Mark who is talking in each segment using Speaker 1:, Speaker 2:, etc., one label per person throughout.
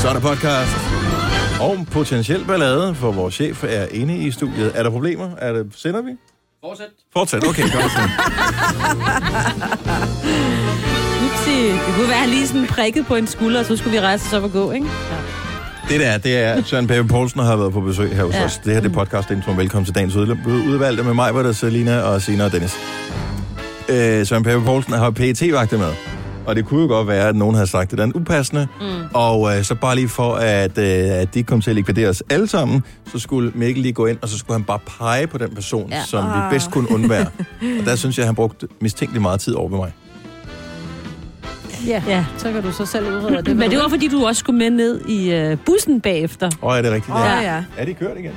Speaker 1: Så er der podcast. Og potentiel ballade, for vores chef er inde i studiet. Er der problemer? Er det, sender vi?
Speaker 2: Fortsæt.
Speaker 1: Fortsæt, okay, godt så.
Speaker 3: Upsi. Det kunne være, at han lige sådan prikket på en skulder, og så skulle vi rejse os op og gå, ikke? Ja.
Speaker 1: Det der, det er, at Søren Pape Poulsen har været på besøg her hos ja.
Speaker 3: Ja.
Speaker 1: os. Det her det er podcast intro. Velkommen til dagens udl- udvalgte med mig, hvor der er Selina og Sina og Dennis. Øh, Søren Pape Poulsen har pt vagter med. Og det kunne jo godt være, at nogen havde sagt, at det er en upassende. Mm. Og øh, så bare lige for, at, øh, at de kom til at likvidere os alle sammen, så skulle Mikkel lige gå ind, og så skulle han bare pege på den person, ja.
Speaker 3: Ja.
Speaker 1: som vi
Speaker 4: Ah.
Speaker 1: bedst kunne undvære. og der synes jeg, at han brugte mistænkeligt meget tid over ved mig.
Speaker 4: Ja.
Speaker 3: ja.
Speaker 4: Så kan du så selv udrede det.
Speaker 3: Men det var, fordi du også skulle med ned i øh, bussen bagefter.
Speaker 1: Og er det rigtigt?
Speaker 4: Åh,
Speaker 1: Ja.
Speaker 4: ja. ja.
Speaker 1: Er de kørt igen?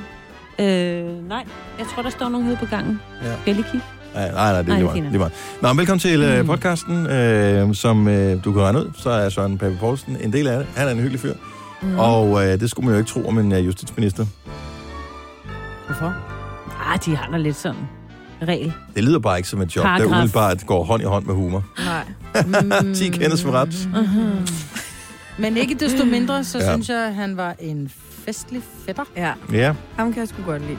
Speaker 3: Øh, nej, jeg tror, der står nogen ude på gangen.
Speaker 1: Ja.
Speaker 3: Skal jeg lige kigge?
Speaker 1: Nej, nej,
Speaker 3: Nej,
Speaker 1: nej, det er lige
Speaker 3: det
Speaker 1: meget,
Speaker 3: finder
Speaker 1: lige meget. Nå, men velkommen til
Speaker 3: Mm.
Speaker 1: øh, podcasten, øh, som øh, du kan regne ud, så er Søren Pape Poulsen en del af det. Han er en hyggelig fyr, mm. og øh, det skulle man jo ikke tro om en øh, justitsminister.
Speaker 4: Hvorfor?
Speaker 3: Ah, de har da lidt sådan regel.
Speaker 1: Det lyder bare ikke som et job, Paragraf. der
Speaker 3: Paragraf.
Speaker 1: umiddelbart går hånd i hånd med humor.
Speaker 4: Nej. Mm.
Speaker 1: 10 kendes for ret.
Speaker 3: Mhm.
Speaker 4: Men ikke desto mindre, så
Speaker 1: Ja.
Speaker 4: ja. synes jeg, at han var en festlig fætter.
Speaker 5: Ja,
Speaker 1: Ja,
Speaker 5: ham kan jeg sgu godt lide.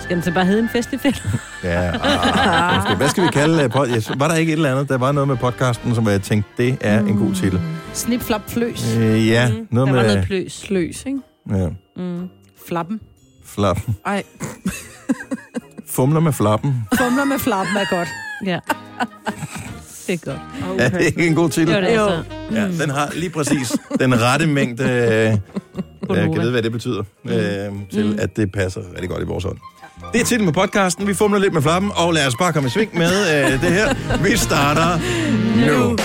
Speaker 3: Skal den så bare hedde en festefælde?
Speaker 1: ja. Ah, måske. Hvad skal vi kalde øh, pod- yes, Var der ikke et eller andet? Der var noget med podcasten, som jeg tænkte, det er en god titel.
Speaker 4: Snip, flap, fløs.
Speaker 1: Øh, ja, noget
Speaker 3: Mm. Der var
Speaker 1: med... øh,
Speaker 3: noget Mhm. pløs.
Speaker 5: Sløs, ikke?
Speaker 1: ja,
Speaker 3: Mm.
Speaker 4: Flappen.
Speaker 1: flap.
Speaker 5: Ej,
Speaker 1: Fumler med flappen.
Speaker 4: Fumler med flappen er godt.
Speaker 3: Ja. Det er godt.
Speaker 5: okay.
Speaker 1: Er det ikke en god titel?
Speaker 3: Det var det altså.
Speaker 1: Ja, den har lige præcis den rette mængde... Øh,
Speaker 3: Godnova.
Speaker 1: jeg kan vide, hvad det betyder, øh, til at det passer rigtig godt i vores hånd. Det er titlen på podcasten. Vi fumler lidt med flappen, og lad os bare komme i sving med øh, det her. Vi starter nu.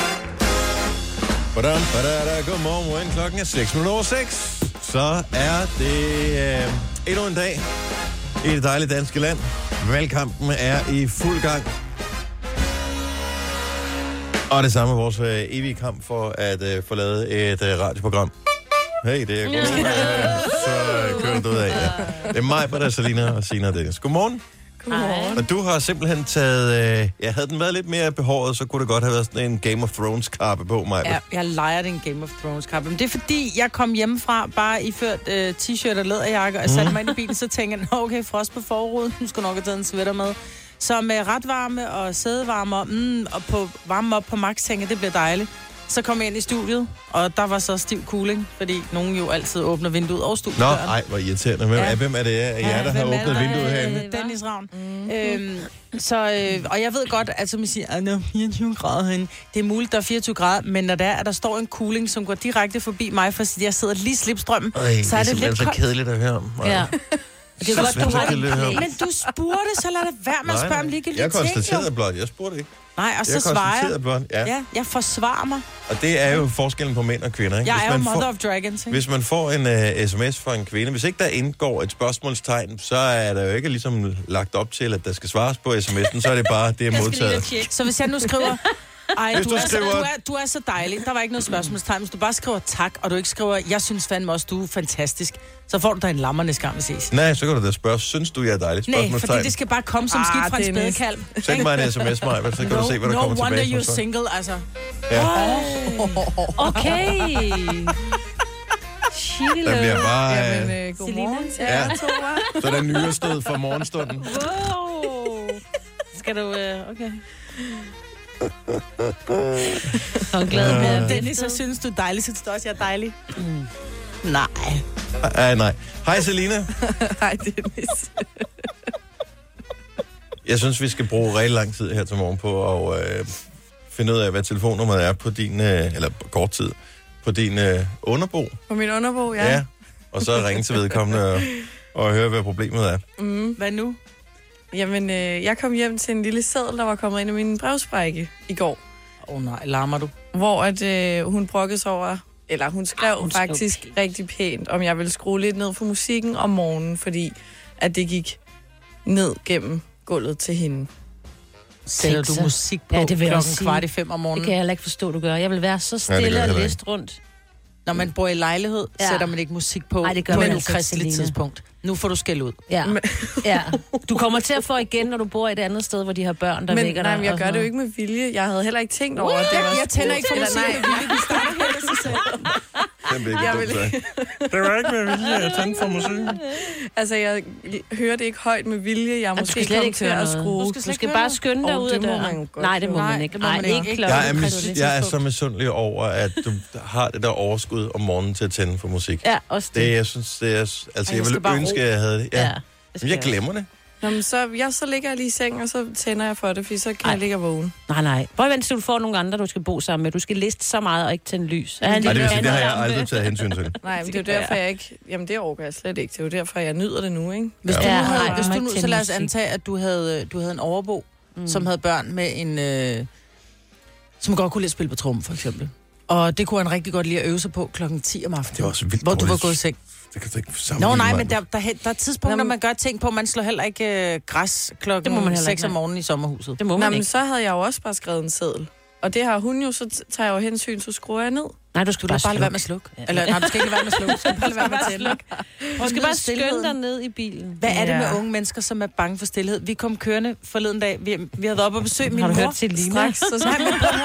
Speaker 1: Badam, badada, godmorgen. Klokken er 6 minutter over 6. Så er det øh, endnu en dag i det dejlige danske land. Valgkampen er i fuld gang. Og det samme med vores øh, evige kamp for at øh, få lavet et øh, radioprogram. Hey, det er godt. Så øh, kører du ud af. Ja. Det er mig, Britta, Salina og Sina og Dennis. Godmorgen.
Speaker 3: Godmorgen.
Speaker 1: Og du har simpelthen taget... Øh, jeg havde den været lidt mere behåret, så kunne det godt have været sådan en Game of Thrones-kappe på mig.
Speaker 4: Ja, jeg leger den Game of Thrones kappe. Men det er fordi, jeg kom hjemmefra bare iført øh, t-shirt og læderjakke, og jeg satte mig ind i bilen, så tænkte jeg, "Nå, okay, frost på forruden, nu skal nok have taget en sweater med. Så med retvarme og sædevarmer, mm, og på varme op på max, tænkte jeg, det bliver dejligt. Så kom jeg ind i studiet, og der var så stiv cooling, fordi nogen jo altid åbner vinduet og studiet.
Speaker 1: Nå, ej, hvor irriterende. Hvem, ja. hvem er det af jer, der har
Speaker 4: hvem er
Speaker 1: åbnet
Speaker 4: det?
Speaker 1: vinduet herinde? Mhm.
Speaker 4: Dennis Ravn. Mm. Øhm, så, øh, og jeg ved godt, at som I siger, at der er 24 grader herinde. Det er muligt, der er 24 grader, men når der er, at der står en cooling, som går direkte forbi mig, for jeg sidder lige i slipstrømmen,
Speaker 1: Ej,
Speaker 4: så er det, lidt
Speaker 1: så
Speaker 4: koldt.
Speaker 1: kedeligt at høre om.
Speaker 3: Ja.
Speaker 1: det er
Speaker 4: godt, du har
Speaker 1: kedeligt at høre om.
Speaker 4: Men du spurgte, så lad det være med at spørge om ligegyldige
Speaker 1: jeg
Speaker 4: ting. jo.
Speaker 1: konstaterede blot. Jeg spurgte ikke.
Speaker 4: Nej, og så
Speaker 1: jeg
Speaker 4: svarer
Speaker 1: konstaterede
Speaker 4: jeg.
Speaker 1: blot. Ja.
Speaker 4: Ja, jeg forsvarer mig.
Speaker 1: Og det er jo forskellen på mænd og kvinder. Ikke?
Speaker 4: Jeg er jo mother
Speaker 1: får,
Speaker 4: of dragons, ikke?
Speaker 1: hvis man får en uh, sms fra en kvinde, hvis ikke der indgår et spørgsmålstegn, så er der jo ikke ligesom lagt op til, at der skal svares på sms'en, så er det bare, det er modtaget.
Speaker 4: Så hvis jeg nu skriver... Ej,
Speaker 1: Hvis
Speaker 4: du,
Speaker 1: du
Speaker 4: er så,
Speaker 1: skriver-
Speaker 4: du, er, du er så dejlig. Der var ikke noget spørgsmålstegn. Hvis du bare skriver tak, og du ikke skriver, jeg synes fandme også, du er fantastisk, så får du dig en lammerne skam, vi ses.
Speaker 1: Nej, så kan du da spørge, synes du, jeg er dejlig?
Speaker 4: Nej,
Speaker 1: Mm. Spørgsmålstegn.
Speaker 4: fordi det skal bare komme som
Speaker 5: Ah,
Speaker 4: skidt fra en
Speaker 5: Dennis.
Speaker 4: spædekalv.
Speaker 1: Send mig en sms, Maja, så kan
Speaker 4: No,
Speaker 1: du se, hvad der
Speaker 4: no
Speaker 1: kommer
Speaker 4: wonder
Speaker 1: tilbage.
Speaker 4: you're
Speaker 1: fra folk.
Speaker 4: single, altså.
Speaker 1: ja,
Speaker 3: Okay. Chile.
Speaker 1: der bliver bare...
Speaker 5: Jamen,
Speaker 1: øh,
Speaker 5: øh, godmorgen til
Speaker 1: Ja.
Speaker 5: jer to. hva'?
Speaker 1: Så er der nyrested for morgenstunden.
Speaker 3: Wow. Skal du... øh, Okay. Håndglæde med
Speaker 4: Dennis, så synes du er dejlig, synes du også, jeg er dejlig? Mm. Nej.
Speaker 1: Ej, Ah, nej. Hej, Selina.
Speaker 5: Hej, Dennis.
Speaker 1: Jeg synes, vi skal bruge rigtig lang tid her til morgen på at øh, finde ud af, hvad telefonnummeret er på din, øh, eller på kort tid, på din øh, underbo.
Speaker 5: På min underbo, ja.
Speaker 1: Og så ringe til vedkommende og, og høre, hvad problemet er.
Speaker 3: Mm.
Speaker 4: Hvad nu?
Speaker 5: Jamen, øh, jeg kom hjem til en lille seddel, der var kommet ind i min brevsprække i går,
Speaker 4: Åh oh, nej, larmer du?
Speaker 5: hvor at, øh, hun brokkede sig over, eller hun skrev
Speaker 3: Ah, hun
Speaker 5: hun
Speaker 3: skrev
Speaker 5: faktisk
Speaker 3: pænt.
Speaker 5: skrev rigtig pænt, om jeg ville skrue lidt ned for musikken om morgenen, fordi at det gik ned gennem gulvet til hende.
Speaker 4: Sætter du
Speaker 3: Sexer.
Speaker 4: musik på
Speaker 3: Ja, det vil jeg
Speaker 4: klokken
Speaker 3: også sige.
Speaker 4: kvart i fem om
Speaker 3: Det
Speaker 4: morgenen?
Speaker 3: kan jeg heller ikke forstå, du gør. Jeg vil være så
Speaker 1: gør jeg
Speaker 3: stille og
Speaker 1: heller
Speaker 3: læst rundt.
Speaker 4: Når man bor i lejlighed, ja.
Speaker 3: Ja.
Speaker 4: sætter man ikke musik på
Speaker 3: Ej, det gør
Speaker 4: på
Speaker 3: man
Speaker 4: et
Speaker 3: altså ikke,
Speaker 4: ukristeligt
Speaker 3: Selina.
Speaker 4: tidspunkt. Nu får du skæld ud.
Speaker 3: Ja. ja. Du kommer til at få igen, når du bor et andet sted, hvor de har børn, der
Speaker 5: Men
Speaker 3: vækker
Speaker 5: nej,
Speaker 3: dig.
Speaker 5: men jeg gør det jo ikke med vilje. Jeg havde heller ikke tænkt over, at det var
Speaker 4: Jeg tænder
Speaker 5: skruet-
Speaker 4: ikke for
Speaker 5: eller
Speaker 4: musik,
Speaker 5: nej,
Speaker 4: vi starter helt af sig selv.
Speaker 1: Den vil ikke
Speaker 5: Jeg
Speaker 1: dumt
Speaker 5: vil-
Speaker 1: sige. Det var ikke med vilje, jeg tændte for musikken.
Speaker 5: Altså, jeg hører det ikke hørt med vilje. Jeg er
Speaker 3: Du skal
Speaker 5: måske
Speaker 3: slet
Speaker 5: kommet
Speaker 3: ikke
Speaker 5: til
Speaker 3: høre
Speaker 5: at
Speaker 3: noget.
Speaker 5: skrue.
Speaker 4: Du
Speaker 3: Du
Speaker 4: skal
Speaker 3: skal,
Speaker 4: slet
Speaker 3: du skal
Speaker 4: ikke
Speaker 3: bare
Speaker 4: høre noget.
Speaker 3: skynde dig
Speaker 5: Åh,
Speaker 3: ud
Speaker 5: det
Speaker 3: af
Speaker 5: må
Speaker 3: døren.
Speaker 5: man jo godt
Speaker 3: Nej, det må
Speaker 5: høre.
Speaker 3: man
Speaker 4: Nej,
Speaker 3: ikke.
Speaker 4: det må
Speaker 3: Nej,
Speaker 4: man ikke.
Speaker 3: ikke
Speaker 4: Jeg
Speaker 3: klokken.
Speaker 1: Jeg er, mis-
Speaker 3: præcis.
Speaker 1: jeg er så misundelig over, at du har det der overskud om morgenen til at tænde for musik.
Speaker 3: Ja, også det.
Speaker 1: Det, jeg synes, det er... Altså,
Speaker 4: jeg
Speaker 1: jeg
Speaker 4: skal
Speaker 1: ville
Speaker 4: bare
Speaker 1: ønske,
Speaker 4: ro.
Speaker 1: at jeg havde det. Ja.
Speaker 3: det skal
Speaker 1: Men jeg glemmer det.
Speaker 5: Nå, men så, jeg, så ligger jeg lige i seng, og så tænder jeg for det, fordi så kan
Speaker 3: Ej.
Speaker 5: Ej. jeg ligge og vågne.
Speaker 3: også. Nej, nej. Prøv at vente, til du får nogle andre, du skal bo sammen med. Du skal liste så meget og ikke tænde lys. Er han
Speaker 1: Nej,
Speaker 3: lige
Speaker 1: det, vil
Speaker 3: ved
Speaker 1: sige, det har jeg
Speaker 3: at være
Speaker 1: aldrig taget hensyn til.
Speaker 5: Nej, men det er
Speaker 3: Det
Speaker 5: jo
Speaker 3: kan
Speaker 5: derfor, jeg ikke... Jamen, det overgår jeg slet ikke. Det er jo derfor, jeg nyder det nu, ikke?
Speaker 4: Hvis
Speaker 1: Ja.
Speaker 4: du nu
Speaker 3: Ja,
Speaker 4: havde,
Speaker 3: nej,
Speaker 4: hvis du
Speaker 3: man må ikke
Speaker 4: nu, så
Speaker 3: tænde
Speaker 4: lad os
Speaker 3: musik.
Speaker 4: antage, at du havde, øh, du havde en overbo, mm. som havde børn med en... Øh, som godt kunne lide at spille på trum, for eksempel. Og det kunne han rigtig godt lide at øve sig på klokken 10 om aftenen.
Speaker 1: Det var også vildt
Speaker 4: Hvor du var
Speaker 1: dårligt.
Speaker 4: gået i seng.
Speaker 1: Det kan du ikke sammenligne
Speaker 4: Nå nej,
Speaker 1: mig
Speaker 4: men
Speaker 1: med.
Speaker 4: der, der, der er tidspunkter,
Speaker 5: Nå, men-
Speaker 4: man gør ting på. Man slår heller ikke øh, græs klokken
Speaker 3: Det må man heller
Speaker 4: 6
Speaker 3: ikke,
Speaker 4: om
Speaker 3: nej.
Speaker 4: morgenen i sommerhuset.
Speaker 3: Det må
Speaker 5: Nå,
Speaker 3: man
Speaker 5: men
Speaker 3: ikke.
Speaker 5: så havde jeg jo også bare skrevet en seddel. Og det har hun jo, så t- tager jeg jo hensyn, så skruer jeg ned.
Speaker 3: Nej, du skal
Speaker 4: Du
Speaker 3: bare,
Speaker 4: skal bare lade være med
Speaker 3: slukke.
Speaker 4: at slukke.
Speaker 3: Ja.
Speaker 4: Eller nej, du skal ikke lade være med at slukke. Du skal bare lade være med at tænde.
Speaker 3: Du skal
Speaker 4: Nyd
Speaker 3: bare skynde
Speaker 4: stilheden.
Speaker 3: dig ned i bilen.
Speaker 4: Hvad er det med
Speaker 5: Ja.
Speaker 4: unge mennesker, som er bange for stillhed? Vi kom kørende forleden dag. Vi, vi havde været oppe og besøge min
Speaker 3: Har du
Speaker 4: mor.
Speaker 3: hørt til Lina?
Speaker 5: Straks, så snakker jeg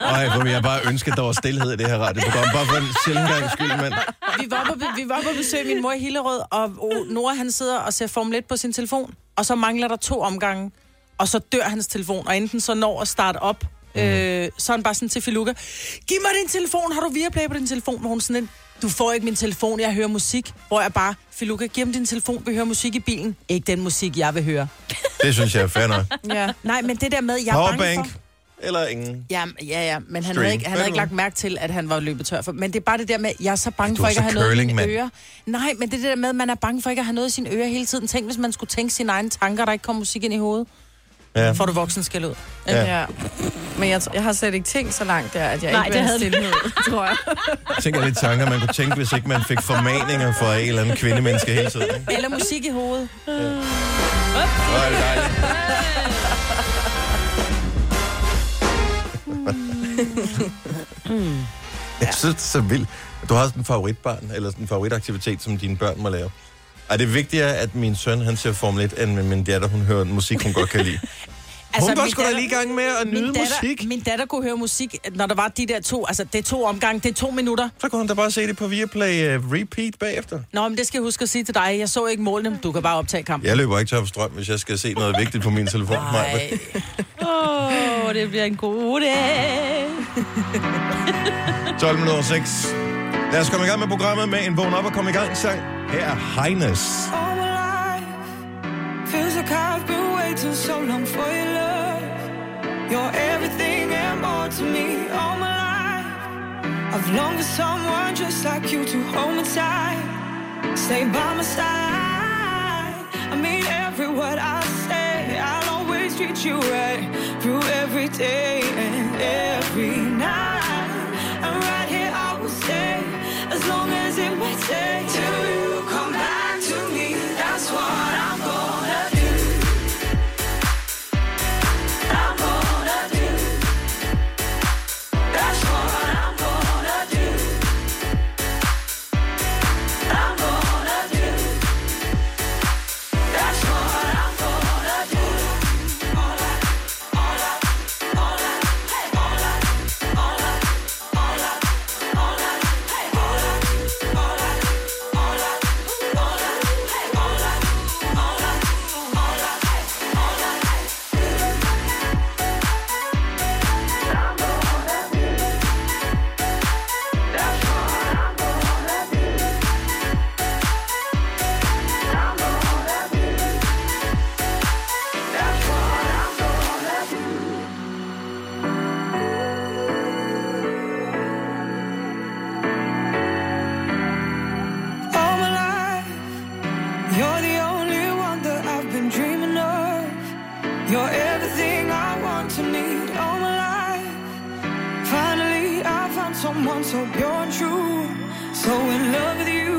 Speaker 1: Ej, hvor vil jeg bare ønske, at der var stillhed i det her radioprogram. Bare for en sjældent gang skyld, mand.
Speaker 4: vi var oppe, vi var oppe og besøge min mor i Hillerød, og og Nora han sidder og ser Formel 1 på sin telefon, og så mangler der to omgange, og så dør hans telefon, og enten så når at starte op, øh, så er han bare sådan til Filuka, giv mig din telefon, har du Viaplay på din telefon? Hvor hun sådan en, du får ikke min telefon, jeg hører musik, hvor jeg bare, Filuka, giv ham din telefon, vi hører musik i bilen. Ikke den musik, jeg vil høre.
Speaker 1: Det synes jeg er fair nok.
Speaker 5: ja.
Speaker 4: Nej, men det der med, jeg er bange for...
Speaker 1: Powerbank eller ingen.
Speaker 4: Ja, ja, ja, men han
Speaker 1: Stream.
Speaker 4: havde, ikke, han
Speaker 1: Hvad er
Speaker 4: havde ikke
Speaker 1: det?
Speaker 4: lagt mærke til, at han var løbet tør for. Men det er bare det der med, at jeg er så bange
Speaker 1: Ej, du
Speaker 4: for
Speaker 1: er
Speaker 4: ikke at
Speaker 1: så
Speaker 4: have noget i
Speaker 1: curling,
Speaker 4: sine
Speaker 1: mand.
Speaker 4: ører. Nej, men det er det der med, at man er bange for ikke at have noget i sine ører hele tiden. Tænk, hvis man skulle tænke sine egne tanker, og der ikke kom musik ind i hovedet.
Speaker 1: Ja.
Speaker 4: Får du voksen skal ud.
Speaker 1: Ja.
Speaker 5: ja. Men jeg, t- jeg har slet ikke tænkt så langt der, at jeg
Speaker 3: Nej,
Speaker 5: ikke
Speaker 3: det
Speaker 5: vil have
Speaker 3: havde
Speaker 5: stillhed, tror jeg.
Speaker 1: Tænk alle de tanker, man kunne tænke, hvis ikke man fik formaninger fra en eller anden kvindemenneske hele tiden. Ikke?
Speaker 4: Eller musik i hovedet.
Speaker 1: Hvor er det dejligt. Jeg synes, det er så vildt. Du har sådan en favoritbarn, eller sådan en favoritaktivitet, som dine børn må lave. Er det vigtigere, at min søn han ser Formel 1, end min datter, hun hører musik, hun godt kan lide? Altså, hun var
Speaker 4: min
Speaker 1: sgu da
Speaker 4: datter-
Speaker 1: lige i gang med at nyde
Speaker 4: min datter,
Speaker 1: musik.
Speaker 4: Min datter kunne høre musik, når der var de der to. Altså, det er to omgange, det er to minutter.
Speaker 1: Så kunne hun da bare se det på Viaplay uh, Repeat bagefter.
Speaker 4: Nå, men det skal jeg huske at sige til dig. Jeg så ikke målene, men du kan bare optage kampen.
Speaker 1: Jeg løber ikke tør for strøm, hvis jeg skal se noget vigtigt på min telefon. Maja.
Speaker 4: Nej.
Speaker 3: Åh, oh, det bliver en god dag.
Speaker 1: 12 minutter 6. Lad os komme i gang med programmet med en vågn op og komme i gang sang. Her er Heines.
Speaker 2: all my life. Feels like I've been waiting so long for your love. You're everything and more to me all my life. I've longed for someone just like you to hold me tight. Stay by my side. I mean every word I say. I'll always treat you right through every day and every night. And right here I will stay as long as it may take till you come back to me. That's what I'm gonna do. I'm gonna do. That's what I'm gonna do. I'm gonna do. That's what I'm gonna do. All I, all I, all I, hey, all I, all I, all I, all I, hey, all I, all I, all I, all I, hey, all I, all I, all I, hey, all I, hey. I'm gonna do. That's what I'm gonna do. I'm gonna do. That's what I'm gonna do. All my life, you're the only one that I've been dreaming of. You're everything I want to need all my life. Finally, I found someone so pure and true, so in love with you.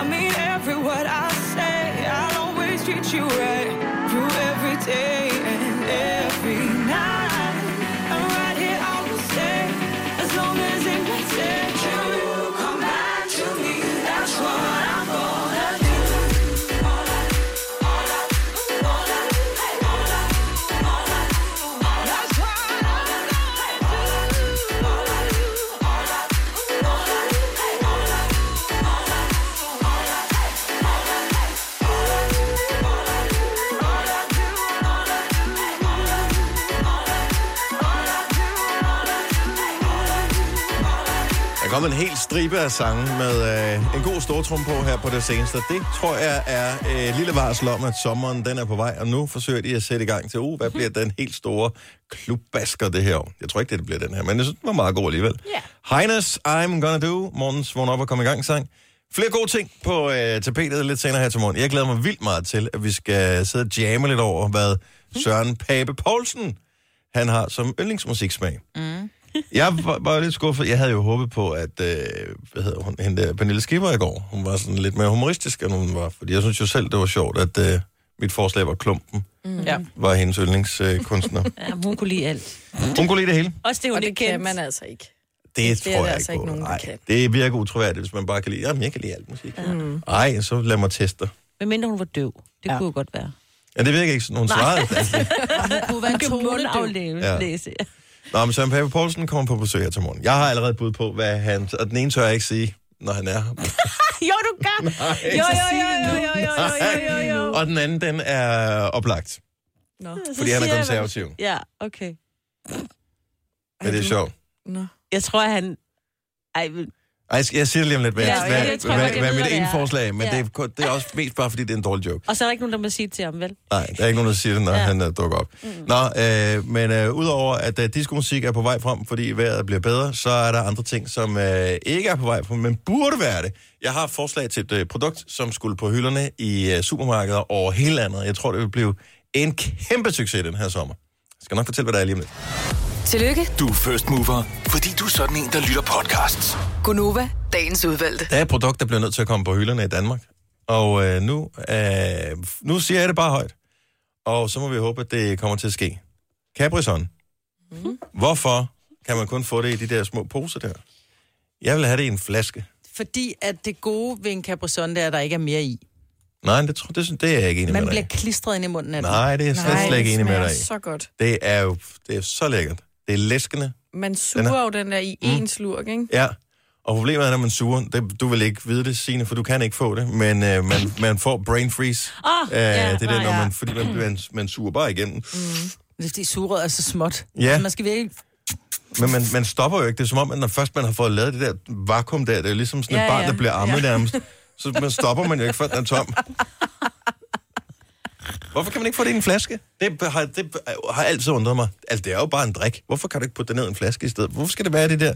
Speaker 2: I mean every word I say. I'll always treat you right through every day and every night. And right here I will stay as long as it may take. Till you come back to me, that's what I'm gonna do. All I, all I, all I, hey, all I, all I, all I, that's what I'm gonna do. All I, all I, all I, all I,
Speaker 1: kom en hel stribe af sange med øh, en god stortrum på her på det seneste. Det tror jeg er øh, lille varsel om, at sommeren den er på vej, og nu forsøger de at sætte i gang til, uh, hvad bliver den helt store klubbasker det her år? Jeg tror ikke, det bliver den her, men jeg synes, den var meget god alligevel.
Speaker 3: Ja.
Speaker 1: Heines, I'm Gonna Do, morgens vågn op og kom i gang sang. Flere gode ting på øh, tapetet lidt senere her til morgen. Jeg glæder mig vildt meget til, at vi skal sidde og jamme lidt over, hvad Søren Pape Poulsen han har som yndlingsmusiksmag. Jeg var, var lidt skuffet. Jeg havde jo håbet på, at øh, hvad hedder hun, hende der, Pernille Skipper i går, hun var sådan lidt mere humoristisk, end hun var. Fordi jeg synes jo selv, det var sjovt, at øh, mit forslag var Klumpen,
Speaker 4: Ja.
Speaker 1: var hendes yndlingskunstner.
Speaker 3: Ja, hun kunne lide alt.
Speaker 1: hun kunne lide det hele.
Speaker 3: Også det, hun
Speaker 5: Og det
Speaker 3: ikke kendte.
Speaker 5: kan man altså ikke.
Speaker 1: Det,
Speaker 5: er
Speaker 1: tror jeg
Speaker 5: der
Speaker 1: ikke
Speaker 5: altså ikke
Speaker 1: på.
Speaker 5: nogen, der
Speaker 1: Nej,
Speaker 5: kan.
Speaker 1: det virker utroværdigt, hvis man bare kan lide, jamen jeg kan lide alt musik. Nej, så lad mig teste dig.
Speaker 3: Men mindre hun var døv. Det øh, ja. kunne jo godt være.
Speaker 1: Ja, det virker ikke sådan, hun svarede. Altså.
Speaker 4: Det kunne være en tonedøv.
Speaker 1: Ja.
Speaker 3: læse.
Speaker 1: Nå, men Søren Pape Poulsen kommer på besøg her til morgen. Jeg har allerede bud på, hvad han... Og den ene tør jeg ikke sige, når han er her.
Speaker 3: Jo, du gør. Jo, jo, jo, jo, jo, jo, jo, jo, jo.
Speaker 1: Og den anden, den er oplagt,
Speaker 5: Nå.
Speaker 1: fordi han
Speaker 3: siger
Speaker 1: er
Speaker 3: jeg,
Speaker 1: konservativ.
Speaker 3: Ja, okay.
Speaker 1: Men det er sjovt.
Speaker 5: Nå.
Speaker 3: Jeg tror, han... Ej, men-
Speaker 1: Ej, jeg- jeg siger det lige om lidt, hvad,
Speaker 3: Ja,
Speaker 1: ja,
Speaker 3: okay.
Speaker 1: hvad,
Speaker 3: Jeg tror, jeg
Speaker 1: hvad, hvad,
Speaker 3: godt,
Speaker 1: hvad
Speaker 3: jeg ved,
Speaker 1: mit
Speaker 3: hvad
Speaker 1: ene
Speaker 3: det er.
Speaker 1: forslag er, men
Speaker 3: Ja.
Speaker 1: det, er, kun- det er også mest bare, fordi det er en dårlig joke.
Speaker 3: og så er der ikke nogen, der må sige det til ham, vel?
Speaker 1: Nej, der er ikke nogen, der siger det, når ja.
Speaker 3: Ja.
Speaker 1: han uh, dukker op. Mm. Nå, øh, men øh, udover at øh, diskomusik er på vej frem, fordi vejret bliver bedre, så er der andre ting, som øh, ikke er på vej frem, men burde være det. Jeg har et forslag til et øh, produkt, som skulle på hylderne i øh, supermarkeder over hele landet. Jeg tror, det vil blive en kæmpe succes den her sommer. Jeg skal nok fortælle, hvad der er lige om lidt.
Speaker 6: Tillykke,
Speaker 7: Du er first mover, fordi du er sådan en, der lytter podcasts.
Speaker 6: Gunova, dagens udvalgte.
Speaker 1: Der er et produkt, der bliver nødt til at komme på hylderne i Danmark. Og øh, nu, øh, nu siger jeg det bare højt. Og så må vi håbe, at det kommer til at ske. Caprison. Mm. Hvorfor kan man kun få det i de der små poser der? Jeg vil have det i en flaske.
Speaker 4: Fordi at det gode ved en Capri Sun, det er, at der ikke er mere i.
Speaker 1: Nej, det, tror, det, synes- det er jeg ikke enig
Speaker 4: Man
Speaker 1: med dig
Speaker 4: bliver
Speaker 1: i.
Speaker 4: klistret ind i munden af den.
Speaker 1: Nej, det er jeg slet, slet ikke enig med
Speaker 5: smager
Speaker 1: dig i.
Speaker 5: så godt.
Speaker 1: Det er jo det er så lækkert. Det er Mm. læskende.
Speaker 5: Man suger jo den der i en slurk, ikke?
Speaker 1: Ja. Og problemet er, når man suger, det, du vil ikke vide det, Signe, for du kan ikke få det, men øh, man, man får brain freeze.
Speaker 3: Åh,
Speaker 1: Øh, ja, det er det,
Speaker 3: nej,
Speaker 1: når
Speaker 3: ja.
Speaker 1: man, fordi man, man, man suger bare igennem.
Speaker 4: Det er fordi sugerøret er så småt.
Speaker 1: Ja.
Speaker 4: Man skal virkelig...
Speaker 1: Men man, man stopper jo ikke. Det er som om, at når først man har fået lavet det der vakuum der, det er ligesom sådan et
Speaker 5: Ja,
Speaker 1: barn,
Speaker 5: ja.
Speaker 1: der bliver ammet ja. nærmest. Så man stopper man jo ikke, før den er tom. Hvorfor kan man ikke få det i en flaske? Det har, det har altid undret mig. Altså, det er jo bare en drik. Hvorfor kan du ikke putte det ned i en flaske i stedet? Hvorfor skal det være det der?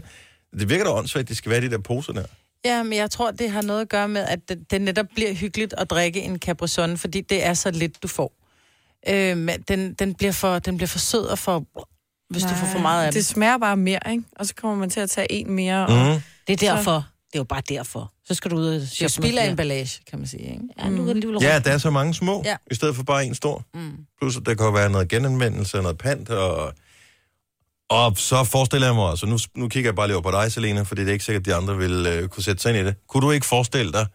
Speaker 1: Det virker da åndssvagt, det skal være de der poser der.
Speaker 4: Ja, men jeg tror, det har noget at gøre med, at det, det netop bliver hyggeligt at drikke en Capri Sun, fordi det er så lidt, du får. Øhm, den, den, bliver for, den bliver for sød og for... Hvis Nej. du får for meget af
Speaker 5: Det
Speaker 4: det.
Speaker 5: smager bare mere, ikke? Og så kommer man til at tage en mere. Og...
Speaker 1: Mm.
Speaker 3: Det er derfor. Det er jo bare derfor. Så skal du ud og
Speaker 4: Det er jo
Speaker 3: shoppe.
Speaker 4: spild af emballage, kan man sige, ikke?
Speaker 3: Ja, nu er det alligevel
Speaker 1: Ja, der er så mange små, ja.
Speaker 4: Ja.
Speaker 1: i stedet for bare en stor. Mm. Plus, at der kan jo være noget genanvendelse, noget pant, og, og så forestiller jeg mig også, og nu, nu kigger jeg bare lige over på dig, Selena, fordi det er ikke sikkert, at de andre vil øh, kunne sætte sig ind i det. Kunne du ikke forestille dig,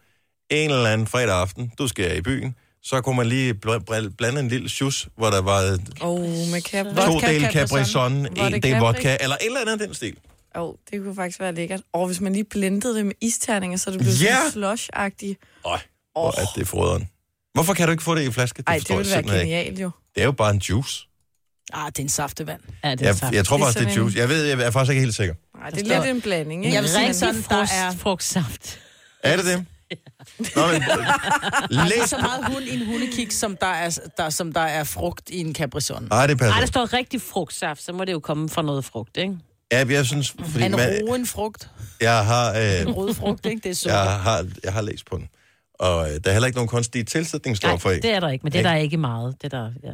Speaker 1: en eller anden fredag aften, du skal i byen, så kunne man lige bl- bl- blande en lille sjus, hvor der var øh,
Speaker 5: Åh, oh, med kæp.
Speaker 1: to
Speaker 4: Vodka,
Speaker 1: dele
Speaker 4: Capri
Speaker 1: Capri Sun,
Speaker 5: Var
Speaker 1: en
Speaker 5: det
Speaker 1: del
Speaker 5: Capri?
Speaker 1: vodka, eller et eller andet af den stil.
Speaker 5: Åh, oh, det kunne faktisk være lækkert. Og hvis man lige blendede det med isterninger, så det blev yeah.
Speaker 1: Ja!
Speaker 5: sådan slush-agtigt.
Speaker 1: Øj, hvor er det froderen. Hvorfor kan du ikke få det i en flaske? Det
Speaker 5: Ej, det
Speaker 1: forstår jeg
Speaker 5: ville være
Speaker 1: simpelthen ikke.
Speaker 5: genialt jo.
Speaker 1: Det er jo bare en juice.
Speaker 4: Ah, det er en saftevand.
Speaker 3: Ja, det er
Speaker 1: Jeg,
Speaker 3: sagt.
Speaker 1: jeg tror
Speaker 5: Det er
Speaker 1: faktisk, det er
Speaker 5: sådan en-
Speaker 1: juice. Jeg ved, jeg er faktisk ikke helt sikker.
Speaker 5: Ej, det
Speaker 3: står-
Speaker 5: er lidt en blanding, ikke?
Speaker 4: Jeg vil sige
Speaker 3: Rigtig
Speaker 4: sådan, der
Speaker 3: frost-
Speaker 4: er-
Speaker 3: frugtsaft.
Speaker 1: Er det det? Nå, men, øh,
Speaker 4: Det er
Speaker 1: læs.
Speaker 4: så meget hund i en hundekiks, som der er, der, som der er frugt i en Capri Sun.
Speaker 1: Ej, det
Speaker 3: Ej,
Speaker 1: passer.
Speaker 3: der står rigtig frugtsaft, så må det jo komme fra noget frugt, ikke?
Speaker 1: Ja, jeg synes,
Speaker 4: Er
Speaker 1: fordi
Speaker 4: en
Speaker 1: man,
Speaker 4: roen frugt?
Speaker 1: jeg, har,
Speaker 4: En
Speaker 1: øh,
Speaker 4: rød frugt, ikke? Det er sukker.
Speaker 1: jeg, har, jeg har læst på den. Og øh, der er heller ikke nogen kunstige
Speaker 3: Nej,
Speaker 1: tilsætningsstoffer i.
Speaker 3: det er der ikke, men det er der ikke meget. Det er der, ja.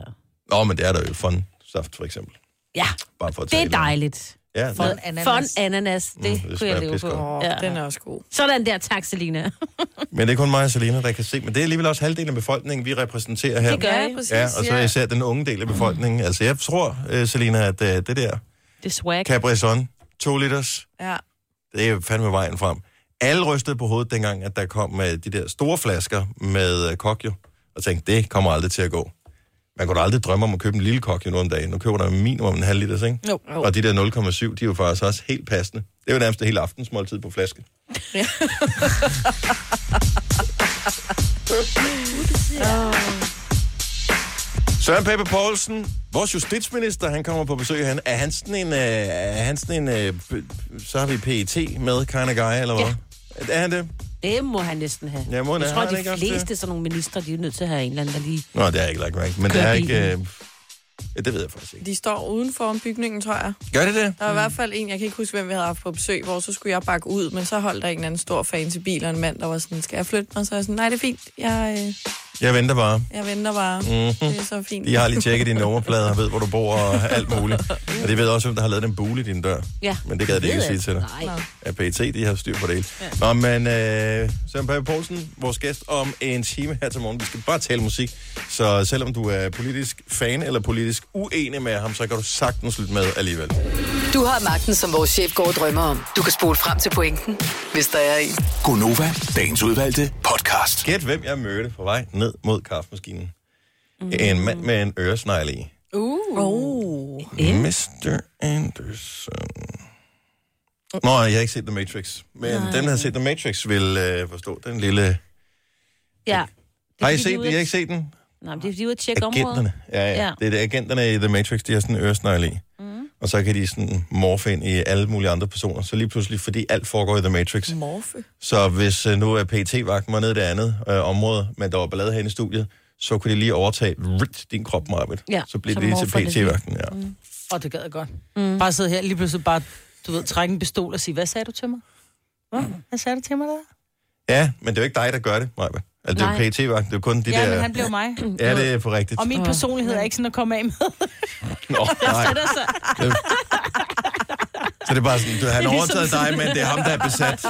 Speaker 1: Nå, men det er der jo fun saft, for eksempel.
Speaker 3: ja,
Speaker 1: Bare for at
Speaker 3: det
Speaker 1: tage
Speaker 3: er
Speaker 1: et eller andet.
Speaker 3: dejligt.
Speaker 1: Ja,
Speaker 3: For
Speaker 4: Fun
Speaker 1: det,
Speaker 3: en
Speaker 4: ananas.
Speaker 3: ananas, ananas det
Speaker 1: Mm, det
Speaker 3: mm, kunne jeg
Speaker 1: smager
Speaker 3: leve på.
Speaker 1: pissegodt.
Speaker 5: Åh,
Speaker 3: Ja.
Speaker 5: ja. den er også god.
Speaker 3: Sådan der, tak Selina.
Speaker 1: men det er kun mig og Selena, der kan se. Men det er alligevel også halvdelen af befolkningen, vi repræsenterer her.
Speaker 3: Det gør jeg.
Speaker 5: præcis.
Speaker 1: ja, og så især den unge del af befolkningen. Altså, jeg tror, øh, Selena, at øh, det der
Speaker 3: Det er swag.
Speaker 1: Capri Sun, 2 liters,
Speaker 5: Ja.
Speaker 1: Det er fandme vejen frem. Alle rystede på hovedet dengang, at der kom øh, de der store flasker med øh, kokjo, og tænkte, det kommer aldrig til at gå. Man kunne da aldrig drømme om at købe en lille kokjo nu om dagen. Nu køber der minimum en halv liters, ikke?
Speaker 4: Jo.
Speaker 1: Og de der 0,7, de er jo faktisk også helt passende. Det er jo nærmest et helt aftensmåltid på flasken. Søren Pape Poulsen, vores justitsminister, han kommer på besøg. Han, er han sådan en, øh, er han sådan en øh, p- så har vi PET med kind of guy, eller hvad? Ja. Er han det?
Speaker 8: Det må han næsten have.
Speaker 1: Ja, må han
Speaker 8: jeg
Speaker 1: have.
Speaker 8: tror,
Speaker 1: Har han
Speaker 8: at
Speaker 1: ikke
Speaker 8: de
Speaker 1: haft det?
Speaker 8: fleste sådan nogle ministre, de er nødt til at have en eller anden, der lige...
Speaker 1: Nå, det er ikke lagt rank, men det
Speaker 8: Kører
Speaker 1: er ikke... Øh,
Speaker 8: bilen.
Speaker 1: ja, det ved jeg faktisk ikke.
Speaker 5: De står uden for om bygningen, tror jeg.
Speaker 1: Gør det det?
Speaker 5: Der var i hvert fald en, jeg kan ikke huske, hvem vi havde haft på besøg, hvor så skulle jeg bakke ud, men så holdt der en eller anden stor fan til bil, og en mand, der var sådan, skal jeg flytte mig? Så er jeg sådan, nej, det er fint, jeg, øh,
Speaker 1: Jeg venter bare.
Speaker 5: jeg venter bare,
Speaker 1: Mhm.
Speaker 5: det er så fint.
Speaker 1: De har lige tjekket dine nummerplader, ved, hvor du bor og alt muligt. Og de ved også, hvem der har lavet den bule i din dør.
Speaker 8: Ja.
Speaker 1: Men det gad de ikke
Speaker 8: Ved
Speaker 1: sige
Speaker 8: jeg.
Speaker 1: til dig.
Speaker 8: Nej.
Speaker 1: at PET, de har styr på det hele. Ja. Nå, men øh, Søren Pape Poulsen, vores gæst om en time her til morgen. Vi skal bare tale musik, så selvom du er politisk fan eller politisk uenig med ham, så kan du sagtens lytte med alligevel.
Speaker 6: Du har magten, som vores chef går og drømmer om. Du kan spole frem til pointen, hvis der er en.
Speaker 7: Gonova, dagens udvalgte podcast.
Speaker 1: Gæt, hvem jeg mødte på vej ned mod kaffemaskinen. Mm. En mand med en øresnegle i.
Speaker 8: Uh.
Speaker 1: Mm.
Speaker 5: Oh.
Speaker 1: Yeah. Mr. Anderson. Nå, jeg har ikke set The Matrix. Men Nej. den, der har set The Matrix, vil øh, forstå den lille...
Speaker 8: Ja. Det er
Speaker 1: Har I
Speaker 8: fordi,
Speaker 1: set
Speaker 8: de er
Speaker 1: den?
Speaker 8: ude
Speaker 1: Jeg
Speaker 8: at-
Speaker 1: har ikke set den.
Speaker 8: Nej, men det er fordi, de er ude at tjekke området.
Speaker 1: Agenterne. Ja, ja.
Speaker 8: Ja.
Speaker 1: ja. Det er det, agenterne i The Matrix, de har sådan en øresnegle i. Mm. Og så kan de sådan morfe ind i alle mulige andre personer. Så lige pludselig, fordi alt foregår i The Matrix.
Speaker 5: Morfe.
Speaker 1: Så hvis øh, nu er pt vagten var nede i det andet øh, område, men der var ballade herinde i studiet, så kunne de lige overtage rit, din krop, Marvind.
Speaker 8: Ja,
Speaker 1: så blev
Speaker 8: så
Speaker 1: det lige til
Speaker 8: morfer det
Speaker 1: PT-vagten. Ja. Mm.
Speaker 4: Og det gad jeg godt. Mm. Bare sidde her lige pludselig bare, du ved, trække en pistol og sige, hvad sagde du til mig? Hvad, hvad sagde du til mig der?
Speaker 1: ja, men det er jo ikke dig, der gør det, Marvind. Altså, det er
Speaker 8: Nej.
Speaker 1: PT-vagten. Det er jo kun de
Speaker 4: ja,
Speaker 1: der...
Speaker 4: men han blev mig.
Speaker 1: Ja, det er for rigtigt.
Speaker 4: Og min personlighed er ikke sådan at komme af med.
Speaker 1: Nå, nej. Det- Så det er bare sådan, du, han har
Speaker 8: ligesom
Speaker 1: overtaget dig,
Speaker 8: sådan-
Speaker 1: men det er ham, der er besat.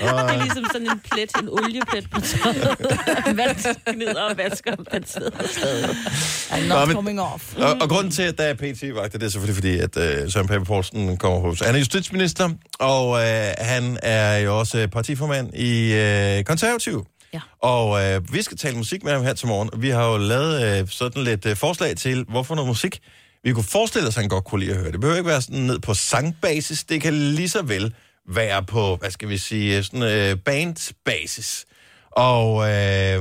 Speaker 3: Det er ligesom sådan en plet, en olieplet på tøjet. Vand gnider og vasker om den side.
Speaker 4: I'm
Speaker 1: Nå,
Speaker 4: not
Speaker 1: men-
Speaker 4: coming off.
Speaker 1: Og, og grunden til, at der er PT-vagter, det er selvfølgelig fordi, at øh, Søren Pape Poulsen kommer på. Så han er justitsminister, og øh, han er jo også øh, partiformand i øh, Konservativ.
Speaker 8: Ja.
Speaker 1: Og øh, vi skal tale musik med ham her til morgen. Vi har jo lavet øh, sådan lidt øh, forslag til, hvorfor noget musik vi kunne forestille os, han godt kunne lide at høre. Det behøver ikke være sådan ned på sangbasis. Det kan lige så vel være på, hvad skal vi sige, sådan øh, bandbasis. Og øh,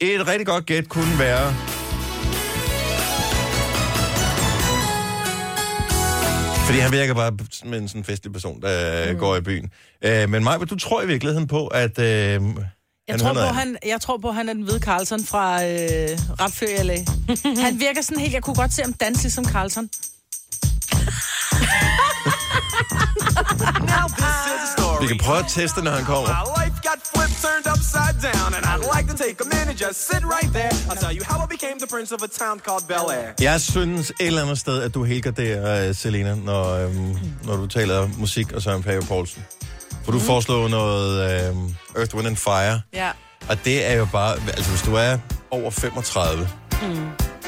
Speaker 1: et rigtig godt gæt kunne være... Fordi han virker bare som en sådan festlig person, der mm. går i byen. Øh, men Maja, du tror i virkeligheden på, at... Øh, jeg
Speaker 4: Jeg tror, på, han, jeg tror på, han er den hvide Carlson fra øh, Rap Før i LA. Han virker sådan helt, jeg kunne godt se ham danse ligesom Carlson.
Speaker 1: Vi kan prøve at teste, når han kommer.
Speaker 9: My life got flipped, turned upside down, and I'd like to take a minute, just sit right there. I'll tell you how I became the prince of a town called Bel Air.
Speaker 1: Jeg synes et eller andet sted, at du helgarderer, øh, Selena, når, øh, når du taler musik og Søren Pape Poulsen. For du mm. foreslår noget øh, Earth, Wind and Fire.
Speaker 5: Ja.
Speaker 1: Og det er jo bare... Altså, hvis du er over 35,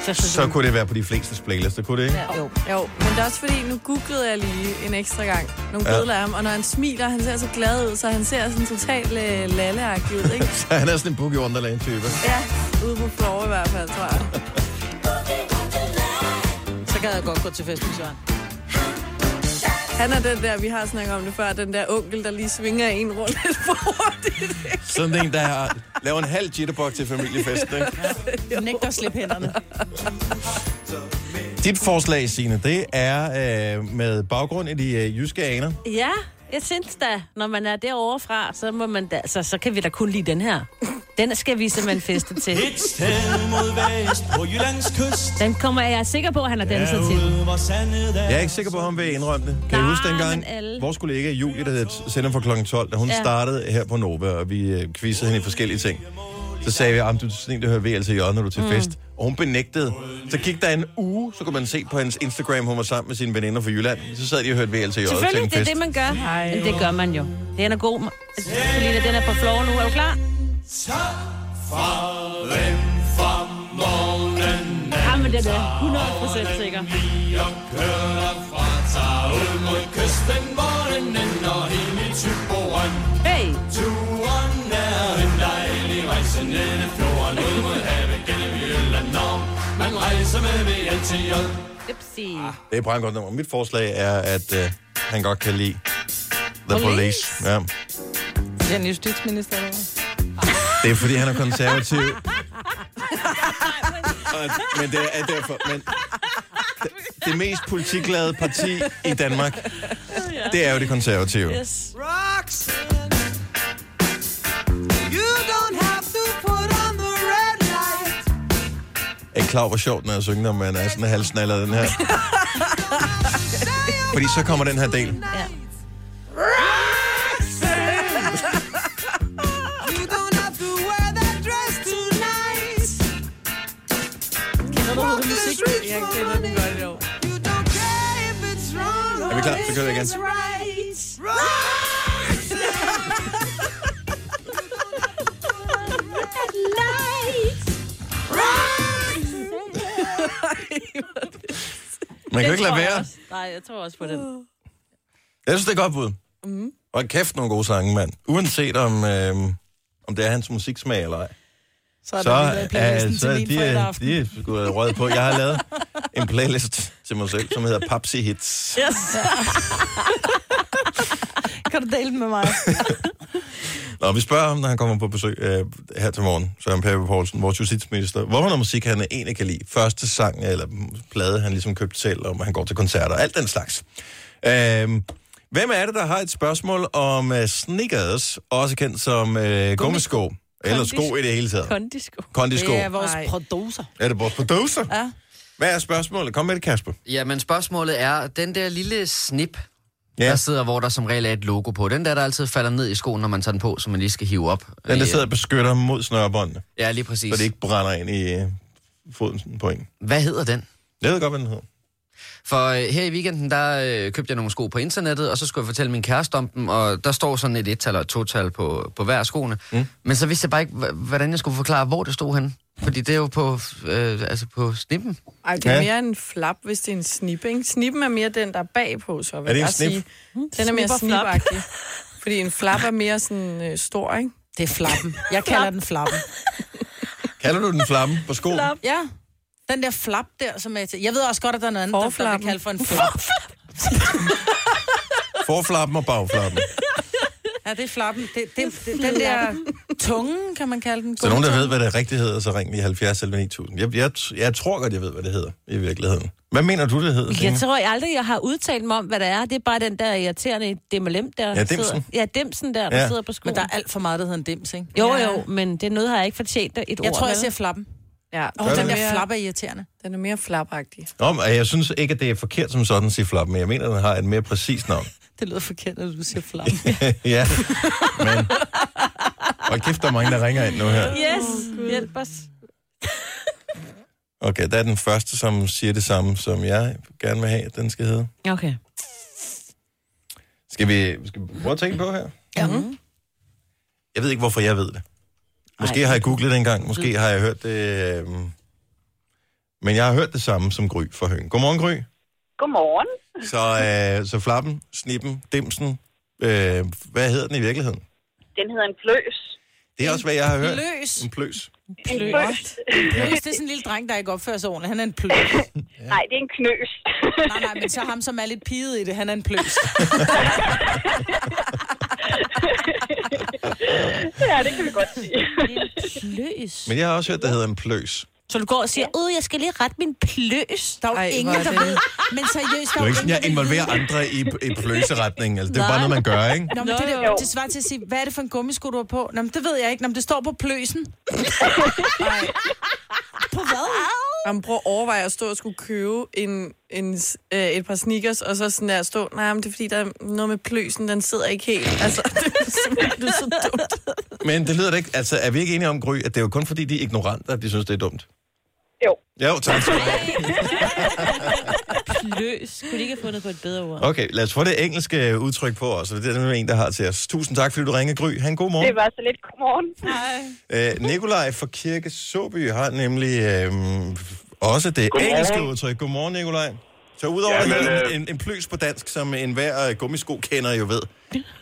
Speaker 8: Så,
Speaker 1: så kunne det være på de fleste playlister, kunne det ikke?
Speaker 5: Jo. jo. Men det er også fordi, nu googlede jeg lige en ekstra gang nogle
Speaker 1: Ja.
Speaker 5: billeder af ham, og når han smiler, han ser så glad ud, så han ser sådan totalt øh, lalleagtig ud, ikke?
Speaker 1: Ja. Han er sådan en Boogie Wonderland-type.
Speaker 5: Ja, ude på floor i hvert fald, tror jeg.
Speaker 4: Så gad jeg godt gå til fest med Søren.
Speaker 5: Han er den der, vi har snakket om det før, den der onkel, der lige svinger en rundt lidt for hurtigt.
Speaker 1: Sådan en, der har- laver en halv jitterbug til familiefesten, ikke?
Speaker 4: Jeg nægter at slippe hænderne.
Speaker 1: Dit forslag, Signe, det er øh, med baggrund i de øh, jyske aner.
Speaker 3: Ja, jeg synes da, når man er derovre fra, så, må man da, altså, så, så kan vi da kun lide den her. Den skal vi simpelthen feste til.
Speaker 10: Et sted mod vest på Jyllands kyst
Speaker 3: Den kommer jeg er sikker på, at han har danset til.
Speaker 10: Derude hvor sandet er
Speaker 1: Jeg er ikke sikker på, om vil indrømme det. Kan I
Speaker 3: Nej,
Speaker 1: huske dengang,
Speaker 3: men alle-
Speaker 1: vores kollega Julie, der hed- sender fra kl. 12, da hun
Speaker 3: Ja.
Speaker 1: startede her på Nova, og vi øh, quizzede hende i forskellige ting. Så sagde vi, at du er sådan en, der hører VLCJ, når du er til mm. fest. Og hun benægtede. Så gik der en uge, så kunne man se på hendes Instagram, hun var sammen med sine veninder fra Jylland. Så sad de og hørte VLCJ til en fest.
Speaker 3: Selvfølgelig, det er det, man gør. Men det gør man jo. Den er god. Selina, den er på floor nu. Er du klar?
Speaker 10: Farven fra morgenen
Speaker 3: Jamen, den er 100 procent sikker.
Speaker 10: Jeg kører fra tager ud mod kysten morgenen Og ind i Tyborgen
Speaker 3: Hey!
Speaker 10: Turen er en dejlig rejse ned ad fjorden Ud mod havet gennem Jylland Når man rejser med VLTJ
Speaker 3: Upsi.
Speaker 10: Ah.
Speaker 1: Det er brandgodt nummer. Mit forslag er, at øh, han godt kan lide The Police.
Speaker 3: Police.
Speaker 1: police. Ja.
Speaker 4: Jeg er en justitsminister. eller hvad?
Speaker 1: Det er, fordi han er konservativ. og- men det er derfor. Men det, det mest politiklade parti i Danmark, det er jo det konservative.
Speaker 3: Yes.
Speaker 2: Rocks. You don't have to put on the red light.
Speaker 1: Er I klar over, hvor sjovt den er at synge, når man er sådan halvsnallet den her? Fordi så kommer den her del.
Speaker 2: You don't have to wear that dress tonight. Walk the streets
Speaker 5: Jeg
Speaker 2: for
Speaker 5: kender den
Speaker 2: money.
Speaker 5: godt i år.
Speaker 2: You don't care if it's wrong.
Speaker 1: Er vi klar? Så kører vi igen.
Speaker 2: It's right. Roxanne.
Speaker 1: Man kan jo ikke lade
Speaker 3: tror jeg
Speaker 1: være.
Speaker 3: også. Nej, jeg tror også på den.
Speaker 1: Jeg synes, det er et godt bud.
Speaker 5: Mm.
Speaker 1: Og kæft nogle gode sange, mand. Uanset om, øh, om det er hans musiksmag eller ej.
Speaker 4: Så er
Speaker 1: så,
Speaker 4: der lige playlisten
Speaker 1: øh, så
Speaker 4: til min
Speaker 1: de,
Speaker 4: fredag
Speaker 1: er-
Speaker 4: aften.
Speaker 1: de er sgu røget på. Jeg har lavet en playlist til mig selv, som hedder Papsi Hits.
Speaker 3: Yes.
Speaker 4: Kan du dele den med mig?
Speaker 1: Nå, vi spørger ham, når han kommer på besøg øh, her til morgen, Søren Pape Poulsen, vores justitsminister. Hvorfor noget musik, han egentlig kan lide? Første sang eller plade, han ligesom købte selv, og han går til koncerter, alt den slags. Øh, hvem er det, der har et spørgsmål om øh, sneakers, også kendt som øh, gummisko? Eller sko i det hele taget.
Speaker 3: Kondisko.
Speaker 1: Kondisko.
Speaker 4: Det er vores
Speaker 5: Ej.
Speaker 4: producer.
Speaker 1: Er det vores producer?
Speaker 4: Ja.
Speaker 1: Hvad er spørgsmålet? Kom med det, Kasper.
Speaker 11: Ja, men spørgsmålet er, den der lille snip,
Speaker 1: Ja.
Speaker 11: der sidder, hvor der som regel er et logo på, den der, der altid falder ned i skoen, når man tager den på, som man lige skal hive op.
Speaker 1: Den, der
Speaker 11: Øh,
Speaker 1: sidder og beskytter mod snørebåndene,
Speaker 11: Ja, lige præcis.
Speaker 1: så det ikke brænder ind i øh, foden på en.
Speaker 11: Hvad hedder den?
Speaker 1: Jeg ved godt, hvad den hedder.
Speaker 11: For øh, her i weekenden, der øh, købte jeg nogle sko på internettet, og så skulle jeg fortælle min kæreste om dem, og der står sådan et et-tal og et to-tal på, på hver af skoene. Mm. Men så vidste jeg bare ikke, hva- hvordan jeg skulle forklare, hvor det stod henne. Fordi det er jo på, øh, altså på snippen.
Speaker 5: Ej, det er
Speaker 1: Ja.
Speaker 5: mere en flap, hvis det er en snip, ikke? Snippen er mere den, der er bagpå, så vil
Speaker 1: Er det en
Speaker 5: jeg
Speaker 1: snip?
Speaker 5: sige. Den er mere
Speaker 3: Snip og flap.
Speaker 5: snipagtig. Fordi en flap er mere sådan øh, stor, ikke?
Speaker 4: Det er flappen. Jeg kalder den flappen.
Speaker 1: Kalder du den flamme på skoen? Flap.
Speaker 4: Ja. Den der flap der, som er til... Jeg ved også godt, at der er noget andet, der- der
Speaker 5: Forflappen.
Speaker 4: vil kalde for en flap.
Speaker 1: Forflappen og bagflappen.
Speaker 4: Ja, det er flappen. Det, det, det, den der tungen, kan man kalde den.
Speaker 1: Så nogen, der ved, hvad det rigtigt hedder, så ring lige 70 eller 9000. Jeg, jeg, jeg tror godt, jeg ved, hvad det hedder i virkeligheden. Hvad mener du, det hedder?
Speaker 3: Jeg
Speaker 1: Signe?
Speaker 3: tror jeg aldrig, jeg har udtalt mig om, hvad det er. Det er bare den der irriterende demmelem der. der
Speaker 1: dimsen.
Speaker 3: sidder- Ja, dimsen der, der
Speaker 1: Ja.
Speaker 3: sidder på skoen.
Speaker 4: Men der er alt for meget, der hedder en dims, ikke?
Speaker 3: Jo, jo, men det er noget, har jeg ikke fortjent et ord.
Speaker 4: Jeg tror, jeg
Speaker 3: med.
Speaker 4: siger flappen.
Speaker 5: Ja,
Speaker 4: Åh,
Speaker 1: Gør
Speaker 4: oh,
Speaker 1: det?
Speaker 4: den der
Speaker 5: mere-
Speaker 4: flap er irriterende.
Speaker 5: Den er mere flapagtig.
Speaker 1: Nå, men jeg synes ikke, at det er forkert som sådan at sige flap, men jeg mener, at den har et mere præcist navn.
Speaker 4: Det lyder forkert, når du siger flappen.
Speaker 1: ja, men... Og kæft, der er mange, der ringer ind nu her.
Speaker 3: Yes, hjælp os.
Speaker 1: Okay, der er den første, som siger det samme, som jeg gerne vil have, at den skal hedde.
Speaker 3: Okay.
Speaker 1: Skal vi, skal vi prøve at tænke på her?
Speaker 4: Ja. Mm.
Speaker 1: Jeg ved ikke, hvorfor jeg ved det. Måske har jeg googlet det engang, måske har jeg hørt det... Øh... Men jeg har hørt det samme som Gry fra Høen. Godmorgen, Gry.
Speaker 12: Godmorgen.
Speaker 1: Så, øh, så flappen, snippen, dimsen, øh, hvad hedder den i virkeligheden?
Speaker 12: Den hedder en pløs.
Speaker 1: Det er også, hvad jeg har hørt.
Speaker 4: Løs.
Speaker 1: En pløs.
Speaker 12: En
Speaker 4: Pløs.
Speaker 12: pløs.
Speaker 4: Løs, det er sådan en lille dreng, der ikke opfører sig ordentligt. Han er en pløs.
Speaker 12: Nej, det er en knøs.
Speaker 4: Nej, nej, men så ham, som er lidt piget i det, han er en pløs.
Speaker 12: ja, det kan vi godt sige.
Speaker 3: Pløs.
Speaker 1: Men jeg har også hørt, der hedder en pløs.
Speaker 3: Så du går og siger, øh, jeg skal lige rette min pløs.
Speaker 4: Der er jo
Speaker 5: Ej,
Speaker 4: ingen,
Speaker 5: hvor er
Speaker 4: der
Speaker 5: det-
Speaker 4: ved. Men seriøst,
Speaker 1: Det
Speaker 4: der er
Speaker 1: er jo
Speaker 4: jo
Speaker 1: ikke sådan, jeg
Speaker 4: ingen, der
Speaker 1: involverer andre i, i pløseretningen. Altså, det er jo bare noget, man gør, ikke?
Speaker 4: Nå, men det,
Speaker 12: Jo.
Speaker 4: der, det svarer til at sige, hvad er det for en gummisko, du har på? Nå, men det ved jeg ikke. Nå, men det står på pløsen. på hvad?
Speaker 5: Man prøver at overveje at stå og skulle købe en, en, s- øh, et par sneakers, og så sådan der stå, nej, men det er fordi, der er noget med pløsen, den sidder ikke helt. Altså, det er simpelthen det er så dumt.
Speaker 1: Men det lyder da ikke... Altså, er vi ikke enige om, Gry, at det er jo kun fordi, de er ignorante, at de synes, det er dumt?
Speaker 12: Jo.
Speaker 1: Jo, tak skal du have.
Speaker 3: Pløs. Skulle de ikke have fundet på et bedre ord?
Speaker 1: Okay, lad os få det engelske udtryk på os. og Det er der en, der har til os. Tusind tak, fordi du ringede, Gry. Han god
Speaker 12: Det
Speaker 1: morgen.
Speaker 12: var så lidt godmorgen.
Speaker 1: Øh, Nikolaj fra Kirke Såby har nemlig øhm, også det
Speaker 13: Godmorgen.
Speaker 1: engelske udtryk. Godmorgen, Nikolaj. Så udover
Speaker 13: Jamen,
Speaker 1: ja,
Speaker 13: øh,
Speaker 1: en, en, en pløs på dansk, som en hver øh, gummisko kender jo ved.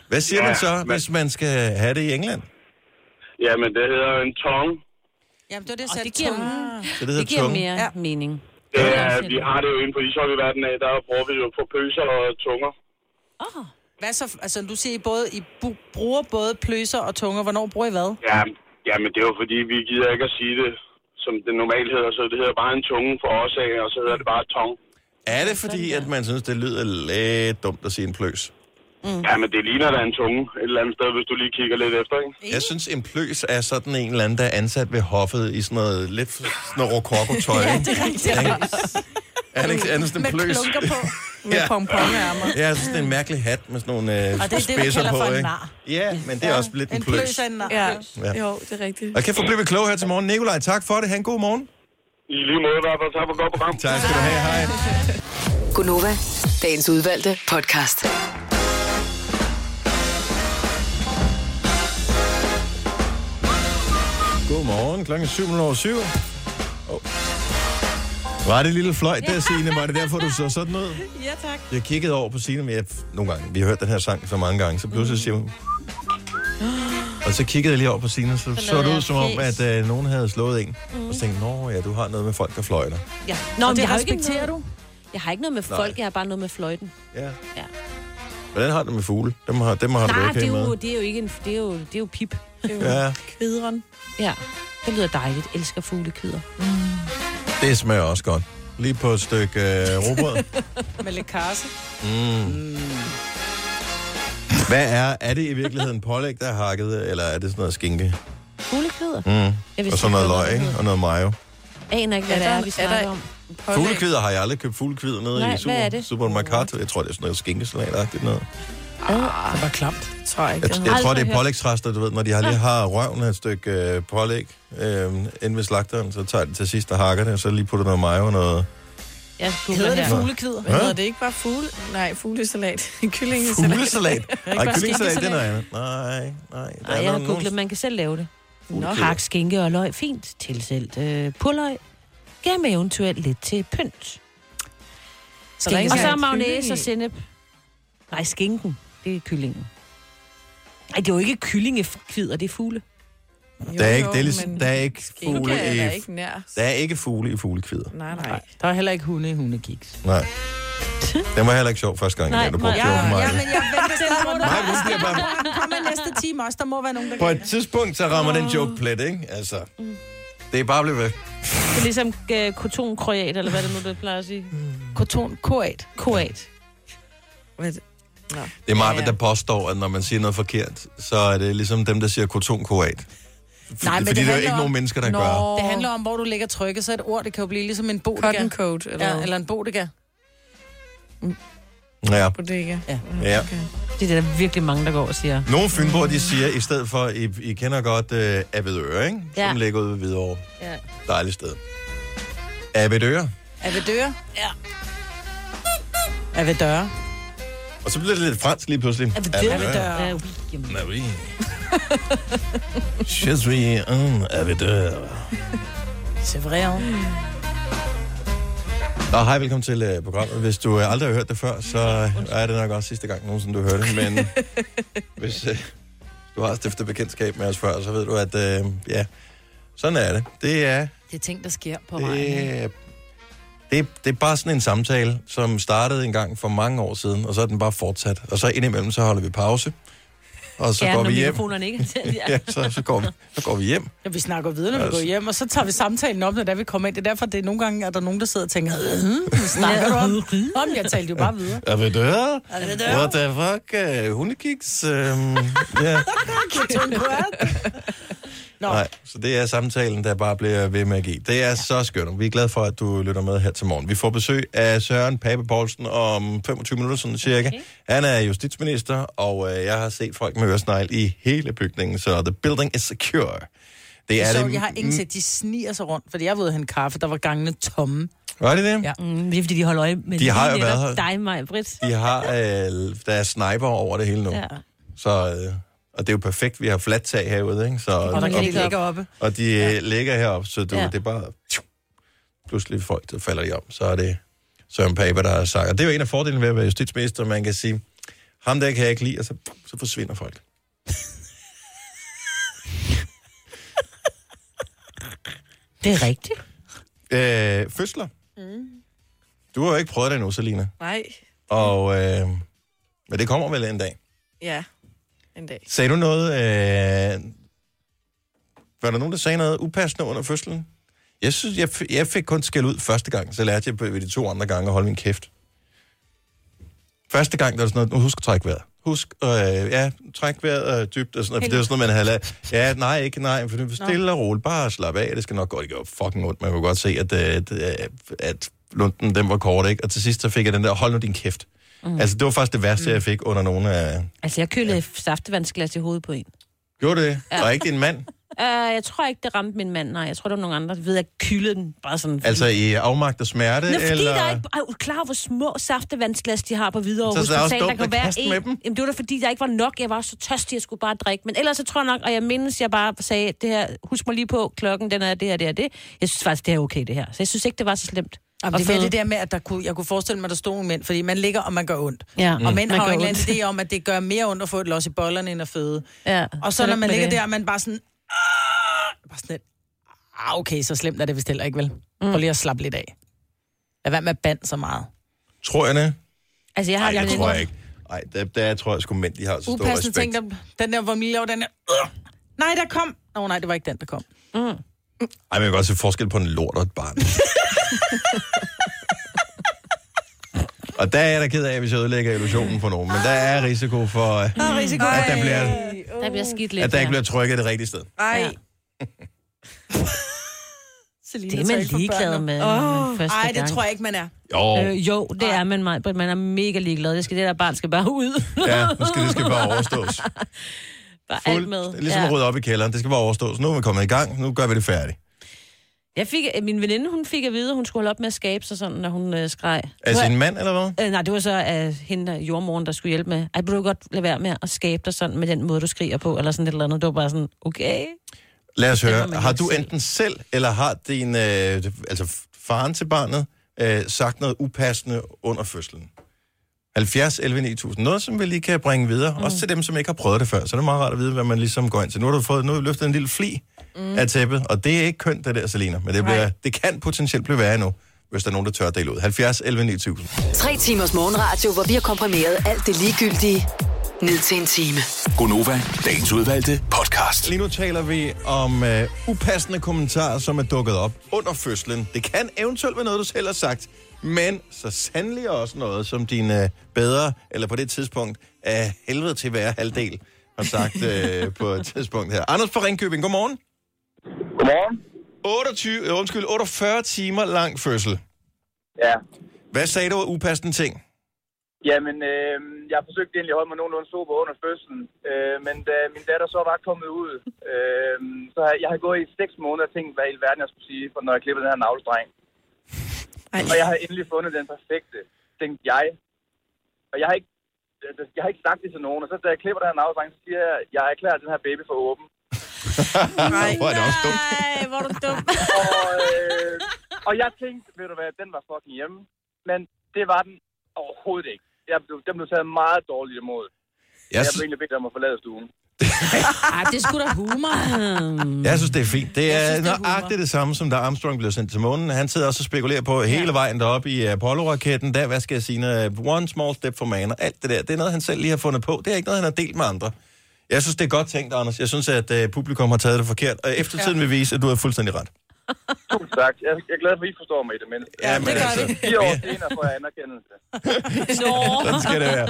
Speaker 1: Hvad siger
Speaker 13: Ja,
Speaker 1: man så,
Speaker 13: men-
Speaker 1: hvis man skal have det i England?
Speaker 13: Jamen, det hedder en tong.
Speaker 4: Jamen, det var det, jeg
Speaker 3: Og
Speaker 4: sagde.
Speaker 3: det giver,
Speaker 1: Så det hedder
Speaker 3: det giver
Speaker 1: tunge.
Speaker 3: mere
Speaker 4: Ja.
Speaker 3: ja. mening.
Speaker 13: Det er, vi har det jo inden for ishockeyverdenen af, der bruger vi jo på pøser og tunger.
Speaker 4: Hvad så? Altså, du siger, I, både, I bu- bruger både pløser og tunger. Hvornår bruger I hvad?
Speaker 13: Ja, jamen, det er jo fordi, vi gider ikke at sige det som det normalt hedder, så det hedder bare en tunge for os af, og så hedder det bare tong.
Speaker 1: Er det fordi, at man synes, det lyder lidt dumt at sige en pløs?
Speaker 13: Mm. Ja, men det ligner da en tunge et eller andet sted, hvis du lige kigger lidt efter, ikke?
Speaker 1: Jeg synes, en pløs er sådan en eller anden, der er ansat ved hoffet i sådan noget lidt sådan noget rokokotøj.
Speaker 5: Ja,
Speaker 1: ikke?
Speaker 5: det er rigtigt.
Speaker 1: Ikke? Er det ikke andet end
Speaker 5: Med
Speaker 1: pløs?
Speaker 5: klunker på. Med
Speaker 1: Ja.
Speaker 5: pomponærmer.
Speaker 1: Ja, jeg synes, det er en mærkelig hat med sådan nogle
Speaker 5: Og
Speaker 1: øh,
Speaker 5: det er det, vi
Speaker 1: spidser
Speaker 5: kalder
Speaker 1: på,
Speaker 5: for en
Speaker 1: ikke?
Speaker 5: nar.
Speaker 1: Ja, men det er også lidt en, pløs.
Speaker 5: en nar. Ja. Jo, det er rigtigt.
Speaker 1: Og kæft, hvor blev vi kloge her til morgen. Nikolaj, tak for det. Ha' en god morgen.
Speaker 13: I lige måde, i hvert fald. Tak for godt program.
Speaker 1: Tak skal du have. Hej.
Speaker 6: Gunova, dagens udvalgte podcast.
Speaker 1: Godmorgen, klokken 7.07. Oh. Var det lille fløjt der, Signe? Var det derfor, du så sådan ud?
Speaker 4: Ja, tak.
Speaker 1: Jeg kiggede over på Signe, men jeg, nogle gange, vi har hørt den her sang så mange gange, så pludselig siger hun... Og så kiggede jeg lige over på Signe, så så det ud som om, at øh, nogen havde slået en.
Speaker 3: Mm.
Speaker 1: Og så tænkte jeg, nå ja, du har noget med folk, der fløjter.
Speaker 3: Ja. Nå,
Speaker 4: Og
Speaker 3: men
Speaker 4: det
Speaker 3: jeg har jo ikke
Speaker 4: respekterer
Speaker 3: noget, Jeg har ikke noget med
Speaker 1: Nej.
Speaker 3: folk, jeg har bare noget med fløjten.
Speaker 1: Ja.
Speaker 3: ja.
Speaker 1: Hvordan har du det med fugle? Dem har, dem har du
Speaker 3: Nej,
Speaker 1: det
Speaker 3: det
Speaker 1: okay
Speaker 3: er, jo,
Speaker 1: med.
Speaker 3: det er jo ikke en... Det er jo, det er jo pip. Det er jo
Speaker 1: Ja.
Speaker 3: Kvideren. Ja, det lyder dejligt. Elsker fuglekvider.
Speaker 1: Det smager også godt. Lige på et stykke øh, robrød.
Speaker 4: Med lidt karse.
Speaker 1: Mm. Hvad er, er det i virkeligheden pålæg, der er hakket, eller er det sådan noget skinke?
Speaker 3: Fuglekvider? Jeg
Speaker 1: Mm.
Speaker 3: vidste
Speaker 1: Og sådan
Speaker 3: ikke,
Speaker 1: noget
Speaker 3: hvad
Speaker 1: løg,
Speaker 3: det
Speaker 1: ikke?
Speaker 3: hed.
Speaker 1: Og noget mayo.
Speaker 3: Aner ikke, hvad
Speaker 5: Er
Speaker 3: det
Speaker 5: der-
Speaker 3: er, vi
Speaker 5: er
Speaker 3: snakker
Speaker 5: der-
Speaker 3: om.
Speaker 1: Fuglekvider har jeg aldrig købt fuglekvider nede
Speaker 3: Nej,
Speaker 1: i
Speaker 3: hvad
Speaker 1: super,
Speaker 3: er det?
Speaker 1: supermarkedet. Jeg tror, det er sådan noget skinkesalat-agtigt noget.
Speaker 5: Ah,
Speaker 4: det var klamt.
Speaker 5: Det tror jeg ikke.
Speaker 1: Jeg, jeg tror,
Speaker 5: Aldrig
Speaker 1: det er
Speaker 5: hørt.
Speaker 1: pålægsrester, du ved. Når de har lige har røven af et stykke øh, pålæg øh, inde ved slagteren, så tager de til sidst og hakker det, og så lige putter noget mayo og noget...
Speaker 3: Ja,
Speaker 5: Hedder det
Speaker 1: her.
Speaker 5: fuglekvider?
Speaker 1: Hvad?
Speaker 5: Hedder det ikke bare fugle? Nej, fuglesalat. Kyllingesalat.
Speaker 1: Fuglesalat?
Speaker 5: Ikke
Speaker 1: Nej,
Speaker 5: bare
Speaker 1: kyllingesalat, det er
Speaker 5: skinkesalat.
Speaker 1: noget andet. Nej, nej. Der
Speaker 3: Nej,
Speaker 1: er
Speaker 3: jeg har
Speaker 1: nogen-
Speaker 3: googlet, man kan selv lave det. Nå,
Speaker 1: Fuglekvider.
Speaker 3: hak, skinke og løg, fint. Tilsælt øh, purløg. Gær med eventuelt lidt til pynt. Så
Speaker 8: Skinke
Speaker 3: og så
Speaker 8: skal have
Speaker 3: magnæs
Speaker 8: kylling i.
Speaker 3: og sennep. Nej, skinken. Det er kyllingen. Ej, det er jo ikke kyllingekvider, det er fugle.
Speaker 1: Der er ikke, det er ligesom, der er ikke fugle
Speaker 3: er
Speaker 1: i...
Speaker 3: der ikke nær.
Speaker 1: Der er ikke fugle i fuglekvider.
Speaker 5: Nej, nej.
Speaker 4: Der er heller ikke hunde i hundekiks.
Speaker 1: Nej. Den var heller ikke sjov første gang, da du brugte
Speaker 4: ja,
Speaker 1: den, Maja.
Speaker 4: ja, men jeg venter til, at
Speaker 1: Maja, hun bliver bare-
Speaker 4: den kommer næste time også. Der må være nogen, der
Speaker 1: På et tidspunkt, så rammer den joke plet, ikke? Altså, det er bare blevet væk.
Speaker 3: Det er ligesom øh, kotonkroat, eller hvad det nu, det plejer at sige.
Speaker 4: Koton koat.
Speaker 3: Koat.
Speaker 5: Hvad er det? Nå.
Speaker 1: Det er meget, ja, ja. der påstår, at når man siger noget forkert, så er det ligesom dem, der siger kotonkoat. Nej, fordi der er
Speaker 4: handler
Speaker 1: jo ikke
Speaker 4: om-
Speaker 1: nogen mennesker, der
Speaker 4: Nå.
Speaker 1: gør.
Speaker 4: Det handler om, hvor du lægger trykket, så et ord, det kan jo blive ligesom en bodega.
Speaker 5: Cotton coat, eller
Speaker 4: eller,
Speaker 5: hvad?
Speaker 4: ja, eller en bodega.
Speaker 1: Ja.
Speaker 5: Bodega.
Speaker 4: Ja.
Speaker 1: Ja.
Speaker 3: Det er der virkelig mange, der går og siger.
Speaker 1: Nogle fynboer, de siger, i stedet for, I, I kender godt øh, Avedøre, ikke? Som
Speaker 4: Ja.
Speaker 1: ligger ude ved Hvidovre.
Speaker 4: Ja.
Speaker 1: Dejligt sted. Avedøre.
Speaker 4: Er ved døre? Ja. Er ved døre?
Speaker 1: Og så bliver det lidt fransk lige pludselig.
Speaker 4: Er ved
Speaker 1: Ah oui. Je suis un avedeur.
Speaker 4: C'est vrai, hein?
Speaker 1: Nå, hej, velkommen til øh, programmet. Hvis du øh, aldrig har hørt det før, så øh, er det nok også sidste gang nogensinde, du hører det. Men hvis øh, du har stiftet bekendtskab med os før, så ved du, at øh, ja, sådan er det. Det er,
Speaker 8: Det er ting, der sker på vejen.
Speaker 1: det, det, det er bare sådan en samtale, som startede en gang for mange år siden, og så er den bare fortsat. Og så indimellem, så holder vi pause, og så
Speaker 4: Ja,
Speaker 1: ja, går
Speaker 4: når
Speaker 1: vi hjem.
Speaker 4: mikrofonerne ikke er tændt, ja.
Speaker 1: ja, så, så, går vi, så går vi hjem.
Speaker 4: Ja, vi snakker videre, når vi
Speaker 1: Altså.
Speaker 4: går hjem, og så tager vi samtalen op, når der vi kommer ind. Det er derfor, det er nogle gange, at der er nogen, der sidder og tænker, "Øh, hvad snakker du om? Om, jeg talte jo bare videre.
Speaker 1: Avedør?
Speaker 4: Avedør.
Speaker 1: What the fuck? øh, Hundekiks? Øhm, ja.
Speaker 4: Nå.
Speaker 1: Nej, så det er samtalen, der bare bliver ved med at give. Det er ja. så skønt, og vi er glade for, at du lytter med her til morgen. Vi får besøg af Søren Pape Poulsen om 25 minutter, sådan cirka. Okay. Han er justitsminister, og øh, jeg har set folk med øresnegl i hele bygningen, så the building is secure. Det er
Speaker 4: så,
Speaker 1: det,
Speaker 4: Jeg har ingen til, de sniger sig rundt, fordi jeg ved, at han kaffe, der var gangene tomme.
Speaker 1: Var det det?
Speaker 4: Ja.
Speaker 3: Mm, det er, fordi de holder øje med
Speaker 1: De
Speaker 3: lige
Speaker 1: har jo
Speaker 3: netop
Speaker 1: været her.
Speaker 3: dig, mig, Britt.
Speaker 1: De har, øh, der er sniper over det hele nu. Ja.
Speaker 3: Ja.
Speaker 1: Så, øh, og det er jo perfekt, vi har fladt tag herude, ikke? Så,
Speaker 4: Og der kan de ligge oppe.
Speaker 1: Og de ja. ligger heroppe, så du, ja.
Speaker 4: Ja.
Speaker 1: det er bare... Tju, pludselig folk, der falder de om, så er det Søren Pape, der har sagt. Og det er jo en af fordelene ved at være justitsminister, man kan sige, ham der kan jeg ikke lide, og så, så forsvinder folk.
Speaker 3: Det er rigtigt.
Speaker 1: Øh, fødsler.
Speaker 5: Mm.
Speaker 1: Du har jo ikke prøvet det endnu, Selina.
Speaker 5: Nej,
Speaker 1: Og, øh, men det kommer vel en dag.
Speaker 5: ja. En dag.
Speaker 1: Sagde du noget... Øh... Var der nogen, der sagde noget upassende under fødslen? Jeg, synes, jeg, f- jeg fik kun skæld ud første gang, så lærte jeg ved de to andre gange at holde min kæft. Første gang, der var sådan noget, "Nu husk at trække vejret. Husk, øh, ja, træk vejret øh, dybt, og sådan noget, for det var sådan noget, man havde lært. Ja, nej, ikke nej, for det er stille og roligt, bare slap af, det skal nok gå, det gjorde fucking ondt, man kunne godt se, at, øh, at, øh, at lunden, den var kort, ikke? Og til sidst, så fik jeg den der, hold nu din kæft. Mm.
Speaker 3: Mm.
Speaker 1: Altså, det var faktisk det værste, jeg fik under nogle af...
Speaker 3: Altså, jeg kølede et saftevandsglas i hovedet på en.
Speaker 1: Gjorde det?
Speaker 3: Ja.
Speaker 1: Og ikke din mand?
Speaker 3: Uh, jeg tror ikke, det ramte min mand. Nej, jeg tror, det var nogen andre. Jeg ved, jeg kylede den bare sådan.
Speaker 1: Altså i afmagt og smerte?
Speaker 3: Nå, fordi
Speaker 1: eller...
Speaker 3: eller... der er ikke... Ej, er du klar, over, hvor små saftevandsglas de har på Hvidovre
Speaker 1: Så er det også
Speaker 3: Hospital. Der
Speaker 1: dumt
Speaker 3: kan
Speaker 1: at
Speaker 3: være
Speaker 1: kaste
Speaker 3: en...
Speaker 1: med dem.
Speaker 3: Jamen, det var da, fordi der ikke var nok. Jeg var så tørstig, jeg skulle bare drikke. Men ellers så tror jeg nok, og jeg mindes, jeg bare sagde, det her, husk mig lige på, klokken, den er det her, det her, det. Jeg synes faktisk, det er okay, det her. Så jeg synes ikke, det var så slemt.
Speaker 4: Jamen,
Speaker 3: Og
Speaker 4: det er mere
Speaker 3: fede.
Speaker 4: det der med, at der kunne, jeg kunne forestille mig, at der stod en mænd, fordi man ligger, og man gør ondt.
Speaker 3: Ja.
Speaker 4: Og
Speaker 3: Mm.
Speaker 4: mænd
Speaker 3: Man
Speaker 4: har jo
Speaker 3: gør
Speaker 4: en eller anden
Speaker 3: ondt.
Speaker 4: idé om, at det gør mere ondt at få et los i bollerne, end at føde.
Speaker 3: Ja,
Speaker 4: Og så,
Speaker 3: så
Speaker 4: når
Speaker 3: lidt
Speaker 4: man
Speaker 3: med
Speaker 4: ligger
Speaker 3: det.
Speaker 4: der, og man bare sådan... "Ah!" Bare sådan lidt, ah, okay, så slemt er det vist heller ikke, vel? Mm. Prøv lige at slappe lidt af. Lad være med at bande så meget.
Speaker 1: Tror jeg det?
Speaker 3: Altså,
Speaker 1: Ej, jeg tror jeg ikke. Ej, der, der tror jeg sgu mænd, de har så stor
Speaker 4: Upassende
Speaker 1: respekt.
Speaker 4: ting, der, den der, hvor Mille laver den der... "Ugh!" Nej, der kom... Nå, nej, det var ikke den, der kom. Mm.
Speaker 1: Ej, men jeg kan godt se forskel på en lort og et barn. og der er jeg da ked af, hvis jeg ødelægger illusionen for nogen. Men der er risiko for, øh,
Speaker 3: Der er risiko.
Speaker 1: at der,
Speaker 3: Ej.
Speaker 1: bliver,
Speaker 3: Der bliver skidt lidt.
Speaker 1: at der ikke
Speaker 3: her.
Speaker 1: bliver trykket det rigtige sted.
Speaker 5: Ej.
Speaker 3: Ja.
Speaker 4: Selina
Speaker 3: Det er
Speaker 4: tør
Speaker 3: man
Speaker 4: ikke få
Speaker 3: ligeglad
Speaker 4: børn nu.
Speaker 3: med.
Speaker 4: Åh,
Speaker 3: Oh,
Speaker 4: ej, det tror jeg ikke, man er.
Speaker 1: Jo.
Speaker 3: Øh, jo, det er man, Maj, man er mega ligeglad. Det, skal, det der barn skal bare ud.
Speaker 1: Ja, nu skal det skal bare overstås.
Speaker 3: Bare alt
Speaker 1: Fuld,
Speaker 3: med.
Speaker 1: ligesom at
Speaker 3: ja.
Speaker 1: rydde op i kælderen. Det skal bare overstås. Nu er vi kommet i gang. Nu gør vi det færdigt.
Speaker 3: Jeg fik, min veninde, hun fik at vide, at hun skulle holde op med at skabe sig sådan, når hun øh, skreg.
Speaker 1: Altså
Speaker 3: Du er-
Speaker 1: en mand, eller hvad?
Speaker 3: Øh, nej, det var så øh, hende, der- jordmoren, der skulle hjælpe med. Ej, vil du godt lade være med at skabe dig sådan med den måde, du skriger på, eller sådan et eller andet. Det var bare sådan, okay.
Speaker 1: Lad os
Speaker 3: Det må
Speaker 1: høre.
Speaker 3: man
Speaker 1: Har
Speaker 3: ikke
Speaker 1: du
Speaker 3: selv.
Speaker 1: enten selv, eller har din, øh, altså faren til barnet, øh, sagt noget upassende under fødslen? 70, 11, 9000. Noget, som vi lige kan bringe videre. Mm. Også til dem, som ikke har prøvet det før. Så det er meget rart at vide, hvad man ligesom går ind til. Nu har du fået, nu har du løftet en lille fli mm. af tæppet, og det er ikke kønt, det der, Selina. Men det, bliver, det kan potentielt blive værre nu, hvis der er nogen, der tør at dele ud. 70, 11, 9000.
Speaker 6: Tre timers morgenradio, hvor vi har komprimeret alt det ligegyldige ned til en time.
Speaker 7: Gonova, dagens udvalgte podcast.
Speaker 1: Lige nu taler vi om øh, upassende kommentarer, som er dukket op under fødslen. Det kan eventuelt være noget, du selv har sagt, men så sandelig også noget, som din øh, bedre, eller på det tidspunkt, af helvede til hver halvdel, har sagt øh, på et tidspunkt her. Anders fra Ringkøbing, godmorgen. Godmorgen. 28, øh, undskyld, 48 timer lang fødsel.
Speaker 14: Ja.
Speaker 1: Hvad sagde du af upassende ting?
Speaker 14: Jamen, øh, jeg forsøgte egentlig at holde mig nogenlunde sober under fødslen, øh, men da min datter så var kommet ud, øh, så har jeg har gået i seks måneder og tænkt, hvad i alverden jeg skulle sige, for når jeg klippede den her navlestreng. Og jeg har endelig fundet den perfekte, tænkte jeg. Og jeg har ikke, altså, jeg har ikke sagt det til nogen, og så da jeg klipper den her navlestreng, så siger jeg, jeg erklærer den her baby for åben.
Speaker 1: Nej, Hvor er det også dumt.
Speaker 3: Ej, hvor er du dum.
Speaker 14: og, øh, og jeg tænkte, ved du hvad, den var fucking hjemme. Men det var den overhovedet ikke. Jeg blev, den blev taget meget dårligt imod. Jeg,
Speaker 1: Jeg
Speaker 14: jeg
Speaker 1: sy-
Speaker 14: blev egentlig bedt om at forlade stuen.
Speaker 3: Ej, det skulle da humor.
Speaker 1: Jeg synes, det er fint. Det er, synes, det er nøjagtigt det samme, som da Armstrong blev sendt til månen. Han sidder også og spekulerer på hele vejen derop i Apollo-raketten. Der, hvad skal jeg sige? noget, uh, One small step for man og alt det der. Det er noget, han selv lige har fundet på. Det er ikke noget, han har delt med andre. Jeg synes, det er godt tænkt, Anders. Jeg synes, at øh, publikum har taget det forkert. Og eftertiden vil vise, at du har fuldstændig ret.
Speaker 14: Tusind tak. Jeg, jeg er glad for, at I forstår mig i det mindste.
Speaker 1: Ja, men Det gør altså- vi.
Speaker 14: Fire år senere får jeg anerkendelse.
Speaker 1: Sådan skal det være.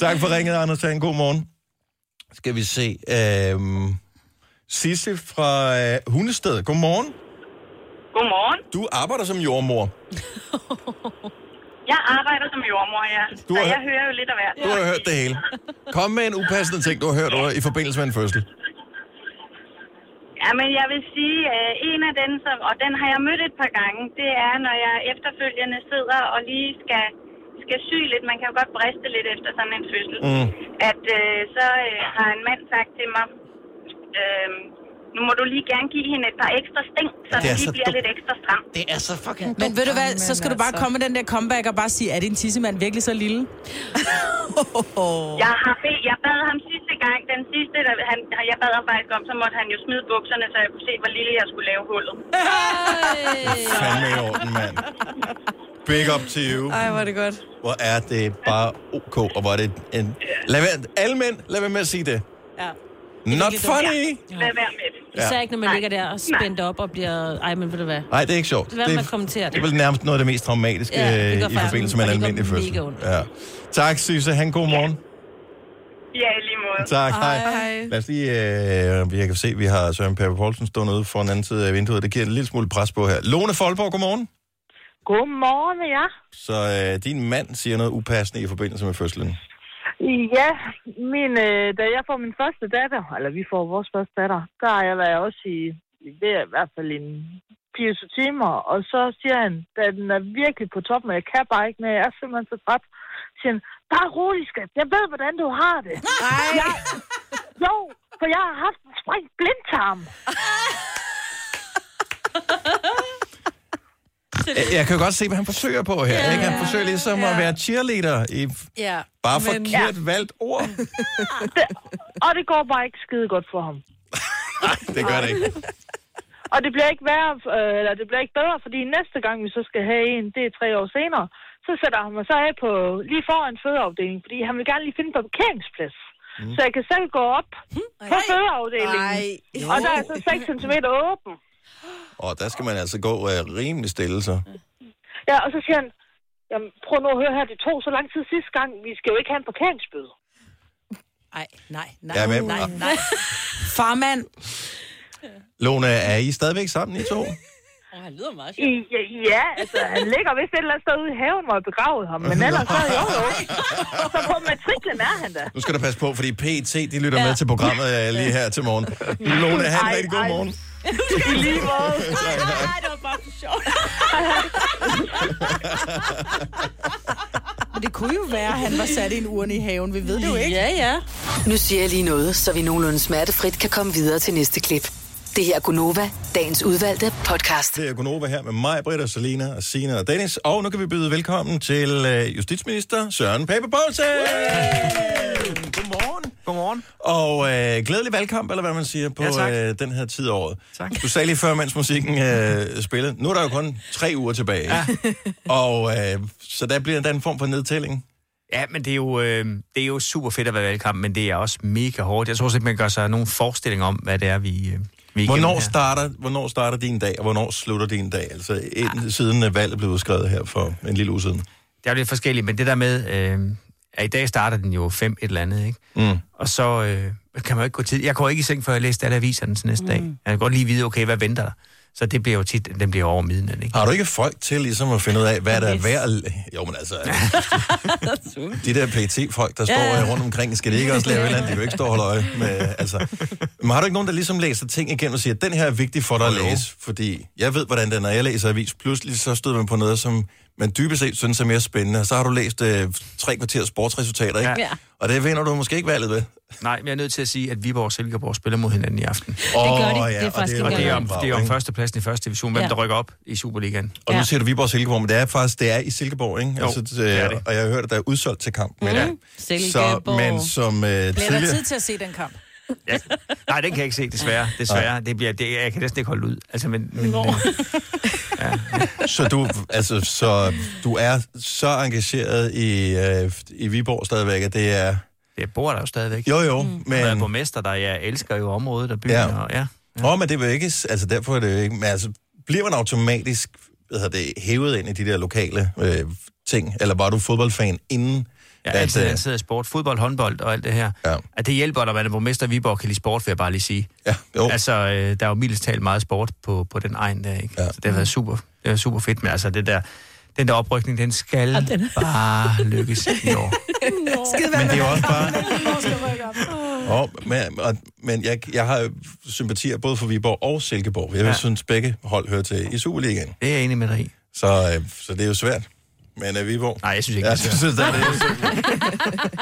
Speaker 1: Tak for ringet, Anders. Ha' en god morgen. Skal vi se. Øhm, Sisse fra øh, Hundested. Godmorgen.
Speaker 12: Godmorgen.
Speaker 1: Du arbejder som jordmor.
Speaker 12: Jeg arbejder som jordmor, ja.
Speaker 1: Du
Speaker 12: Du
Speaker 1: har-
Speaker 12: jeg hører jo lidt af hvert.
Speaker 1: Du har hørt det hele. Kom med en upassende ting, du har hørt over i forbindelse med en fødsel.
Speaker 12: Ja, men jeg vil sige, øh, en af den, som, og den har jeg mødt et par gange, det er, når jeg efterfølgende sidder og lige skal, skal sy lidt. Man kan jo godt briste lidt efter sådan en fødsel.
Speaker 15: Mm.
Speaker 12: At øh, så øh, har en mand sagt til mig, øh, nu må du lige gerne give hende et par ekstra sting, så
Speaker 4: Det
Speaker 12: det
Speaker 4: er så
Speaker 12: lige bliver
Speaker 4: dumt.
Speaker 12: lidt ekstra stram.
Speaker 4: Det er så fucking Men ved du hvad, så skal du bare
Speaker 3: altså.
Speaker 4: komme med den der comeback og bare sige, er din tissemand virkelig så lille?
Speaker 12: Jeg, har bed, jeg bad ham sidste gang, den sidste, der, han, jeg bad ham faktisk om, så måtte han jo smide bukserne, så jeg kunne se, hvor lille jeg skulle lave hullet.
Speaker 1: Fandme i orden, mand. Big up to you.
Speaker 5: Ej, hvor er det godt.
Speaker 1: Hvor er det bare ok, og hvor er det en... Lad være, alle mænd, lad være med at sige det.
Speaker 12: Ja.
Speaker 1: Not funny.
Speaker 12: Lad være med det.
Speaker 1: Ja.
Speaker 3: Især ikke, når man ligger der og spændt op og bliver... Ej, men ved du hvad?
Speaker 1: Nej, det er ikke sjovt.
Speaker 3: Det er, hvad man kommenterer
Speaker 1: det er vel nærmest noget af det mest traumatiske
Speaker 3: Ja, det
Speaker 1: ja,
Speaker 3: gør
Speaker 1: i
Speaker 3: faktisk
Speaker 1: forbindelse med en
Speaker 3: ondt, og det
Speaker 1: almindelig
Speaker 3: gør
Speaker 1: fødsel.
Speaker 3: mega ondt.
Speaker 1: Ja. Tak, Syse. Han god morgen.
Speaker 12: Ja, i lige måde.
Speaker 1: Tak, hej. Lad os lige, øh, jeg kan se, vi har Søren Pape Poulsen stående ude for en anden side af vinduet. Det giver en lille smule pres på her. Lone Folborg, godmorgen.
Speaker 15: Godmorgen, ja.
Speaker 1: Så øh, din mand siger noget upassende i forbindelse med fødslen.
Speaker 15: Ja, min, øh, da jeg får min første datter, eller vi får vores første datter, der har jeg været også i, det er i hvert fald en 24 timer, og så siger han, da den er virkelig på toppen, og jeg kan bare ikke mere, jeg er simpelthen så træt, siger han, bare rolig, skat, jeg ved, hvordan du har det. Nej. Jeg, jo, for jeg har haft en sprængt blindtarm.
Speaker 1: Jeg, jeg kan jo godt se, hvad han forsøger på her. Ja, ikke? Han forsøger ligesom ja. at være cheerleader i
Speaker 15: Ja.
Speaker 1: bare forkert ja. valgt ord.
Speaker 15: det, og det går bare ikke skide godt for ham.
Speaker 1: Det gør det ikke.
Speaker 15: Og det bliver ikke værre, øh, eller det bliver ikke bedre, fordi næste gang, vi så skal have en, det er tre år senere, så sætter han mig så af på lige foran fødeafdelingen, fordi han vil gerne lige finde på parkeringsplads. Mm. Så jeg kan selv gå op
Speaker 3: Mm.
Speaker 15: på fødeafdelingen.
Speaker 5: Ej.
Speaker 15: Og der er så 6 cm åben.
Speaker 1: Og der skal man altså gå øh, rimelig stille, så.
Speaker 15: Ja, og så siger han, Jamen, prøv nu at høre her, det tog så lang tid sidste gang, vi skal jo ikke have en parkeringsbøde.
Speaker 4: Ej, nej, nej,
Speaker 1: Ja,
Speaker 4: ja,
Speaker 1: men-
Speaker 4: men... nej, nej. Farmand.
Speaker 1: Lone, er I stadigvæk sammen, I to?
Speaker 4: Oh, han lyder meget
Speaker 15: I, ja, ja, altså, han ligger vist et eller andet sted ude i haven, hvor jeg begravede ham, men ellers så jo jo. Så på matriklen er han da.
Speaker 1: Nu skal du passe på, fordi PT, de lytter ja.
Speaker 15: Ja.
Speaker 1: med til programmet øh, lige her til morgen. Lone, have en
Speaker 15: Ej,
Speaker 1: rigtig god
Speaker 15: ej.
Speaker 1: morgen.
Speaker 15: I lige måde.
Speaker 3: Nej, det var bare for sjov.
Speaker 4: Men det kunne jo være, at han var sat i en urne i haven. Vi ved det jo ikke.
Speaker 3: Ja, ja.
Speaker 6: Nu siger jeg lige noget, så vi nogenlunde smertefrit kan komme videre til næste klip. Det her er Gunova, dagens udvalgte podcast.
Speaker 1: Det er Gunova her med mig, Britta, Selina, og Sina og Dennis. Og nu kan vi byde velkommen til øh, justitsminister Søren Pape Poulsen. Godmorgen.
Speaker 16: Godmorgen.
Speaker 1: Og øh, glædelig valgkamp, eller hvad man siger, på
Speaker 16: Ja, tak.
Speaker 1: øh, den her tid af året.
Speaker 16: Tak.
Speaker 1: Du sagde lige før, mens musikken øh, spillede. Nu er der jo kun tre uger tilbage. Ja. og øh, så der bliver der en form for nedtælling.
Speaker 16: Ja, men det er, jo, øh, det er jo super fedt at være i valgkamp, men det er også mega hårdt. Jeg tror slet ikke, man gør sig nogen forestilling om, hvad det er, vi, øh, vi er
Speaker 1: Hvornår
Speaker 16: igennem her.
Speaker 1: starter, hvornår starter din dag, og hvornår slutter din dag? Altså
Speaker 16: Ah.
Speaker 1: ind, siden øh, valget blev udskrevet her for en lille uge siden.
Speaker 16: Det er jo lidt forskelligt, men det der med, øh, at i dag starter den jo fem et eller andet, ikke?
Speaker 1: Mm.
Speaker 16: Og så øh, kan man jo ikke gå tid. Jeg går ikke i seng, før jeg læser alle aviserne til næste mm. dag. Jeg kan godt lige vide, okay, hvad venter der? Så det bliver jo tit, den bliver over midnat, ikke?
Speaker 1: Har du ikke folk til ligesom at finde ud af, hvad der er værd at... Jo, men altså... de der PT-folk, der står
Speaker 16: Ja, ja.
Speaker 1: ja. rundt omkring, skal de ikke også lave et eller andet? De kan jo ikke stå og holde øje med... Altså. Men har du ikke nogen, der ligesom læser ting igennem og siger, den her er vigtig for dig at læse, fordi jeg ved, hvordan den er, når jeg læser avis. Pludselig så stod man på noget, som man dybest set synes er mere spændende, og så har du læst øh, tre kvarter sportsresultater, ikke?
Speaker 16: Ja.
Speaker 1: Og det vinder du måske ikke valget ved.
Speaker 16: Nej, men jeg er nødt til at sige, at Viborg og Silkeborg spiller mod hinanden i aften. Det
Speaker 1: gør de. Åh, ja, Det er og det faktisk er jo-
Speaker 16: og
Speaker 1: ikke
Speaker 16: det er om,
Speaker 1: engang
Speaker 16: det er om
Speaker 1: bag,
Speaker 16: førstepladsen i første division, hvem
Speaker 1: Ja.
Speaker 16: der rykker op i Superligaen.
Speaker 1: Og nu siger du Viborg og Silkeborg, men det er faktisk det er i Silkeborg, ikke? Altså, øh,
Speaker 16: Jo, det er det.
Speaker 1: Og jeg har hørt, at der er udsolgt til kampen.
Speaker 4: Mhm.
Speaker 1: i dag.
Speaker 4: Silkeborg.
Speaker 1: Så, men som øh,
Speaker 4: Bliver der tid
Speaker 1: tidligere...
Speaker 4: til at se den kamp?
Speaker 16: Nej, den kan jeg ikke se, desværre. desværre. Det bliver, det, jeg kan næsten ikke holde ud. Altså, men, men, men,
Speaker 1: Så du, altså, så du er så engageret i, øh, i Viborg stadigvæk, at det er...
Speaker 16: Jeg bor der jo stadigvæk.
Speaker 1: Jo, jo, mm.
Speaker 16: Jeg er
Speaker 1: men...
Speaker 16: borgmester der, jeg elsker jo området og byen.
Speaker 1: Ja.
Speaker 16: Og, ja.
Speaker 1: Åh, men det vil ikke... Altså, derfor er det jo ikke... Men altså, bliver man automatisk hvad hedder det, hævet ind i de der lokale øh, ting? Eller var du fodboldfan inden? øh,
Speaker 16: Jeg er altid interesseret i sport, fodbold, håndbold og alt det her.
Speaker 1: Ja.
Speaker 16: At det hjælper, når man er borgmester i Viborg, kan lide sport, vil jeg bare lige sige.
Speaker 1: Ja, jo.
Speaker 16: Altså, øh, der er jo mildest talt meget sport på, på den egen der, ikke? Ja. Så det har været super, det har super fedt, men altså det der, den der oprykning, den skal
Speaker 10: Og den-
Speaker 16: bare lykkes i år.
Speaker 10: Skide
Speaker 1: Men det er jo også bare... Oh, men, og, men jeg, jeg har jo sympatier både for Viborg og Silkeborg. Jeg ja.
Speaker 16: Ja.
Speaker 1: synes, begge hold hører til i Superligaen.
Speaker 16: Det er jeg enig med dig i.
Speaker 1: Så, øh, så det er jo svært. Men er Viborg...
Speaker 16: Nej, jeg synes ikke,
Speaker 1: jeg
Speaker 16: det er
Speaker 1: synes, det
Speaker 16: svært.
Speaker 1: er det.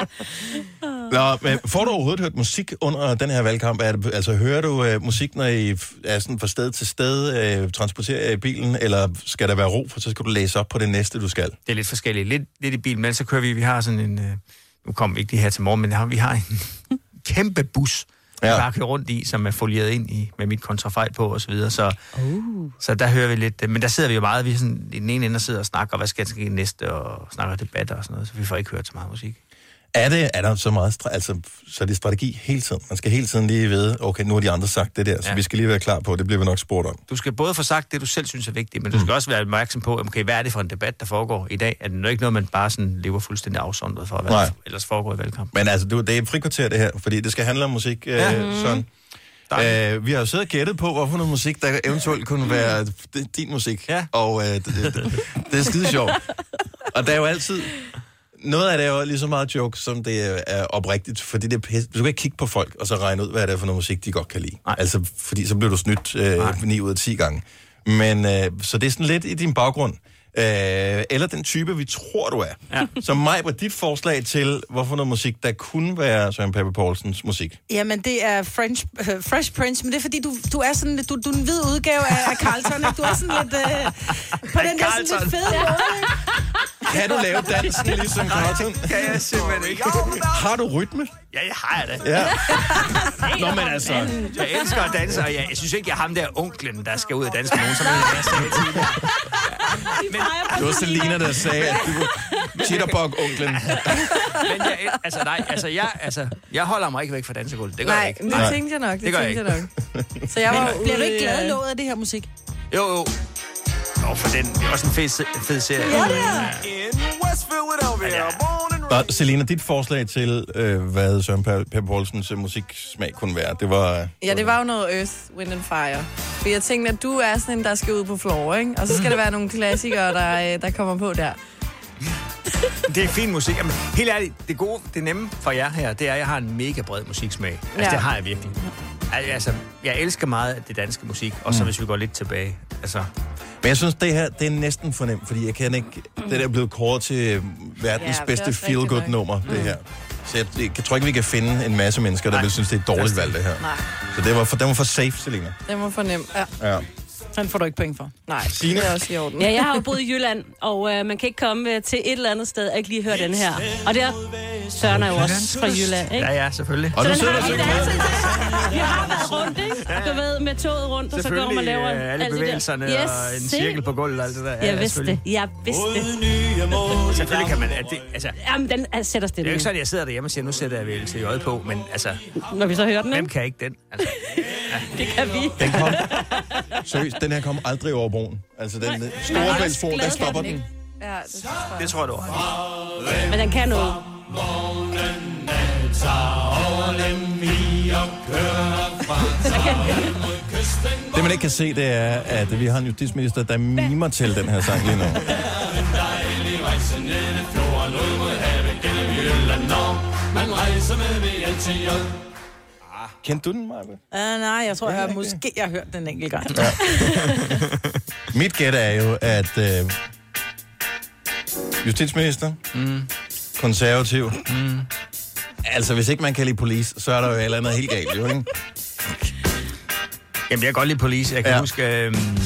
Speaker 1: Nå, men får du overhovedet hørt musik under den her valgkamp? Er det, altså, hører du øh, musik, når I f- er sådan fra sted til sted, øh, transporterer jer i bilen, eller skal der være ro, for så skal du læse op på det næste, du skal?
Speaker 16: Det er lidt forskelligt. Lidt, lidt i bilen, men så kører vi, vi har sådan en, øh, nu kommer vi ikke lige her til morgen, men har, vi har en kæmpe bus, ja. vi bare kører rundt i, som er folieret ind i, med mit kontrafejl på og så videre, så,
Speaker 10: Uh.
Speaker 16: så der hører vi lidt, øh, men der sidder vi jo meget, vi er sådan, i den ene ende og sidder og snakker, og hvad skal der ske næste, og snakker debatter og sådan noget, så vi får ikke hørt så meget musik.
Speaker 1: Er, det, er der så meget, stra- altså, så er det strategi hele tiden. Man skal hele tiden lige vide, okay, nu har de andre sagt det der, så
Speaker 16: Ja.
Speaker 1: vi skal lige være klar på, det bliver vi nok spurgt om.
Speaker 16: Du skal både få sagt det, du selv synes er vigtigt, men du skal også være opmærksom på, okay, hvad er det for en debat, der foregår i dag? Er det nu ikke noget, man bare sådan lever fuldstændig afsondret for, hvad
Speaker 1: Nej.
Speaker 16: der ellers foregår i valgkampen?
Speaker 1: Men altså, det, det er et frikvarter, det her, fordi det skal handle om musik, øh, ja. sådan. Øh, vi har jo siddet og gættet på, hvorfor noget musik, der eventuelt kunne være d- din musik. Mm. Ja. Og øh, det, det, det, det er skide sjovt. Og der er jo altid... Noget af det er jo lige så meget joke, som det er oprigtigt, fordi det er pisse. Du kan ikke kigge på folk, og så regne ud, hvad det er for noget musik, de godt kan lide. Nej. Altså, fordi så bliver du snydt øh, 9 ud af 10 gange. Men, øh, så det er sådan lidt i din baggrund. Øh, eller den type, vi tror, du er. Ja. Så mig på dit forslag til, hvorfor noget musik, der kunne være Søren Pape Poulsens musik.
Speaker 4: Jamen, det er French, øh, Fresh Prince, men det er fordi, du, du er sådan lidt, du, du er en hvid udgave af, af Carlton, ikke? Du er sådan lidt, øh, på den der sådan lidt
Speaker 10: Carlton.
Speaker 4: fede måde, ikke?
Speaker 1: Kan du lave dansen ligesom Carlton?
Speaker 16: Kan jeg simpelthen ikke.
Speaker 1: Har du rytme?
Speaker 16: Ja, jeg har jeg da.
Speaker 1: Ja.
Speaker 16: Nå, men altså, jeg elsker at danse, og jeg, jeg synes ikke, jeg er ham der onklen, der skal ud og danse med nogen, som jeg er sagde tidligere.
Speaker 1: Det var Selina, der sagde, at du var chitterbog-onklen.
Speaker 16: Men jeg, altså, nej, altså, jeg, altså, jeg holder mig ikke væk fra dansegulvet. Det gør jeg
Speaker 5: Nej,
Speaker 16: ikke.
Speaker 5: det tænkte jeg nok. Det,
Speaker 16: det gør jeg
Speaker 5: tænkte
Speaker 16: ikke.
Speaker 5: jeg nok. Så jeg var
Speaker 4: Men bliver du
Speaker 5: ude
Speaker 4: ikke
Speaker 5: i,
Speaker 4: glad
Speaker 5: øh,
Speaker 4: nået af det her musik?
Speaker 16: Jo, jo. Nå, for den, det er også en fed, se- fed serie.
Speaker 4: Ja, det er.
Speaker 9: In West Philadelphia, born and
Speaker 1: Nå, Selina, dit forslag til, øh, hvad Søren Pa- Pape Poulsens øh, musiksmag kunne være, det var... øh,
Speaker 5: Ja, det var jo noget Earth, Wind and Fire. For jeg tænkte, at du er sådan en, der skal ud på floor, ikke? Og så skal der være nogle klassikere, der, øh, der kommer på der.
Speaker 16: Det er fin musik. Jamen, helt ærligt, det gode, det nemme for jer her, det er, at jeg har en mega bred musiksmag. Altså,
Speaker 5: Ja.
Speaker 16: det har jeg virkelig. Al- Altså, jeg elsker meget af det danske musik, og så hvis vi går lidt tilbage. Altså,
Speaker 1: Men jeg synes, det her, det er næsten fornemt, fordi jeg kan ikke... Det der er blevet kåret til øh, verdens
Speaker 16: Ja,
Speaker 1: ja,
Speaker 16: det er
Speaker 1: bedste
Speaker 16: også rigtig nok. Mm.
Speaker 1: feel-good-nummer, det her. Så jeg, jeg, tror ikke, vi kan finde en masse mennesker, der vil synes, det er et dårligt valg, det her.
Speaker 5: Nej,
Speaker 1: Så det var for, den var for safe, Selina.
Speaker 5: det var for nemt. Ja.
Speaker 1: Ja.
Speaker 4: Den får du ikke point for.
Speaker 5: Nej,
Speaker 1: Signe?
Speaker 5: det er også i orden.
Speaker 3: Ja, jeg har jo boet i Jylland, og øh, man kan ikke komme øh, til et eller andet sted og ikke lige høre den her. Og der Søren er jo også fra Jylland, ikke?
Speaker 16: Ja, ja, selvfølgelig.
Speaker 3: Så den har
Speaker 16: og
Speaker 3: vi
Speaker 16: synger
Speaker 3: da
Speaker 16: med.
Speaker 3: altid. Vi har været rundt, ikke? Du ved, med toget rundt, og så går man og
Speaker 16: Selvfølgelig
Speaker 3: laver
Speaker 16: øh, alle
Speaker 3: alt det der.
Speaker 16: bevægelserne
Speaker 3: Yes,
Speaker 16: og en
Speaker 3: se.
Speaker 16: cirkel på gulvet og alt det der. Ja,
Speaker 3: Jeg
Speaker 16: ja,
Speaker 3: vidste det.
Speaker 16: selvfølgelig.
Speaker 3: Jeg vidste
Speaker 16: Og
Speaker 3: det.
Speaker 16: Selvfølgelig kan man... At det, altså,
Speaker 3: Jamen, den øh, er- sætter
Speaker 16: det er
Speaker 3: stille.
Speaker 16: jo ikke sådan, at jeg sidder derhjemme og siger, nu sætter jeg vel til øjet på, men altså...
Speaker 3: Når vi så hører den,
Speaker 16: Hvem kan ikke den? Altså,
Speaker 3: Det kan vi.
Speaker 1: Den kom, seriøst, den her kom aldrig over broen. Altså, den store bæltsbro, der stopper den.
Speaker 5: Ja, det tror jeg.
Speaker 16: Det tror jeg, du
Speaker 3: Men den kan noget.
Speaker 1: Det, man ikke kan se, det er, at vi har en justitsminister, der mimer til den her sang lige nu. Ah, Kendte du den, Maja?
Speaker 4: Uh, nej, jeg tror, jeg måske jeg har hørt den en enkelt gang.
Speaker 1: Mit gæt er jo, at øh, justitsminister, mm. konservativ, mm. altså hvis ikke man kan lide police, så er der jo et eller andet helt galt, jo, ikke?
Speaker 16: Jamen, jeg kan godt lide Police. Jeg kan
Speaker 1: Ja.
Speaker 16: ja. huske... Um,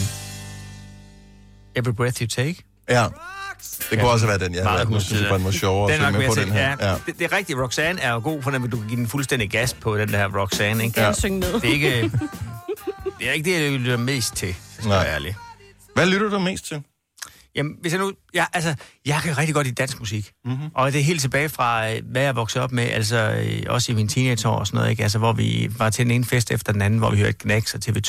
Speaker 16: Every Breath You Take.
Speaker 1: Ja. Det kunne også være den, jeg havde valgt. Nu synes jeg bare, den var sjovere at
Speaker 16: den
Speaker 1: synge med
Speaker 16: mere
Speaker 1: på
Speaker 16: til.
Speaker 1: den her.
Speaker 16: Ja.
Speaker 1: Ja.
Speaker 16: Det, det, er rigtigt. Roxanne er jo god for den, men du kan give den fuldstændig gas på den der Roxanne. Ikke?
Speaker 1: Kan jeg synge med?
Speaker 16: Det er ikke, det, er ikke det, jeg lytter mest til, skal jeg være ærlig.
Speaker 1: Hvad lytter du mest til?
Speaker 16: Jamen, hvis jeg nu... Jeg, altså, jeg kan rigtig godt lide dansk musik.
Speaker 1: Mhm.
Speaker 16: Mm-hmm. Og det er helt tilbage fra, øh, hvad jeg voksede op med, altså øh, også i mine teenageår og sådan noget, ikke? Altså, hvor vi var til den ene fest efter den anden, hvor vi hørte Gnax og TV2.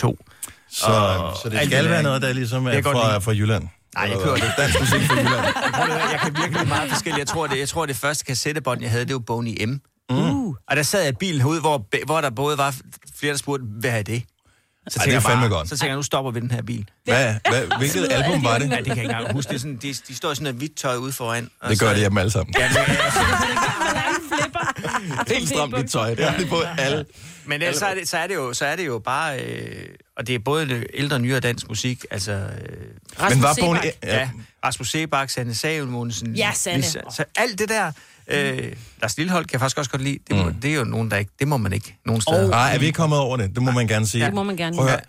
Speaker 1: Så,
Speaker 16: Og
Speaker 1: så det
Speaker 16: alt
Speaker 1: skal
Speaker 16: der,
Speaker 1: være
Speaker 16: ikke?
Speaker 1: noget, der ligesom
Speaker 16: Det kan
Speaker 1: er
Speaker 16: jeg godt
Speaker 1: fra,
Speaker 16: lide.
Speaker 1: fra Jylland.
Speaker 16: Nej, jeg
Speaker 1: Eller
Speaker 16: kører
Speaker 1: hvad?
Speaker 16: det.
Speaker 1: Dansk musik fra Jylland.
Speaker 16: Prøv at høre, jeg kan virkelig meget forskelligt. Jeg tror, det, jeg tror, det første kassettebånd, jeg havde, det var Boney M.
Speaker 1: Mm.
Speaker 16: Uh. Og der sad jeg i bilen herude, hvor, hvor der både var flere, der spurgte, hvad er det? Så
Speaker 1: Ej,
Speaker 16: tænker
Speaker 1: det er
Speaker 16: jeg bare-
Speaker 1: fandme godt.
Speaker 16: Så tænker jeg, nu stopper vi den her bil.
Speaker 1: Hvad, hvad, hvilket album var det?
Speaker 16: Ja, det kan jeg ikke engang huske. Det er sådan, de, de står i sådan noget hvidt tøj ude foran. og
Speaker 1: Det gør
Speaker 16: så-
Speaker 1: det hjemme alle sammen.
Speaker 16: Ja, men,
Speaker 1: Helt stramt i tøj. Det har de på alle.
Speaker 16: men ellers så er, det, så, er det jo, så er det jo bare... Øh, og det er både det ældre og nyere dansk musik. Altså, øh,
Speaker 1: Rasmus var Bogen- Sebak.
Speaker 16: Ja.
Speaker 1: ja.
Speaker 16: ja, Rasmus Sebak, Sanne Sagelmogensen.
Speaker 4: Ja, Sanne.
Speaker 16: Lisa- Så alt det der... Øh, Lars Lillehold kan jeg faktisk også godt lide. Det, må, mm. det er jo nogen, der ikke... Det må man ikke nogen steder.
Speaker 1: Oh. Nej, er vi ikke kommet over det? Det må man gerne sige.
Speaker 3: Det må man gerne.
Speaker 1: Prøv at høre.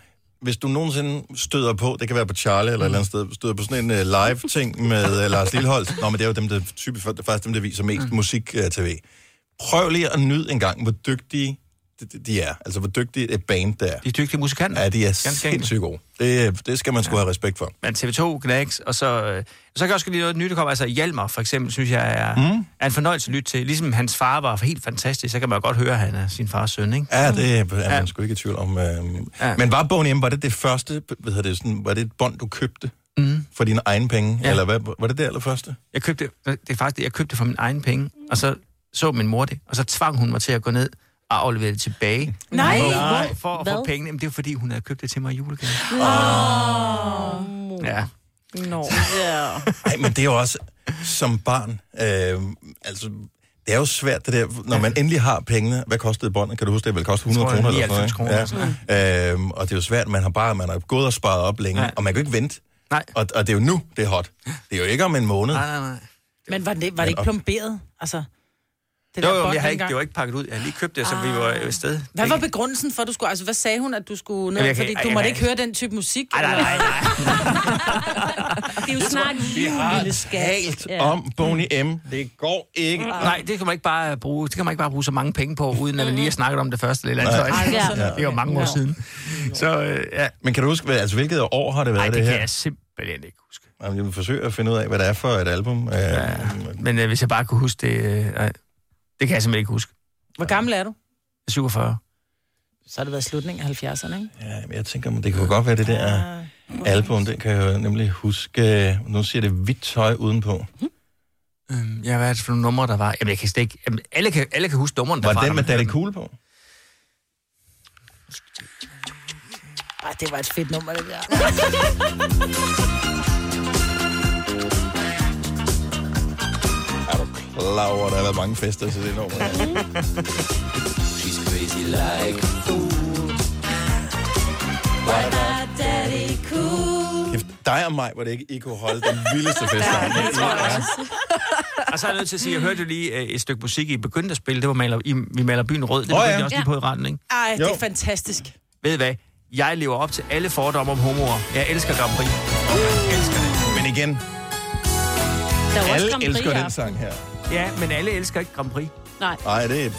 Speaker 1: Hvis du nogensinde støder på, det kan være på Charlie eller et eller andet sted, støder på sådan en uh, live-ting med uh, Lars Lilleholdt. Nå, men det er jo dem, der øh, typisk, det er faktisk dem, der viser mest mm. musik-tv. Prøv lige at nyde en gang, hvor dygtige de- de er. Altså, hvor dygtige et band der er.
Speaker 16: De er dygtige musikanter.
Speaker 1: Ja, de er
Speaker 16: Ganske enkelt.
Speaker 1: sindssygt gode. Det, det skal man sgu have respekt for.
Speaker 16: Men TV2, Knacks, og så... Øh, så kan jeg også godt lide noget nyt, der kommer. Altså Hjalmar, for eksempel, synes jeg er, mm. er en fornøjelse at lytte til. Ligesom hans far var helt fantastisk, så kan man jo godt høre, at han er sin fars søn, ikke?
Speaker 1: Ja, det er man ja. sgu ikke i tvivl om. øhm.
Speaker 16: Mm. Ja.
Speaker 1: Men var Boney M, var det det første, hvad hedder det, sådan, var det et bånd, du købte
Speaker 16: Mm.
Speaker 1: for dine egne penge?
Speaker 16: Ja.
Speaker 1: Eller hvad, var det det allerførste?
Speaker 16: Jeg købte, øh, det er faktisk det, jeg købte det for min egen penge, og så så min mor det, og så tvang hun mig til at gå ned og aflevere det tilbage.
Speaker 4: Nej.
Speaker 16: For, for at få
Speaker 4: Hvad?
Speaker 16: pengene. Jamen, det var fordi, hun havde købt det til mig i julegave.
Speaker 4: Åh.
Speaker 16: Ja.
Speaker 4: Nå. Ja.
Speaker 1: Nej, men det er jo også som barn. Øh, altså, det er jo svært det der, når man endelig har pengene. Hvad kostede båndet? Kan du huske det? Vel koste 100
Speaker 16: Jeg tror,
Speaker 1: kroner eller sådan
Speaker 16: 99 kroner,
Speaker 1: noget. ikke? Ja. Øhm, og det er jo svært, man har bare man har gået og sparet op længe,
Speaker 16: Ja.
Speaker 1: og man kan jo ikke vente.
Speaker 16: Nej.
Speaker 1: Og, og det er jo nu, det er hot. Det er jo ikke om en måned.
Speaker 16: Nej, nej, nej.
Speaker 4: Men var det, var det ikke plomberet? Altså, det
Speaker 16: Det jo,
Speaker 4: der
Speaker 16: jo, men
Speaker 4: bånd
Speaker 16: jeg har ikke,
Speaker 4: dengang. Ah.
Speaker 16: det var ikke pakket ud. Jeg har lige købt det, så vi var jo afsted.
Speaker 4: Hvad var begrundelsen for, at du skulle... Altså, hvad sagde hun, at du skulle ned?
Speaker 16: Jamen, jeg
Speaker 4: Jamen,
Speaker 16: kan-
Speaker 4: fordi
Speaker 16: ej,
Speaker 4: du
Speaker 16: jeg
Speaker 4: måtte
Speaker 16: kan-
Speaker 4: ikke høre den type musik?
Speaker 16: Ej, nej, nej, nej.
Speaker 4: Det er jo snart
Speaker 1: Vi
Speaker 4: jul,
Speaker 1: har
Speaker 4: lille skat. Ah.
Speaker 1: talt om Boney M. Det går ikke.
Speaker 16: Nej, det kan man ikke bare bruge, det kan man ikke bare bruge så mange penge på, uden at vi lige har snakket om det første eller andet.
Speaker 1: Nej. Ej,
Speaker 16: Så,
Speaker 1: det er
Speaker 16: det
Speaker 1: sådan
Speaker 16: er jo mange år
Speaker 1: noget.
Speaker 16: siden. Så, øh, ja.
Speaker 1: Men kan du huske, hvad, altså, hvilket år har det været
Speaker 16: Ej, det
Speaker 1: det her?
Speaker 16: kan jeg simpelthen ikke huske.
Speaker 1: Jamen, jeg vil forsøge at finde ud af, hvad det er for et album. Ja.
Speaker 16: Men øh, hvis jeg bare kunne huske det... Øh, nej. det kan jeg simpelthen ikke huske.
Speaker 4: Hvor gammel er du?
Speaker 16: 47.
Speaker 4: Så har det været slutningen af 70'erne, ikke?
Speaker 1: Ja, men jeg tænker, men det kunne godt være det der album. Det kan jeg jo nemlig huske. Nu siger det hvidt tøj
Speaker 4: Hm.
Speaker 1: udenpå.
Speaker 16: Øhm, ja, hvad er det for nogle numre, der var? Jamen, jeg kan slet ikke... Jamen, alle, kan, alle kan huske numrene
Speaker 1: Var
Speaker 16: derfra.
Speaker 1: den med Daddy
Speaker 16: Cool på?
Speaker 4: Ej, det var et fedt nummer, det der.
Speaker 1: Klar over, der har været mange fester til det nummer.
Speaker 10: She's crazy like a fool.
Speaker 2: Daddy cool.
Speaker 1: Kæft, dig og mig, hvor det ikke I kunne holde den vildeste fest. sammen.
Speaker 16: Og så er jeg nødt til at sige, jeg hørte jo lige øh, et stykke musik, I begyndte at spille. Det var maler, I, Vi maler byen rød. Det
Speaker 1: Åh,
Speaker 16: begyndte
Speaker 1: ja.
Speaker 16: oh, ja. også lige på i retten, ikke?
Speaker 4: Ej, det
Speaker 16: Jo.
Speaker 4: er fantastisk.
Speaker 16: Ved I hvad? Jeg lever op til alle fordomme om homoer. Jeg elsker Grand Prix. Jeg elsker det.
Speaker 1: Men igen,
Speaker 4: Der
Speaker 16: var også
Speaker 1: alle
Speaker 16: Grand Prix
Speaker 1: elsker
Speaker 16: i
Speaker 1: den
Speaker 16: aften.
Speaker 1: sang her.
Speaker 16: Ja, men alle elsker ikke Grand Prix.
Speaker 3: Nej.
Speaker 1: Nej, det er...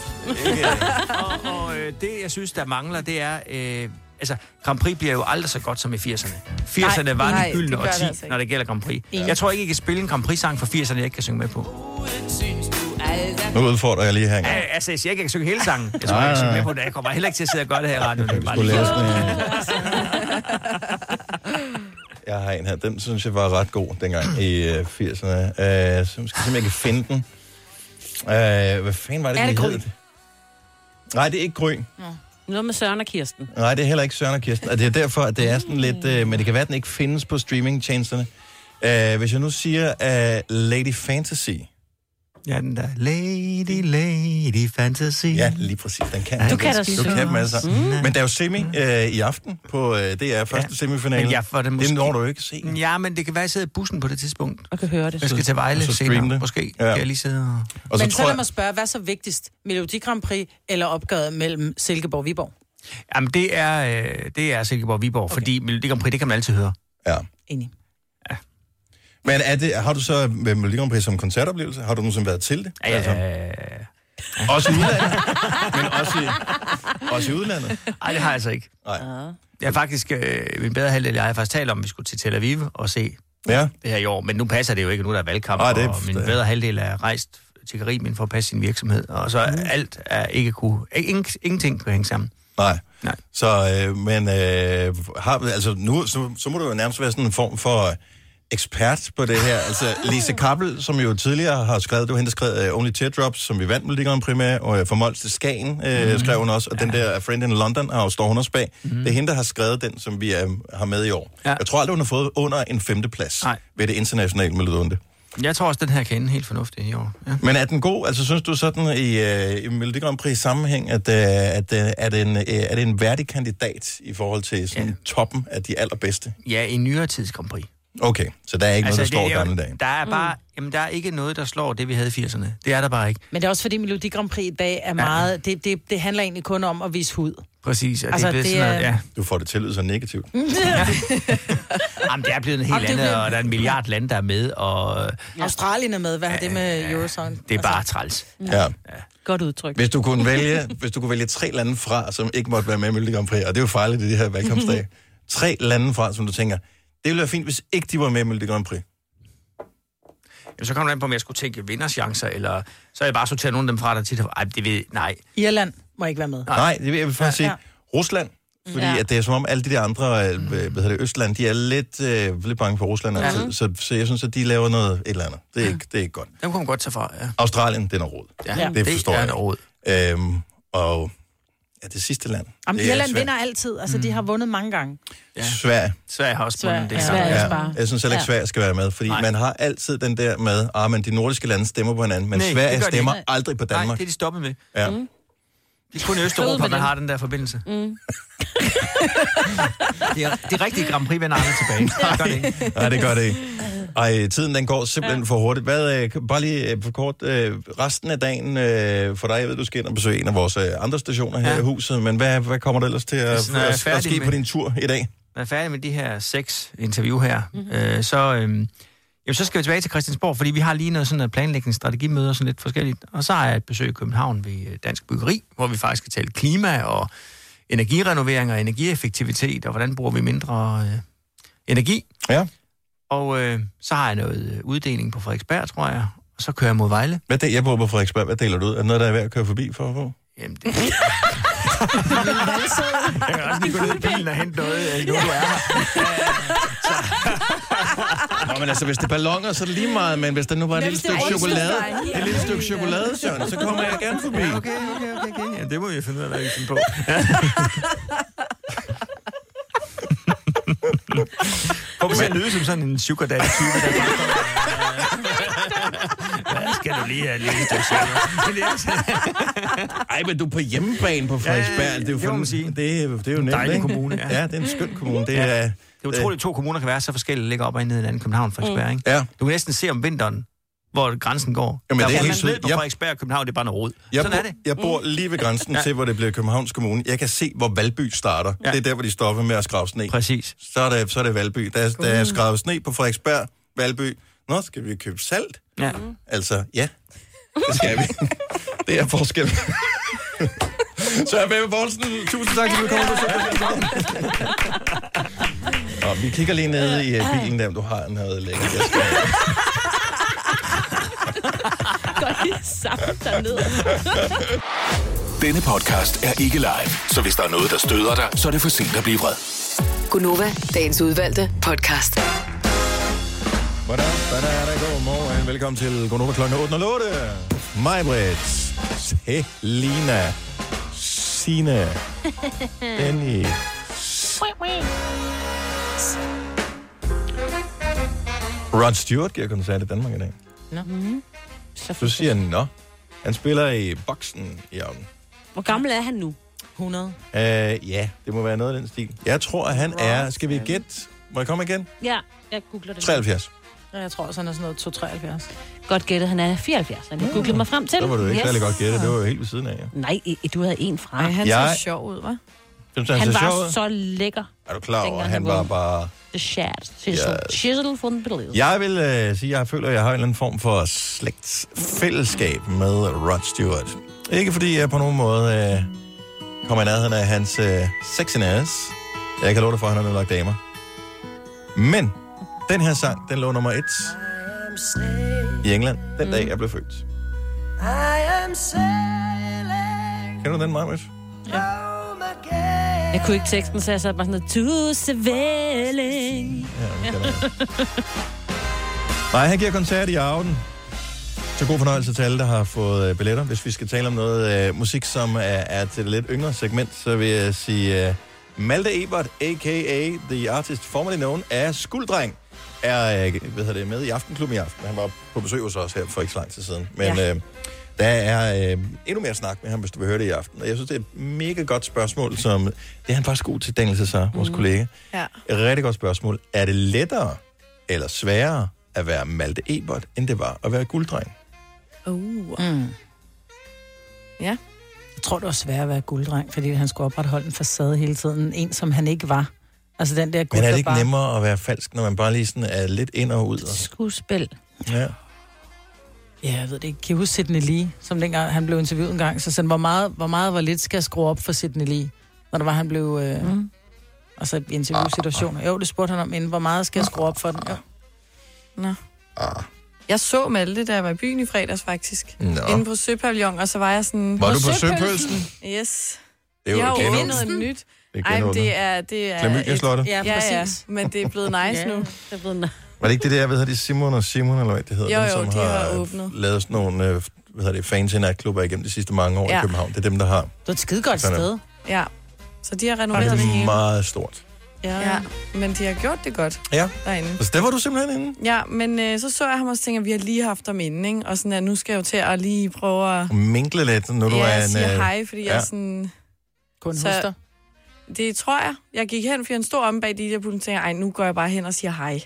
Speaker 16: og og øh, det, jeg synes, der mangler, det er... Øh, altså, Grand Prix bliver jo aldrig så godt som i 80'erne. 80'erne
Speaker 11: Nej,
Speaker 16: var
Speaker 11: nej,
Speaker 16: de
Speaker 11: det
Speaker 16: gyldne
Speaker 11: gør det
Speaker 16: årti,
Speaker 11: altså ikke.
Speaker 16: når det gælder Grand Prix.
Speaker 11: Ja.
Speaker 16: Jeg tror ikke, I kan spille en Grand Prix-sang fra 80'erne, jeg ikke kan synge med på.
Speaker 1: Nu udfordrer jeg lige her engang.
Speaker 16: Ja, altså, jeg siger ikke, jeg kan synge hele sangen. Jeg tror,
Speaker 1: Nej,
Speaker 16: jeg kan synge
Speaker 1: nej,
Speaker 16: med på det. Jeg kommer heller ikke til at sidde og gøre det her i radioen. Det er bare
Speaker 1: skulle
Speaker 16: lige-
Speaker 1: læse Jeg har en her. Den synes jeg var ret god dengang i øh, 80'erne. Øh, så måske simpelthen jeg kan finde den. Øh, hvad fanden var det,
Speaker 3: Er det
Speaker 1: de hed?
Speaker 3: Gry?
Speaker 1: Nej, det er ikke Gry.
Speaker 3: Noget med Søren og Kirsten.
Speaker 1: Nej, det er heller ikke Søren og Kirsten. Og det er derfor, at det er sådan lidt... Øh, men det kan være, at den ikke findes på streamingtjenesterne. Øh, hvis jeg nu siger øh, Lady Fantasy.
Speaker 16: Ja, den der. Lady, lady fantasy.
Speaker 1: Ja, lige præcis. Den kan
Speaker 16: Du kan da
Speaker 1: Du kan dem alle sammen.
Speaker 16: synge.
Speaker 1: Mm. Men der er jo semi øh, i aften på øh, DR første ja. semifinale.
Speaker 16: Men jeg får det måske...
Speaker 1: Det når du jo ikke se.
Speaker 16: Ja, men det kan være, at jeg sidder i bussen på det tidspunkt.
Speaker 3: Og kan høre det.
Speaker 16: Jeg skal til
Speaker 1: Og
Speaker 16: Vejle
Speaker 1: så
Speaker 16: senere,
Speaker 1: streame det.
Speaker 16: måske.
Speaker 1: Ja.
Speaker 16: Ja. Kan jeg lige sidde og...
Speaker 4: Og så Men så lad mig spørge, hvad er så vigtigst? Melodi Grand Prix eller opgøret mellem Silkeborg og Viborg?
Speaker 16: Jamen, det er, øh, det er Silkeborg-Viborg, okay. fordi Melodi Grand Prix, det kan man altid høre.
Speaker 1: Ja.
Speaker 4: Enig.
Speaker 1: Men er det, har du så med Melodi Grand Prix som koncertoplevelse? Har du nogensinde været til det?
Speaker 16: Ja, altså.
Speaker 1: Også i udlandet? men også i, også i udlandet?
Speaker 16: Nej, det har jeg altså ikke.
Speaker 1: Nej.
Speaker 16: Jeg er faktisk, øh, min bedre halvdel, jeg har faktisk talt om, at vi skulle til Tel Aviv og se
Speaker 1: ja.
Speaker 16: det her i år, men nu passer det jo ikke, nu er der valgkamp,
Speaker 1: Nej,
Speaker 16: Ej,
Speaker 1: det
Speaker 16: det
Speaker 1: er-
Speaker 16: og min bedre halvdel er rejst til Karibien for at passe sin virksomhed, og så mm. alt er ikke kunne, ingen, ingenting kunne hænge sammen.
Speaker 1: Nej. Nej. Så, øh, men øh, har, altså, nu, så, så må du jo nærmest være sådan en form for ekspert på det her. Altså, Lise Kappel, som jo tidligere har skrevet, det var hende, der skrev uh, Only Teardrops, som vi vandt Melodi Grand Prix med, og uh, For Mols til Skagen uh, mm. skrev hun også, og ja. den der A Friend in London har jo står hun også bag. Mm. Det er hende, der har skrevet den, som vi uh, har med i år. Ja. Jeg tror aldrig, hun har fået under en femteplads Nej. ved det internationale Melodunde.
Speaker 16: Jeg tror også, den her kan ende helt fornuftigt i år. Ja.
Speaker 1: Men er den god? Altså, synes du sådan i, øh, i Melodi Grand Prix sammenhæng, at, øh, at øh, er, det en, øh, er det en værdig kandidat i forhold til sådan, ja. toppen af de allerbedste?
Speaker 16: Ja, i nyere tids Grand Prix.
Speaker 1: Okay, så der er ikke altså, noget, der står
Speaker 16: det er jo-
Speaker 1: gamle dage.
Speaker 16: Der er bare, mm. jamen, der er ikke noget, der slår det, vi havde i 80'erne. Det er der bare ikke.
Speaker 4: Men det er også fordi Melodi Grand Prix i dag er meget... Det, det, det handler egentlig kun om at vise hud.
Speaker 16: Præcis, og altså,
Speaker 4: Altså,
Speaker 16: det er blevet
Speaker 4: det
Speaker 16: sådan noget,
Speaker 4: er-
Speaker 16: ja.
Speaker 1: Du får det til at lyde så negativt.
Speaker 16: Mm. Jamen, det er blevet en
Speaker 4: Jamen,
Speaker 16: helt
Speaker 4: det er
Speaker 16: andet,
Speaker 4: blevet-
Speaker 16: og der er en milliard lande, der er med, og øh,
Speaker 4: Ja. Australien er med. Hvad har det med Eurosong?
Speaker 16: det er bare træls.
Speaker 1: Ja.
Speaker 4: Godt udtryk.
Speaker 1: Hvis du kunne vælge, hvis du kunne vælge tre lande fra, som ikke måtte være med i Melodi Grand Prix, og det er jo farligt i de her valgkampsdage. tre lande fra, som du tænker, det ville være fint, hvis ikke de var med i Melodi Grand Prix.
Speaker 16: Jamen, så kommer det an på, om jeg skulle tænke vinderchancer, eller så er jeg bare sorteret nogle af dem fra, der tit har... Ej, det ved nej.
Speaker 4: Irland må ikke være med.
Speaker 1: Nej, det vil jeg vil faktisk sige. Rusland. Fordi
Speaker 4: Ja.
Speaker 1: ja. at det er som om alle de der andre, øh, hvad hedder det, Østland, de er lidt, øh, lidt bange for Rusland
Speaker 16: Ja.
Speaker 1: altid. Så, så jeg synes, at de laver noget et eller andet. Det er ikke, det er ikke godt.
Speaker 16: Dem kunne man godt tage fra, ja.
Speaker 1: Australien, det er noget råd.
Speaker 16: Ja,
Speaker 1: det
Speaker 16: det
Speaker 1: forstår
Speaker 16: er
Speaker 1: jeg.
Speaker 16: noget
Speaker 1: jeg. Øhm, og ja, det sidste land.
Speaker 4: Jamen,
Speaker 1: det er
Speaker 4: Irland
Speaker 1: Sverige.
Speaker 4: vinder altid. Altså, de har vundet mange gange.
Speaker 1: Ja. Sverige.
Speaker 16: Sverige har også
Speaker 4: Sverige, vundet det ja. samme. Sverige også bare.
Speaker 1: Jeg synes heller ikke,
Speaker 4: Ja.
Speaker 1: Sverige skal være med, fordi Nej. man har altid den der med, at ah, men de nordiske lande stemmer på hinanden, men
Speaker 16: Nej,
Speaker 1: Nej,
Speaker 16: det
Speaker 1: Sverige
Speaker 16: gør de
Speaker 1: stemmer
Speaker 16: ikke.
Speaker 1: aldrig på Danmark.
Speaker 16: Nej, det er de stoppet med.
Speaker 1: Ja.
Speaker 16: Mm. Det er kun i
Speaker 1: Stod
Speaker 16: Østeuropa,
Speaker 1: med
Speaker 16: man
Speaker 1: den.
Speaker 16: har den der forbindelse.
Speaker 3: Mm.
Speaker 16: Det er, de rigtige Grand Prix vender aldrig tilbage. Det gør det ikke.
Speaker 1: Nej, det gør det ikke. Ej, tiden den går simpelthen ja. for hurtigt. Hvad, øh, kan- bare lige øh, for kort, øh, resten af dagen øh, for dig, jeg ved, du skal ind og besøge en af vores øh, andre stationer her ja. i huset, men hvad, hvad kommer der ellers til at,
Speaker 16: Hvis, når jeg er
Speaker 1: at, at
Speaker 16: færdig
Speaker 1: ske
Speaker 16: med-
Speaker 1: på din tur i dag?
Speaker 16: Når jeg er færdig med de her seks interview her,
Speaker 4: Mhm.
Speaker 16: mm-hmm. øh, så, øh, jamen, så skal vi tilbage til Christiansborg, fordi vi har lige noget sådan noget planlægningsstrategimøder, sådan lidt forskelligt. Og så har jeg et besøg i København ved øh, Dansk Byggeri, hvor vi faktisk skal tale klima og energirenovering og energieffektivitet, og hvordan bruger vi mindre øh, energi.
Speaker 1: Ja.
Speaker 16: Og øh, så har jeg noget øh, uddeling på Frederiksberg, tror jeg, og så kører jeg mod Vejle.
Speaker 1: Hvad det, jeg bor på Frederiksberg, hvad deler du ud? Er der noget, der er værd at køre forbi for at få?
Speaker 16: Jamen, det... Jeg kan også lige gå ned i bilen og hente noget, øh, nu du er her.
Speaker 1: Nå, men altså, hvis det er ballonger, så er det lige meget, men hvis der nu var et lille stykke chokolade, et lille stykke chokolade, Søren, så kommer jeg gerne forbi.
Speaker 16: Ja, okay, okay, okay, okay. Ja, det må vi finde ud af, hvad vi finder på. Hvorfor skal jeg lyde som sådan en sugar daddy type, der bare kommer, øh, "Hvad skal du lige have et lille stykke sukker?" Men det er altså-
Speaker 1: Ej, men du er på hjemmebane på Frederiksberg. Det er jo,
Speaker 16: det må man
Speaker 1: fandme-
Speaker 16: sige.
Speaker 1: det, er, det er jo nemt,
Speaker 16: Dejlig
Speaker 1: ikke?
Speaker 16: kommune, ja.
Speaker 1: ja. det er en skøn kommune. Det er,
Speaker 16: Ja. Det er utroligt, at to kommuner kan være så forskellige, ligger op og ned i hinanden. København og Frederiksberg,
Speaker 1: Mm.
Speaker 16: ikke?
Speaker 1: Øh. Ja.
Speaker 16: Du kan næsten se om vinteren, hvor grænsen går.
Speaker 1: Jamen,
Speaker 16: der,
Speaker 1: det er
Speaker 16: hvor
Speaker 1: helt
Speaker 16: man
Speaker 1: sygt.
Speaker 16: ved på
Speaker 1: Jeg-
Speaker 16: Frederiksberg og København, det er bare noget rod.
Speaker 1: Jeg,
Speaker 16: Sådan er
Speaker 1: bo-
Speaker 16: det.
Speaker 1: jeg bor lige ved grænsen
Speaker 16: Ja.
Speaker 1: Mm. ja. til, hvor det bliver Københavns Kommune. Jeg kan se, hvor Valby starter.
Speaker 16: Ja.
Speaker 1: Ja. Det er der, hvor de stopper med at skrave sne.
Speaker 16: Præcis.
Speaker 1: Så er det, så er det Valby. Der, er- der er skravet sne på Frederiksberg, Valby. Nå, skal vi købe salt?
Speaker 16: Ja.
Speaker 4: Mm.
Speaker 1: Altså, ja, det skal vi. det er forskel. så er Baby Poulsen, tusind tak, fordi du kom og besøgte os. Nå, vi kigger lige ned i øh, bilen der, om du har øh, noget lækkert. Jeg skal-
Speaker 3: Går lige sammen dernede.
Speaker 7: Denne podcast er ikke live, så hvis der er noget, der støder dig, så er det for sent at blive vred.
Speaker 6: Gunova, dagens udvalgte podcast.
Speaker 1: Hvordan? Hvordan Godmorgen. Velkommen til Gonova kl. 8.08. Mig, Britt. Selina. Sine. Benny. Rod Stewart giver koncert i Danmark i dag.
Speaker 3: Nå.
Speaker 1: Du siger nå. Han spiller i boksen i aften.
Speaker 3: Hvor gammel er han nu?
Speaker 4: 100.
Speaker 1: Øh, ja, det må være noget af den stil. Jeg tror, at han er... Skal vi gætte? Må jeg komme igen?
Speaker 3: Ja, jeg googler det.
Speaker 1: 73.
Speaker 4: Ja, Jeg tror også, han er sådan noget 273.
Speaker 3: Godt gættet, han er 74. Han
Speaker 4: Mm.
Speaker 3: jeg googlede mig frem til.
Speaker 1: Det var du ikke yes. særlig godt gættet. Det var jo helt ved siden af, ja.
Speaker 3: Nej, i- du havde en fra.
Speaker 1: han så Jeg-
Speaker 3: sjov ud, hva'?
Speaker 1: Synes, du,
Speaker 3: Han,
Speaker 1: ser sjov
Speaker 3: var
Speaker 1: ud?
Speaker 3: så lækker.
Speaker 1: Er du klar over,
Speaker 3: Dengang
Speaker 1: at
Speaker 3: han
Speaker 1: han var
Speaker 3: vågnede.
Speaker 1: bare...
Speaker 3: The Shad. Chisel.
Speaker 1: Yes.
Speaker 3: Chisel for the believe.
Speaker 1: Jeg vil øh, sige, at jeg føler, at jeg har en eller anden form for slægtsfællesskab med Rod Stewart. Ikke fordi jeg på nogen måde øh, kommer i nærheden af hans øh, sexiness. Jeg kan love dig for, at han har nedlagt damer. Men den her sang, den lå nummer et i England, den dag jeg blev født.
Speaker 2: I am
Speaker 1: Kender du den, Marmit?
Speaker 3: Jeg kunne ikke teksten, så jeg satte mig sådan noget, to Svelling.
Speaker 1: Ja, Nej, han giver koncert i aften. Så god fornøjelse til alle, der har fået øh, billetter. Hvis vi skal tale om noget øh, musik, som er, er til det lidt yngre segment, så vil jeg sige, øh, Malte Ebert, a.k.a. The Artist formerly known af Skulddreng, er øh, hvad hedder det, med i Aftenklubben i aften. Han var på besøg hos os her for ikke så lang tid siden. Men ja. øh, der er øh, endnu mere snak med ham, hvis du vil høre det i aften. Og jeg synes, det er et mega godt spørgsmål, som... Det er han faktisk god til, Daniel Cesar, vores kollega.
Speaker 5: Ja.
Speaker 1: Et rigtig godt spørgsmål. Er det lettere eller sværere at være Malte Ebert, end det var at være gulddreng?
Speaker 5: Uh.
Speaker 4: Mm.
Speaker 5: Ja.
Speaker 4: Jeg tror, det var svært at være gulddreng, fordi han skulle opretholde en facade hele tiden. En, som han ikke var. Altså den der guld,
Speaker 1: Men er det
Speaker 4: der
Speaker 1: ikke
Speaker 4: bare...
Speaker 1: nemmere at være falsk, når man bare lige sådan er lidt ind og ud? Og...
Speaker 4: Skuespil.
Speaker 1: Ja.
Speaker 4: Ja, jeg ved det ikke. Kan I huske Sidney Lee, som dengang han blev interviewet en gang, så sagde han, hvor meget, hvor meget hvor lidt skal jeg skrue op for Sidney Lee, når der var, han blev... Øh, mm. Altså i interviewsituationer. Jo, det spurgte han om inden. Hvor meget skal jeg skrue op for den? Jo.
Speaker 5: Nå. Jeg så Malte, da jeg var i byen i fredags faktisk.
Speaker 1: Nå.
Speaker 5: Inde på Søpavillon, og så var jeg sådan...
Speaker 1: Var du på Søpølsen?
Speaker 5: Yes.
Speaker 1: Det er jo
Speaker 5: jeg har
Speaker 1: genåbnet.
Speaker 5: jo noget nyt.
Speaker 1: Det er
Speaker 5: Ej, men
Speaker 1: genåbnet.
Speaker 5: det er... Det er
Speaker 1: Klamydia-slottet.
Speaker 5: Ja,
Speaker 3: Ja,
Speaker 5: ja, ja,
Speaker 3: præcis.
Speaker 5: men det er blevet nice
Speaker 3: Ja,
Speaker 5: nu.
Speaker 3: det er blevet nice.
Speaker 1: Var det ikke det der, hvad hedder det, Simon og Simon, eller hvad det hedder?
Speaker 5: Jo,
Speaker 1: dem,
Speaker 5: jo,
Speaker 1: som
Speaker 5: de
Speaker 1: har,
Speaker 5: har
Speaker 1: øh,
Speaker 5: åbnet.
Speaker 1: lavet sådan nogle øh, hvad hedder det, fans i natklubber igennem de sidste mange år ja.
Speaker 5: Ja.
Speaker 1: i København. Det er dem, der har.
Speaker 4: Det er et skidegodt
Speaker 1: Sådan.
Speaker 4: sted.
Speaker 5: Ja. Så de har
Speaker 1: Og
Speaker 5: renoveret det
Speaker 1: det er
Speaker 5: hele.
Speaker 1: meget stort.
Speaker 5: Ja. ja. Men de har gjort det godt
Speaker 1: Ja.
Speaker 5: derinde.
Speaker 1: Så der var du simpelthen inde.
Speaker 5: Ja, men øh, så så jeg ham også tænke, at vi har lige haft ham inde, ikke? Og sådan, at nu skal jeg jo til at lige prøve at...
Speaker 1: Og minkle lidt, når du
Speaker 5: ja,
Speaker 1: er en...
Speaker 5: sige
Speaker 1: øh,
Speaker 5: hej, fordi ja. jeg er sådan...
Speaker 4: Kun
Speaker 5: så,
Speaker 4: hoster.
Speaker 5: Det tror jeg. Jeg gik hen, fordi han stod om bag de der pulten, og tænkte, ej, nu går jeg bare hen og siger hej.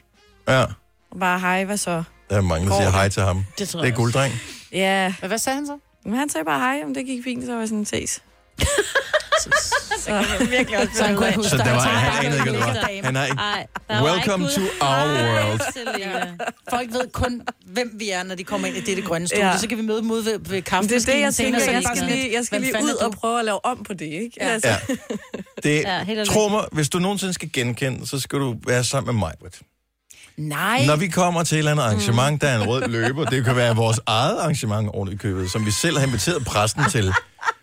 Speaker 1: Ja,
Speaker 5: Og bare hej, hvad så?
Speaker 1: der er mange, der
Speaker 5: Går
Speaker 1: siger
Speaker 5: det?
Speaker 1: hej til ham.
Speaker 5: Det tror
Speaker 1: det
Speaker 5: jeg
Speaker 1: er
Speaker 5: også.
Speaker 1: gulddreng.
Speaker 5: Ja.
Speaker 4: Men hvad sagde han så?
Speaker 5: Men han sagde bare hej, om det gik fint, så var jeg sådan, ses. så kan jeg virkelig
Speaker 4: også Så han kunne ikke huske
Speaker 1: Så der
Speaker 4: dig.
Speaker 1: var, han
Speaker 4: Tak.
Speaker 1: anede ikke, hvad det var. Han har ikke...
Speaker 3: Ej,
Speaker 1: Welcome to our world.
Speaker 4: Selina. Folk ved kun, hvem vi er, når de kommer ind i dette grønne studie. Ja.
Speaker 5: Ja.
Speaker 4: Så kan vi møde dem ude ved, ved
Speaker 5: Men det er det,
Speaker 4: kaffemaskinen
Speaker 5: jeg tænker.
Speaker 4: senere. så er
Speaker 5: Jeg
Speaker 4: de
Speaker 5: skal
Speaker 4: sådan
Speaker 5: lige,
Speaker 4: lidt,
Speaker 5: jeg skal
Speaker 4: "Hvem
Speaker 5: lige
Speaker 4: fanden
Speaker 5: ud
Speaker 4: er
Speaker 5: og prøve at lave om på det, ikke? Altså, Ja.
Speaker 1: Ja. Det,
Speaker 4: Ja, helt
Speaker 1: ja,
Speaker 4: alene.
Speaker 1: tro mig, hvis du nogensinde skal genkende, så skal du være sammen med mig. Britt.
Speaker 4: Nej.
Speaker 1: Når vi kommer til et eller andet arrangement, der er en rød løber, det kan være vores eget arrangement ordentligt købet, som vi selv har inviteret pressen til,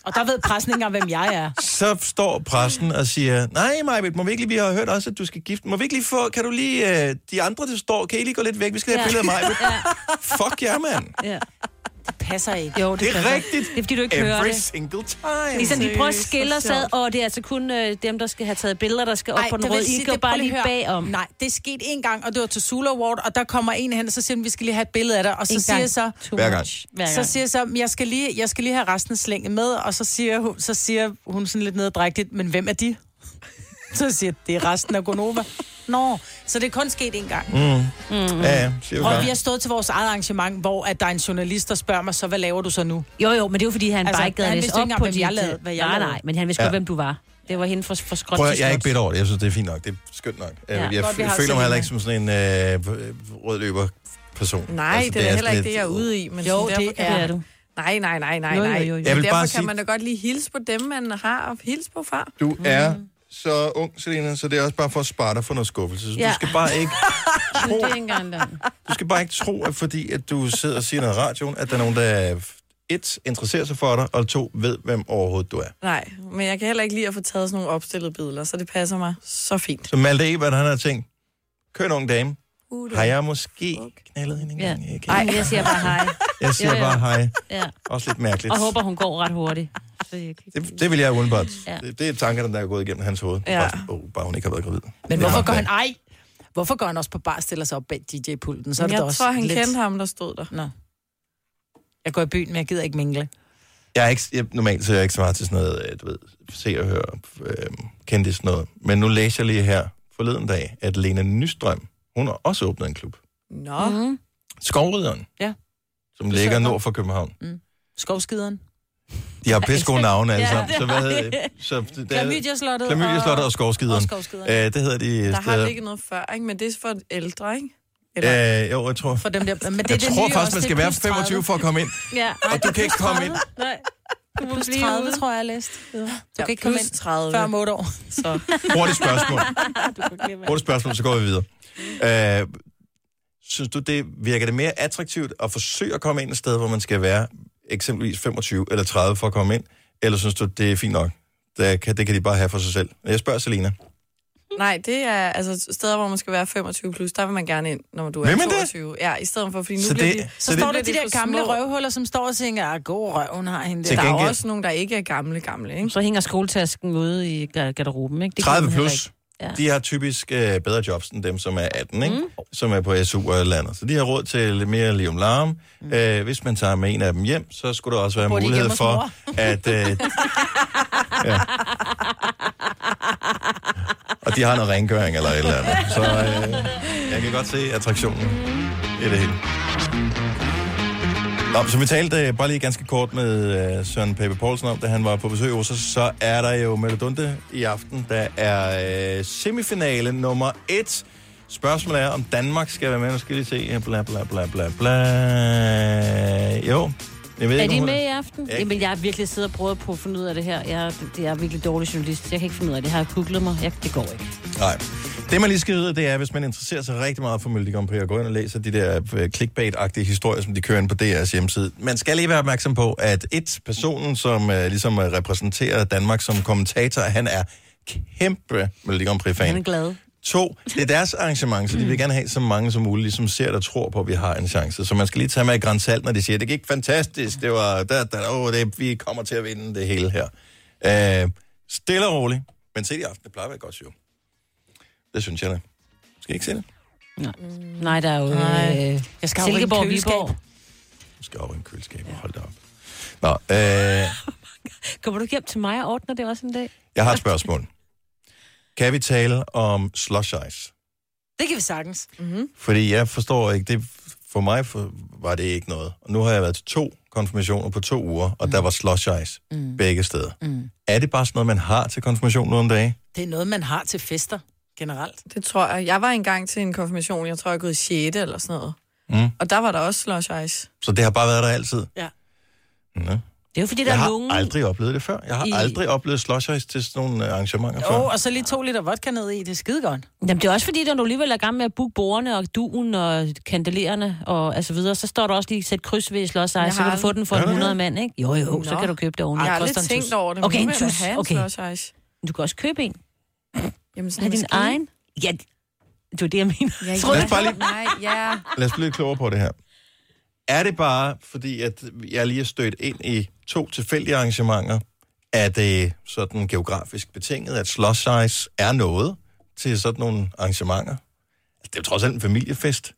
Speaker 4: Og der ved pressen ikke engang, hvem jeg er.
Speaker 1: så står pressen og siger, nej Majbet, må vi ikke lige, vi har hørt også, at du skal gifte, må vi ikke lige få, kan du lige, øh, de andre, der står, kan I lige gå lidt væk, vi skal lige have et billede af Majbet. Fuck jer, mand.
Speaker 3: Ja.
Speaker 4: Det passer ikke.
Speaker 3: Jo, det,
Speaker 1: Det er
Speaker 3: passer.
Speaker 1: rigtigt.
Speaker 3: Det er, fordi du ikke hører
Speaker 1: Every
Speaker 3: det.
Speaker 1: single time.
Speaker 3: Ligesom de prøver at skille os
Speaker 4: Seriøst, hvor
Speaker 3: ad, og det er altså kun øh, dem, der skal have taget billeder, der skal op Ej, på den
Speaker 4: det vil
Speaker 3: røde. I
Speaker 4: sige,
Speaker 3: går
Speaker 4: det-
Speaker 3: bare
Speaker 4: prøv
Speaker 3: lige
Speaker 4: at høre.
Speaker 3: bagom.
Speaker 4: Nej, det skete en gang, og det var til Sula Award, og der kommer en hen, og så siger han, vi skal lige have et billede af dig, og så
Speaker 3: En
Speaker 4: siger
Speaker 3: gang.
Speaker 4: jeg så...
Speaker 3: Too Hver much. gang. Hver
Speaker 4: Så
Speaker 3: gang.
Speaker 4: siger jeg så, jeg skal lige, jeg skal lige have resten af slænget med, og så siger hun, så siger hun sådan lidt neddrægtigt, men hvem er de? så siger jeg, det er resten af Gonova. Nå, så det er kun sket en gang.
Speaker 1: Mm. Mm. Ja, ja, siger du
Speaker 4: Og
Speaker 1: bare.
Speaker 4: vi har stået til vores eget arrangement, hvor at der er en journalist, der spørger mig, så hvad laver du så nu?
Speaker 3: Jo, jo, men det er jo fordi, han
Speaker 4: Altså,
Speaker 3: bare ikke gad
Speaker 4: han
Speaker 3: at læse
Speaker 4: vidste
Speaker 3: op
Speaker 4: ikke engang,
Speaker 3: på
Speaker 4: hvem
Speaker 3: dit-
Speaker 4: jeg lavede- hvad jeg
Speaker 3: Nej,
Speaker 4: lavede.
Speaker 3: nej, men han vidste godt,
Speaker 1: Ja.
Speaker 3: hvem du var. Det var hende for, for skråt
Speaker 1: Prøv, at-
Speaker 3: til
Speaker 1: jeg er ikke
Speaker 3: slot.
Speaker 1: bitter over det. Jeg synes, det er fint nok. Det er skønt nok. Ja. Jeg, jeg
Speaker 3: Godt, vi har
Speaker 1: føler mig
Speaker 3: Selina.
Speaker 1: heller ikke som sådan en øh, rød løber person.
Speaker 5: Nej, altså, det er, heller ikke det, jeg er ude i. Men
Speaker 4: Jo,
Speaker 5: sådan,
Speaker 4: det
Speaker 5: derfor kan
Speaker 4: er
Speaker 5: man-
Speaker 4: du.
Speaker 5: Nej, nej, nej, nej,
Speaker 1: Jo,
Speaker 5: nej.
Speaker 1: jo, jo, jo. Jeg vil
Speaker 5: derfor
Speaker 1: bare
Speaker 5: kan
Speaker 1: sige-
Speaker 5: man da godt lige hilse på dem, man har og hilse på far.
Speaker 1: Du er så ung, Selina, så det er også bare for at spare dig for noget skuffelse. Så
Speaker 5: Ja.
Speaker 1: Du skal bare ikke
Speaker 5: Det er ikke engang der.
Speaker 1: du skal bare ikke tro, at fordi at du sidder og siger noget i radioen, at der er nogen, der et, interesserer sig for dig, og to, ved, hvem overhovedet du er.
Speaker 5: Nej, men jeg kan heller ikke lide at få taget sådan nogle opstillede billeder, så det passer mig så fint.
Speaker 1: Så Malte Ebert, han har tænkt, køn ung dame,
Speaker 5: Uh,
Speaker 1: har jeg måske knaldet hende?
Speaker 3: Ja. Nej, jeg siger bare hej.
Speaker 1: Jeg siger
Speaker 3: Jo, jo.
Speaker 1: bare hej.
Speaker 3: Ja.
Speaker 1: Også lidt mærkeligt.
Speaker 3: Og håber, hun går ret hurtigt. Så jeg kan-
Speaker 1: Det, det vil jeg umiddelbart.
Speaker 3: Ja.
Speaker 1: Ja. Det, det er tankerne, der er gået igennem hans hoved.
Speaker 4: Ja.
Speaker 1: Ja. Bare, sådan, åh, bare hun ikke har været gravid.
Speaker 4: Men hvorfor går han... Ej! Hvorfor går han også på bar og stiller sig op bag DJ-pulten? Så er det
Speaker 5: jeg
Speaker 4: da også
Speaker 5: tror, han
Speaker 4: lidt...
Speaker 5: kendte ham, der stod der.
Speaker 4: Nå. Jeg går i byen, men jeg gider ikke mingle.
Speaker 1: Jeg er ikke, jeg, normalt så er jeg ikke så meget til sådan noget, øh, du ved, se og høre, øh, kendte sådan noget. Men nu læser jeg lige her forleden dag, at Lena Nystrøm, hun har også åbnet en klub.
Speaker 5: Nå.
Speaker 1: Mm.
Speaker 5: Mm-hmm.
Speaker 1: Skovrideren.
Speaker 4: Ja.
Speaker 1: Som ligger nord for København.
Speaker 4: Skovskideren.
Speaker 1: De har pisse navne alle
Speaker 4: Ja,
Speaker 1: sammen.
Speaker 4: det
Speaker 1: Så
Speaker 4: har
Speaker 1: hvad
Speaker 4: de.
Speaker 1: hedder det? Så det- der-
Speaker 4: Klamydia-slottet
Speaker 1: Klamydia-slottet
Speaker 4: og-
Speaker 1: og Skovskideren.
Speaker 4: og
Speaker 1: Øh,
Speaker 4: Skovskideren.
Speaker 1: det hedder de
Speaker 5: Der har
Speaker 1: steder.
Speaker 5: ligget noget før, ikke? men det er for ældre, ikke?
Speaker 1: Øh, jo, jeg tror.
Speaker 4: For dem der, men det er
Speaker 1: jeg
Speaker 4: det
Speaker 1: tror
Speaker 4: nye
Speaker 1: faktisk,
Speaker 4: også,
Speaker 1: man
Speaker 4: det
Speaker 1: skal
Speaker 4: er
Speaker 1: være
Speaker 4: plus 30.
Speaker 1: 25 for at komme ind.
Speaker 4: Ja.
Speaker 1: Og du kan ikke komme ind.
Speaker 4: Nej. Du
Speaker 5: må
Speaker 4: plus
Speaker 5: blive
Speaker 4: 30,
Speaker 5: ude.
Speaker 4: tror jeg, jeg læste. Du kan ikke komme
Speaker 5: plus
Speaker 4: ind
Speaker 5: 30.
Speaker 4: før om 8 år.
Speaker 5: Så.
Speaker 1: Hurtigt spørgsmål. Hurtigt spørgsmål, så går vi videre. Øh, synes du, det virker det mere attraktivt at forsøge at komme ind et sted, hvor man skal være eksempelvis 25 eller 30 for at komme ind? Eller synes du, det er fint nok? Det kan, det kan de bare have for sig selv. Jeg spørger Selina.
Speaker 5: Nej, det er altså steder, hvor man skal være 25 plus, der vil man gerne ind, når du er
Speaker 1: Vil man det?
Speaker 5: 22. Det? Ja, i stedet for, fordi nu
Speaker 1: Så
Speaker 5: bliver
Speaker 1: det-
Speaker 5: de,
Speaker 1: så Så det- står
Speaker 4: der de der
Speaker 5: for
Speaker 4: gamle
Speaker 5: små.
Speaker 4: røvhuller, som står og tænker, ah, god røv, hun har hende der.
Speaker 1: Til
Speaker 5: Der er
Speaker 1: gengæld-
Speaker 5: også nogen, der ikke er gamle, gamle, ikke?
Speaker 3: Så hænger skoletasken ude i gar- garderoben, ikke? Det kan
Speaker 1: 30
Speaker 3: man heller
Speaker 1: plus,
Speaker 3: ikke.
Speaker 1: de har typisk øh, bedre jobs end dem, som er 18, ikke? Mm. som er på SU og et eller andet. Så de har råd til lidt mere liv om larm. Mm. Øh, hvis man tager med en af dem hjem, så skulle der også være
Speaker 4: Bor de
Speaker 1: mulighed
Speaker 4: hjemme hos
Speaker 1: for,
Speaker 4: mor?
Speaker 1: at... Øh, ja. Og de har noget rengøring eller et eller andet. Så, øh, Jeg kan godt se attraktionen i det hele. Nå, så vi talte øh, bare lige ganske kort med øh, Søren Pape Poulsen om, da han var på besøg hos os. Så er der jo Melodunde i aften. Der er øh, semifinale nummer et. Spørgsmålet er, om Danmark skal være med. Nu skal vi lige se. Bla, bla, bla, bla, bla. Jo. Jeg ved
Speaker 3: Er
Speaker 1: ikke,
Speaker 3: de
Speaker 1: om hun-
Speaker 3: med i aften?
Speaker 1: Ja.
Speaker 3: Jamen, jeg har virkelig siddet og prøvet på at finde ud af det her. Jeg er, det er virkelig dårlig journalist. Jeg kan ikke finde ud af det. Jeg har googlet mig. Jeg, det går ikke.
Speaker 1: Nej. Det, man lige skal vide, det er, hvis man interesserer sig rigtig meget for Melodi Grand Prix, og går ind og læser de der øh, clickbait-agtige historier, som de kører ind på DR's hjemmeside. Man skal lige være opmærksom på, at et personen, som uh, ligesom øh, repræsenterer Danmark som kommentator, han er kæmpe Melodi Grand
Speaker 3: Han er
Speaker 1: Prix-fan.
Speaker 3: glad.
Speaker 1: To, det er deres arrangement, så de vil gerne have så mange som muligt, som ser og tror på, at vi har en chance. Så man skal lige tage med i grænsalt, når de siger, det gik fantastisk, det var, da, da, oh, det, vi kommer til at vinde det hele her. Øh, stille og roligt. Men se i aften, det plejer at være et godt show. Det synes jeg da. Skal I ikke se det?
Speaker 3: Nej, Nej der er jo
Speaker 4: Nej.
Speaker 3: øh,
Speaker 4: Jeg skal
Speaker 3: Silkeborg,
Speaker 4: afrydde køleskab.
Speaker 3: Viborg.
Speaker 1: Du skal over i en køleskab og holde dig op. Nå, øh,
Speaker 3: Kommer du ikke hjem til mig og ordner det også en dag?
Speaker 1: jeg har et spørgsmål. Kan vi tale om slush ice?
Speaker 4: Det kan vi sagtens. Mm-hmm.
Speaker 1: Fordi jeg forstår ikke, det for mig for, var det ikke noget. Og nu har jeg været til to konfirmationer på to uger, og mm. der var slush ice mm. begge steder. Mm. Er det bare sådan noget, man har til konfirmation nu om dagen?
Speaker 4: Det er noget, man har til fester generelt.
Speaker 5: Det tror jeg. Jeg var engang til en konfirmation, jeg tror, jeg er gået i 6. eller sådan noget.
Speaker 1: Mm.
Speaker 5: Og der var der også slush ice.
Speaker 1: Så det har bare været der altid?
Speaker 4: Ja.
Speaker 1: Nå. Det
Speaker 3: er jo fordi,
Speaker 1: jeg har aldrig oplevet det før. Jeg har I...
Speaker 4: I-
Speaker 1: aldrig oplevet slush ice til sådan nogle øh, arrangementer før.
Speaker 4: Jo, og så lige to liter vodka ned i, det er skide godt.
Speaker 3: Jamen, det er også fordi, når du alligevel er i gang med at booke bordene og duen og kandelererne og altså videre, så står der også lige sæt kryds ved slås så
Speaker 5: Jeg
Speaker 3: kan
Speaker 5: har
Speaker 3: du få den for
Speaker 5: aldrig-
Speaker 3: 100 mand, ikke? Jo, jo, så
Speaker 5: Nå.
Speaker 3: kan du købe det oven.
Speaker 5: Jeg har aldrig tænkt over det, men
Speaker 3: Okay,
Speaker 5: nu
Speaker 3: en
Speaker 5: vil jeg
Speaker 3: tus.
Speaker 5: have en
Speaker 3: Okay.
Speaker 5: slush ice.
Speaker 3: Du kan også købe en.
Speaker 5: Jamen,
Speaker 3: Har din egen? Ja, det er det, jeg mener. Ja,
Speaker 1: Tror Lad os bare lige-
Speaker 5: Nej, ja.
Speaker 1: Lad os blive lidt klogere på det her. Er det bare, fordi at jeg lige er stødt ind i to tilfældige arrangementer, er det sådan geografisk betinget, at slot size er noget til sådan nogle arrangementer? Altså, det er jo trods alt en familiefest.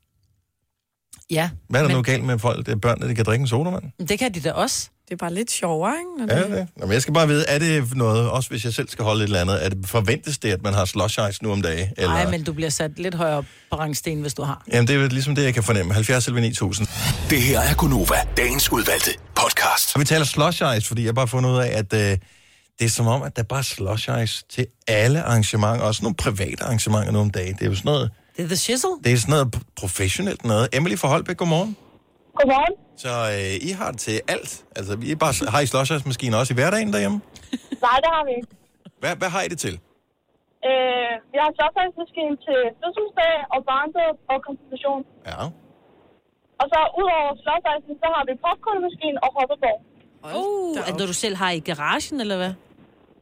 Speaker 4: Ja.
Speaker 1: Hvad er der men... nu galt med folk, det er børn, at de kan drikke en sodavand?
Speaker 4: Men det kan de da også.
Speaker 5: Det er bare lidt sjovere, ikke? Når
Speaker 1: Ja, det er det. Nå, men jeg skal bare vide, er det noget, også hvis jeg selv skal holde et eller andet, er det forventes det, at man har slush ice nu om dagen? Eller...
Speaker 4: Nej, men du bliver sat lidt højere op på rangstenen, hvis du har.
Speaker 1: Jamen, det er jo ligesom det, jeg kan fornemme. 70 eller 9000. Det her er Gunova, dagens udvalgte podcast. Og vi taler slush ice, fordi jeg har bare fundet ud af, at øh, det er som om, at der bare er slush ice til alle arrangementer, også nogle private arrangementer nu om dagen. Det er jo sådan noget,
Speaker 4: Det er the shizzle.
Speaker 1: det er sådan noget professionelt noget. Emily fra Holbæk, godmorgen.
Speaker 17: Godmorgen.
Speaker 1: Så øh, I har det til alt. Altså, I er bare, har I slush ice maskinen også i hverdagen derhjemme?
Speaker 17: Nej, det har vi ikke.
Speaker 1: Hvad, hvad har I det til?
Speaker 17: Øh, vi har shopfagmaskinen til fødselsdag og barndåb og konfirmation.
Speaker 1: Ja.
Speaker 17: Og så udover slotfejsen, så har vi popcornmaskinen og hoppeborg.
Speaker 3: Uh, at når du selv har i garagen, eller hvad?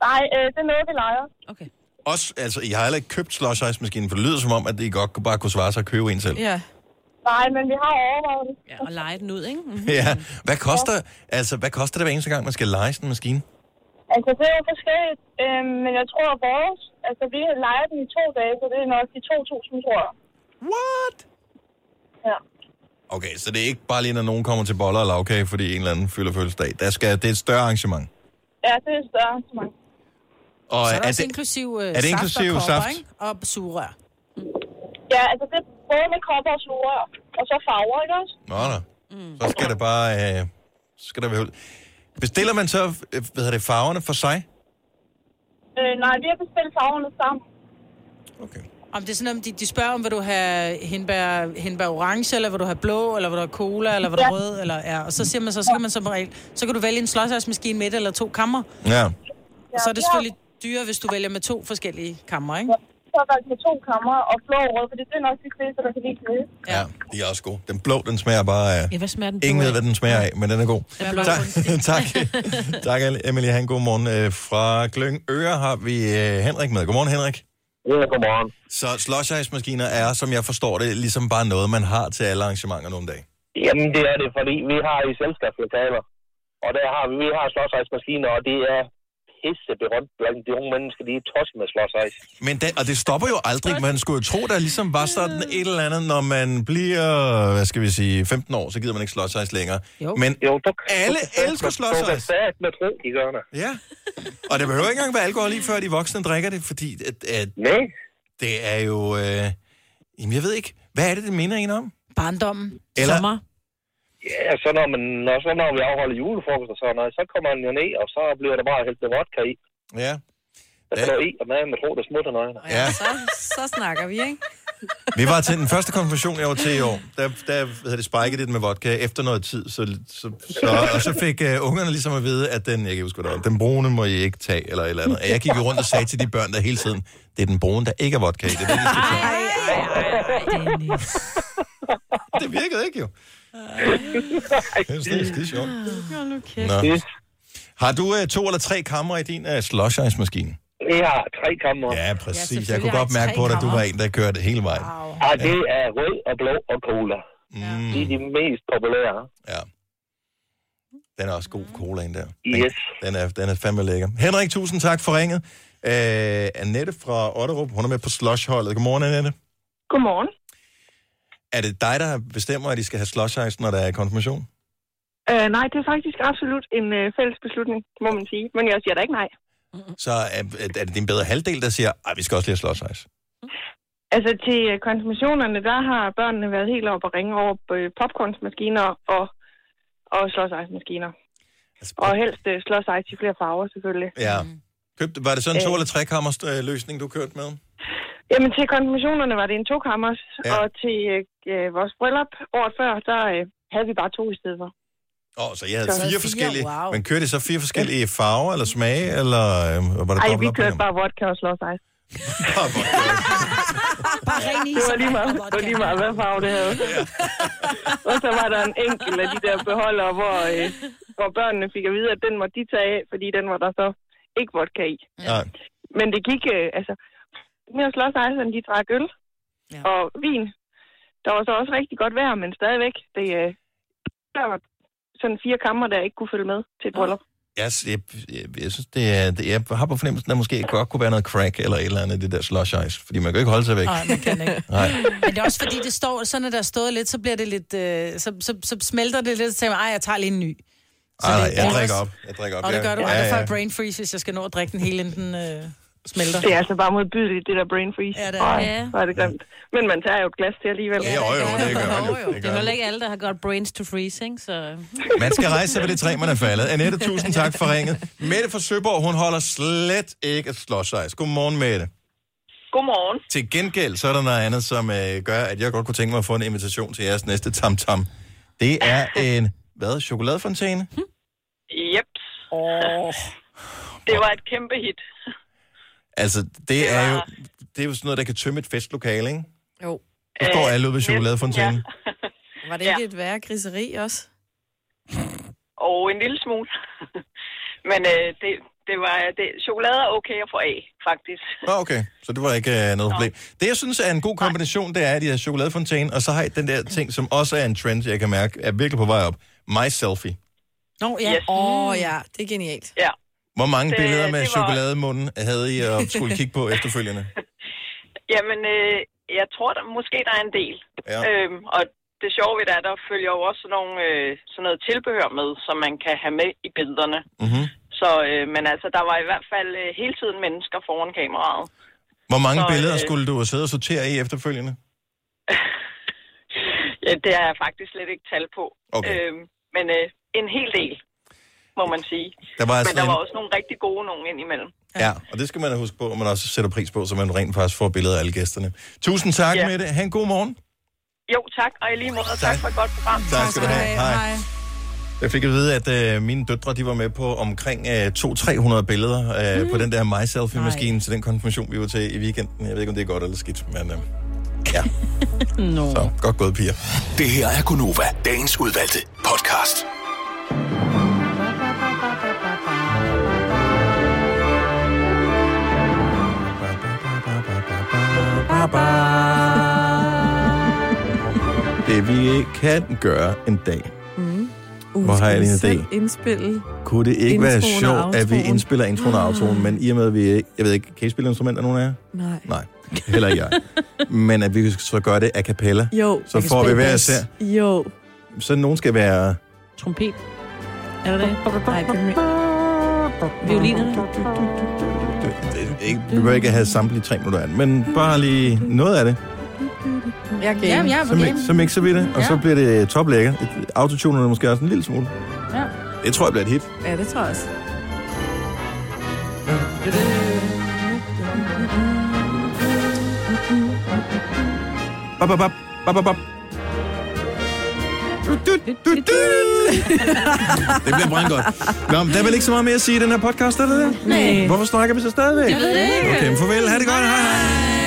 Speaker 17: Nej, øh, det er noget, vi leger.
Speaker 3: Okay.
Speaker 1: Også, altså, I har heller ikke købt slush ice maskinen, for det lyder som om, at I godt kunne- bare kunne svare sig at købe en selv.
Speaker 17: Ja. Nej, men vi har overvejet det.
Speaker 3: Ja, og lege den ud, ikke? Mm-hmm.
Speaker 1: Ja, hvad koster, altså, hvad koster det hver eneste gang, man skal lege sådan en maskine?
Speaker 17: Altså, det er jo forskelligt, øh, men jeg tror, at vores... Altså, vi leger den i to dage, så det er nok de 2.000, tror jeg.
Speaker 1: What?
Speaker 17: Ja.
Speaker 1: Okay, så det er ikke bare lige, når nogen kommer til boller og lavkage, fordi en eller anden fylder fødselsdag. Der skal, det er et større arrangement.
Speaker 17: Ja, det er større end så mange.
Speaker 1: Og
Speaker 4: så er, der
Speaker 1: er,
Speaker 4: også
Speaker 1: det,
Speaker 4: inklusiv øh,
Speaker 1: er det inklusiv
Speaker 4: saft og kopper,
Speaker 1: saft?
Speaker 4: Ikke? og sugerør.
Speaker 17: Ja, altså, det er både med kopper og sluger, og så farver, ikke også?
Speaker 1: nå, nå.
Speaker 4: Mm.
Speaker 1: Så skal det bare... Øh, så skal der være hul. Bestiller man så øh, hvad hedder det, farverne for sig?
Speaker 17: Øh, nej, vi har bestilt farverne sammen.
Speaker 4: Om det er sådan, om de, de spørger om, vil du have hindbær, hindbær orange, eller vil du have blå, eller vil du have cola, eller vil du
Speaker 17: Ja.
Speaker 4: have rød, eller ja. Og så siger man så, så kan man som regel, så kan du vælge en slåsejsmaskine med et eller to kammer.
Speaker 1: Ja.
Speaker 4: Og så er det
Speaker 17: Ja.
Speaker 4: selvfølgelig dyrere, hvis du vælger med to forskellige kammer, ikke?
Speaker 17: Så er der med to kammer og blå og rød, for det er nok de fleste, der kan lide det.
Speaker 1: Ja. De er også gode. Den blå, den smager bare af...
Speaker 17: Ja, hvad smager den blå
Speaker 1: Ingen ved,
Speaker 17: af?
Speaker 1: hvad den smager af, men den er god.
Speaker 17: Den er blå.
Speaker 1: tak, tak, Emily. Han god morgen. Øh, Fra Glyngøre har vi øh, Henrik med. Godmorgen, Henrik.
Speaker 18: Ja, godmorgen.
Speaker 1: Så slush ice maskiner er, som jeg forstår det, ligesom bare noget, man har til alle arrangementer nogle dage.
Speaker 18: Jamen, det er det, fordi vi har i selskabslokaler, og der har vi, vi har slåsejsmaskiner, og det er pisseberømt blandt de unge mennesker, de er tosset med slåsejs.
Speaker 1: Men det, og det stopper jo aldrig. Man skulle jo tro, der ligesom var sådan et eller andet, når man bliver, hvad skal vi sige, 15 år, så gider man ikke slush ice længere.
Speaker 18: Jo.
Speaker 1: Men
Speaker 18: jo, du,
Speaker 1: alle elsker
Speaker 18: Du kan
Speaker 1: slush ice.
Speaker 18: sat med tro, de gør det.
Speaker 1: Ja. Og det behøver ikke engang være alkohol i, før de voksne drikker det, fordi at, at
Speaker 18: Nej.
Speaker 1: det er jo... Øh, jamen, jeg ved ikke. Hvad er det, det minder en om?
Speaker 4: Barndommen.
Speaker 1: Eller-
Speaker 4: Sommer.
Speaker 18: Ja, så når, man, når, så når vi afholder julefrokost og sådan noget, så kommer han jo ned, og så bliver der bare hældt med vodka i.
Speaker 1: Ja.
Speaker 18: Altså, Der slår i, og man med tro, der smutter nøglerne.
Speaker 1: Ja.
Speaker 5: Så, så snakker vi, ikke?
Speaker 1: Vi var til den første konfirmation, jeg var til i år. Der, der havde det spiket lidt med vodka efter noget tid. Så, så, så, og så fik uh, ungerne ligesom at vide, at den, jeg kan ikke huske, hvad det var, den brune må I ikke tage, eller et eller andet. Og jeg gik jo rundt og sagde til de børn der hele tiden, det er den brune, der ikke er vodka i. Det, er det, de skal tage. det virkede ikke jo. Det er skide sjovt. Nå. Har du uh, to eller tre kammer i din uh, slush ice maskine
Speaker 18: Vi har tre kammer.
Speaker 1: Ja, præcis. jeg kunne godt mærke på dig, at du var en, der kørte hele vejen.
Speaker 18: Ja, det er rød og blå og cola. Mm. De er de mest populære.
Speaker 1: Den er også god, colaen der.
Speaker 18: Yes.
Speaker 1: Den er, den er fandme lækker. Henrik, tusind tak for ringet. Øh, Annette fra Otterup, hun er med på slushholdet. Godmorgen, Annette.
Speaker 17: Godmorgen.
Speaker 1: Er det dig, der bestemmer, at de skal have slush ice, når der er konfirmation?
Speaker 17: Uh, nej, det er faktisk absolut en uh, fælles beslutning, må man sige. Men jeg siger da ikke nej.
Speaker 1: Så er, er det din bedre halvdel, der siger, at vi skal også lige have slush ice?
Speaker 17: Altså til øh, konfirmationerne, der har børnene været helt oppe og ringe over øh, popcornsmaskiner og, og slåsejsmaskiner.
Speaker 1: Altså,
Speaker 17: og helst øh, slåsejs i flere farver, selvfølgelig.
Speaker 1: Ja. Købte, var det sådan en to-
Speaker 17: Øh.
Speaker 1: eller trekammers øh, løsning, du kørte med?
Speaker 17: Jamen til konfirmationerne var det en tokammers,
Speaker 1: Ja.
Speaker 17: ja. og til øh, øh, vores bryllup året før, der øh, havde vi bare to i stedet for.
Speaker 1: Åh, oh, så jeg havde
Speaker 17: Så
Speaker 1: fire,
Speaker 17: fire,
Speaker 1: forskellige.
Speaker 17: wow.
Speaker 1: Men kørte I så fire forskellige farver eller smage, eller øh, var der
Speaker 17: Ej,
Speaker 1: dobbelt
Speaker 17: vi
Speaker 1: op Ah, på
Speaker 17: kørte
Speaker 1: dem?
Speaker 17: bare vodka og slåsejs.
Speaker 3: Bare ren
Speaker 17: Det var lige meget, det var lige meget hvad farve det havde. og så var der en enkelt af de der beholdere, hvor, øh, hvor børnene fik at vide, at den måtte de tage af, fordi den var der så ikke vodka i.
Speaker 1: Nej.
Speaker 17: Men det gik, øh, altså, mere slåsejserne, de drak øl ja. og vin. Der var så også rigtig godt vejr, men stadigvæk, det, øh, der var sådan fire kammer, der ikke kunne følge med til et bryllup.
Speaker 1: Jeg, jeg, jeg, jeg synes, det er, det, jeg har på fornemmelsen, at der måske godt kunne være noget crack eller et eller andet i det der slush ice, fordi man kan jo ikke holde sig væk.
Speaker 4: Nej, man kan ikke.
Speaker 1: Nej.
Speaker 4: Men det er også fordi, det står, så når der er stået lidt, så bliver det lidt, øh, så, så, så smelter det lidt, så tænker jeg, ej, jeg tager lige en ny. Så
Speaker 1: Ej,
Speaker 4: det er
Speaker 1: nej, jeg
Speaker 4: Boris.
Speaker 1: drikker op. Jeg drikker op.
Speaker 4: Og det
Speaker 1: Jeg-
Speaker 4: gør du,
Speaker 1: ja,
Speaker 4: og der
Speaker 1: ja.
Speaker 4: får jeg brain freeze, hvis jeg skal nå at drikke den hele, inden den øh, smelter.
Speaker 17: Det er altså bare modbydeligt, det der brain freeze.
Speaker 4: Ja, det er
Speaker 17: Ej,
Speaker 4: det.
Speaker 17: hvor er det grimt. Men man tager jo et glas til alligevel.
Speaker 1: Ja, jo, jo, det gør man.
Speaker 3: Det er heller ikke alle, der har godt brains to freeze, ikke? Så...
Speaker 1: Man skal rejse sig ved det træ, man er faldet. Annette, tusind tak for ringet. Mette fra Søborg, hun holder slet ikke af slush ice. Godmorgen, Mette.
Speaker 19: Godmorgen.
Speaker 1: Til gengæld, så er der noget andet, som øh, gør, at jeg godt kunne tænke mig at få en invitation til jeres næste tam-tam. Det er en, hvad, chokoladefontæne?
Speaker 19: Hmm? Jep. Oh. Det var et kæmpe hit.
Speaker 1: Altså, det er jo, det er jo sådan noget, der kan tømme et festlokale, ikke?
Speaker 5: Jo.
Speaker 1: Der
Speaker 19: Øh,
Speaker 1: står alle ude ved chokoladefontænen.
Speaker 5: Var det ikke ja. et værre griseri også?
Speaker 19: Og en lille smule. Men øh, det, det var det, chokolade er okay at få af, faktisk.
Speaker 1: Nå, okay. Så det var ikke øh, noget problem. Det, jeg synes er en god kombination, det er, at de har chokoladefontæne, og så har I den der ting, som også er en trend, jeg kan mærke, er virkelig på vej op. My selfie.
Speaker 4: Nå, ja.
Speaker 5: Yes. Åh, ja. Det er genialt.
Speaker 19: Ja.
Speaker 1: Hvor mange
Speaker 19: Det-
Speaker 1: det, billeder
Speaker 19: det
Speaker 1: med
Speaker 19: var-
Speaker 1: chokolademunden havde I at skulle kigge på efterfølgende?
Speaker 19: Jamen, øh, jeg tror, der, måske der er en del.
Speaker 1: Ja.
Speaker 19: Øhm, og det sjove ved det er, der følger jo også sådan, nogle, øh, sådan noget tilbehør med, som man kan have med i billederne.
Speaker 1: Mm-hmm.
Speaker 19: Så, øh, men altså, der var i hvert fald øh, hele tiden mennesker foran kameraet.
Speaker 1: Hvor mange
Speaker 19: Så,
Speaker 1: så, billeder
Speaker 19: øh,
Speaker 1: skulle du sidde og sortere i efterfølgende?
Speaker 19: Ja, det har jeg faktisk slet ikke tal på.
Speaker 1: Okay.
Speaker 19: Øhm, men øh, en hel del, må man sige.
Speaker 1: Der var altså
Speaker 19: men der var
Speaker 1: en-
Speaker 19: også nogle rigtig gode nogen indimellem.
Speaker 1: Ja. ja, og det skal man huske på, og man også sætter pris på, så man rent faktisk får billeder af alle gæsterne. Tusind tak, ja. Mette. Ha' en god morgen.
Speaker 19: Jo, tak. Og i lige måde, tak, tak for et godt program.
Speaker 1: Tak skal du have. Hej. Jeg fik at vide, at øh, mine døtre de var med på omkring øh, 200-300 billeder øh, mm. på den der My Selfie-maskine til den konfirmation, vi var til i weekenden. Jeg ved ikke, om det er godt eller skidt, men øh, ja.
Speaker 4: no.
Speaker 1: Så godt gået, piger.
Speaker 7: Det her er Gunova, dagens udvalgte podcast.
Speaker 1: Det vi kan gøre en dag.
Speaker 5: Mm.
Speaker 1: Hvor har jeg lige en idé?
Speaker 5: Indspille.
Speaker 1: Kunne det ikke være
Speaker 5: Introen og
Speaker 1: sjovt, at vi
Speaker 5: outroen.
Speaker 1: indspiller introen og outroen, men i og med, at vi, ikke- jeg ved ikke, kan I spille instrumenter, nogen af jer?
Speaker 5: Nej.
Speaker 1: Nej, heller ikke jeg. Men at vi så gør det a cappella.
Speaker 5: Jo.
Speaker 1: Så får vi hver især.
Speaker 5: Jo.
Speaker 1: Så nogen skal være...
Speaker 3: Trompet. Er det det? Nej, det er Violiner.
Speaker 1: Ikke, vi behøver ikke have samtlige tre minutter af den, men bare lige noget af det.
Speaker 4: Jeg er Jamen, jeg er på
Speaker 1: Så, mi- så mixer vi det, og ja. så bliver det toplækker. Et- Autotuner er måske også en lille smule.
Speaker 20: Ja.
Speaker 1: Det tror jeg bliver et hit.
Speaker 20: ja, det tror jeg også.
Speaker 1: Bop, bop, bop, bop, bop, bop. Det bliver brandgodt. Nå, men der er vel ikke så meget mere at sige i den her podcast, er der det?
Speaker 10: Nej.
Speaker 1: Hvorfor snakker vi så stadigvæk?
Speaker 10: Jeg ved det ikke.
Speaker 1: Okay, men farvel. Ha' det godt. Hej, hej.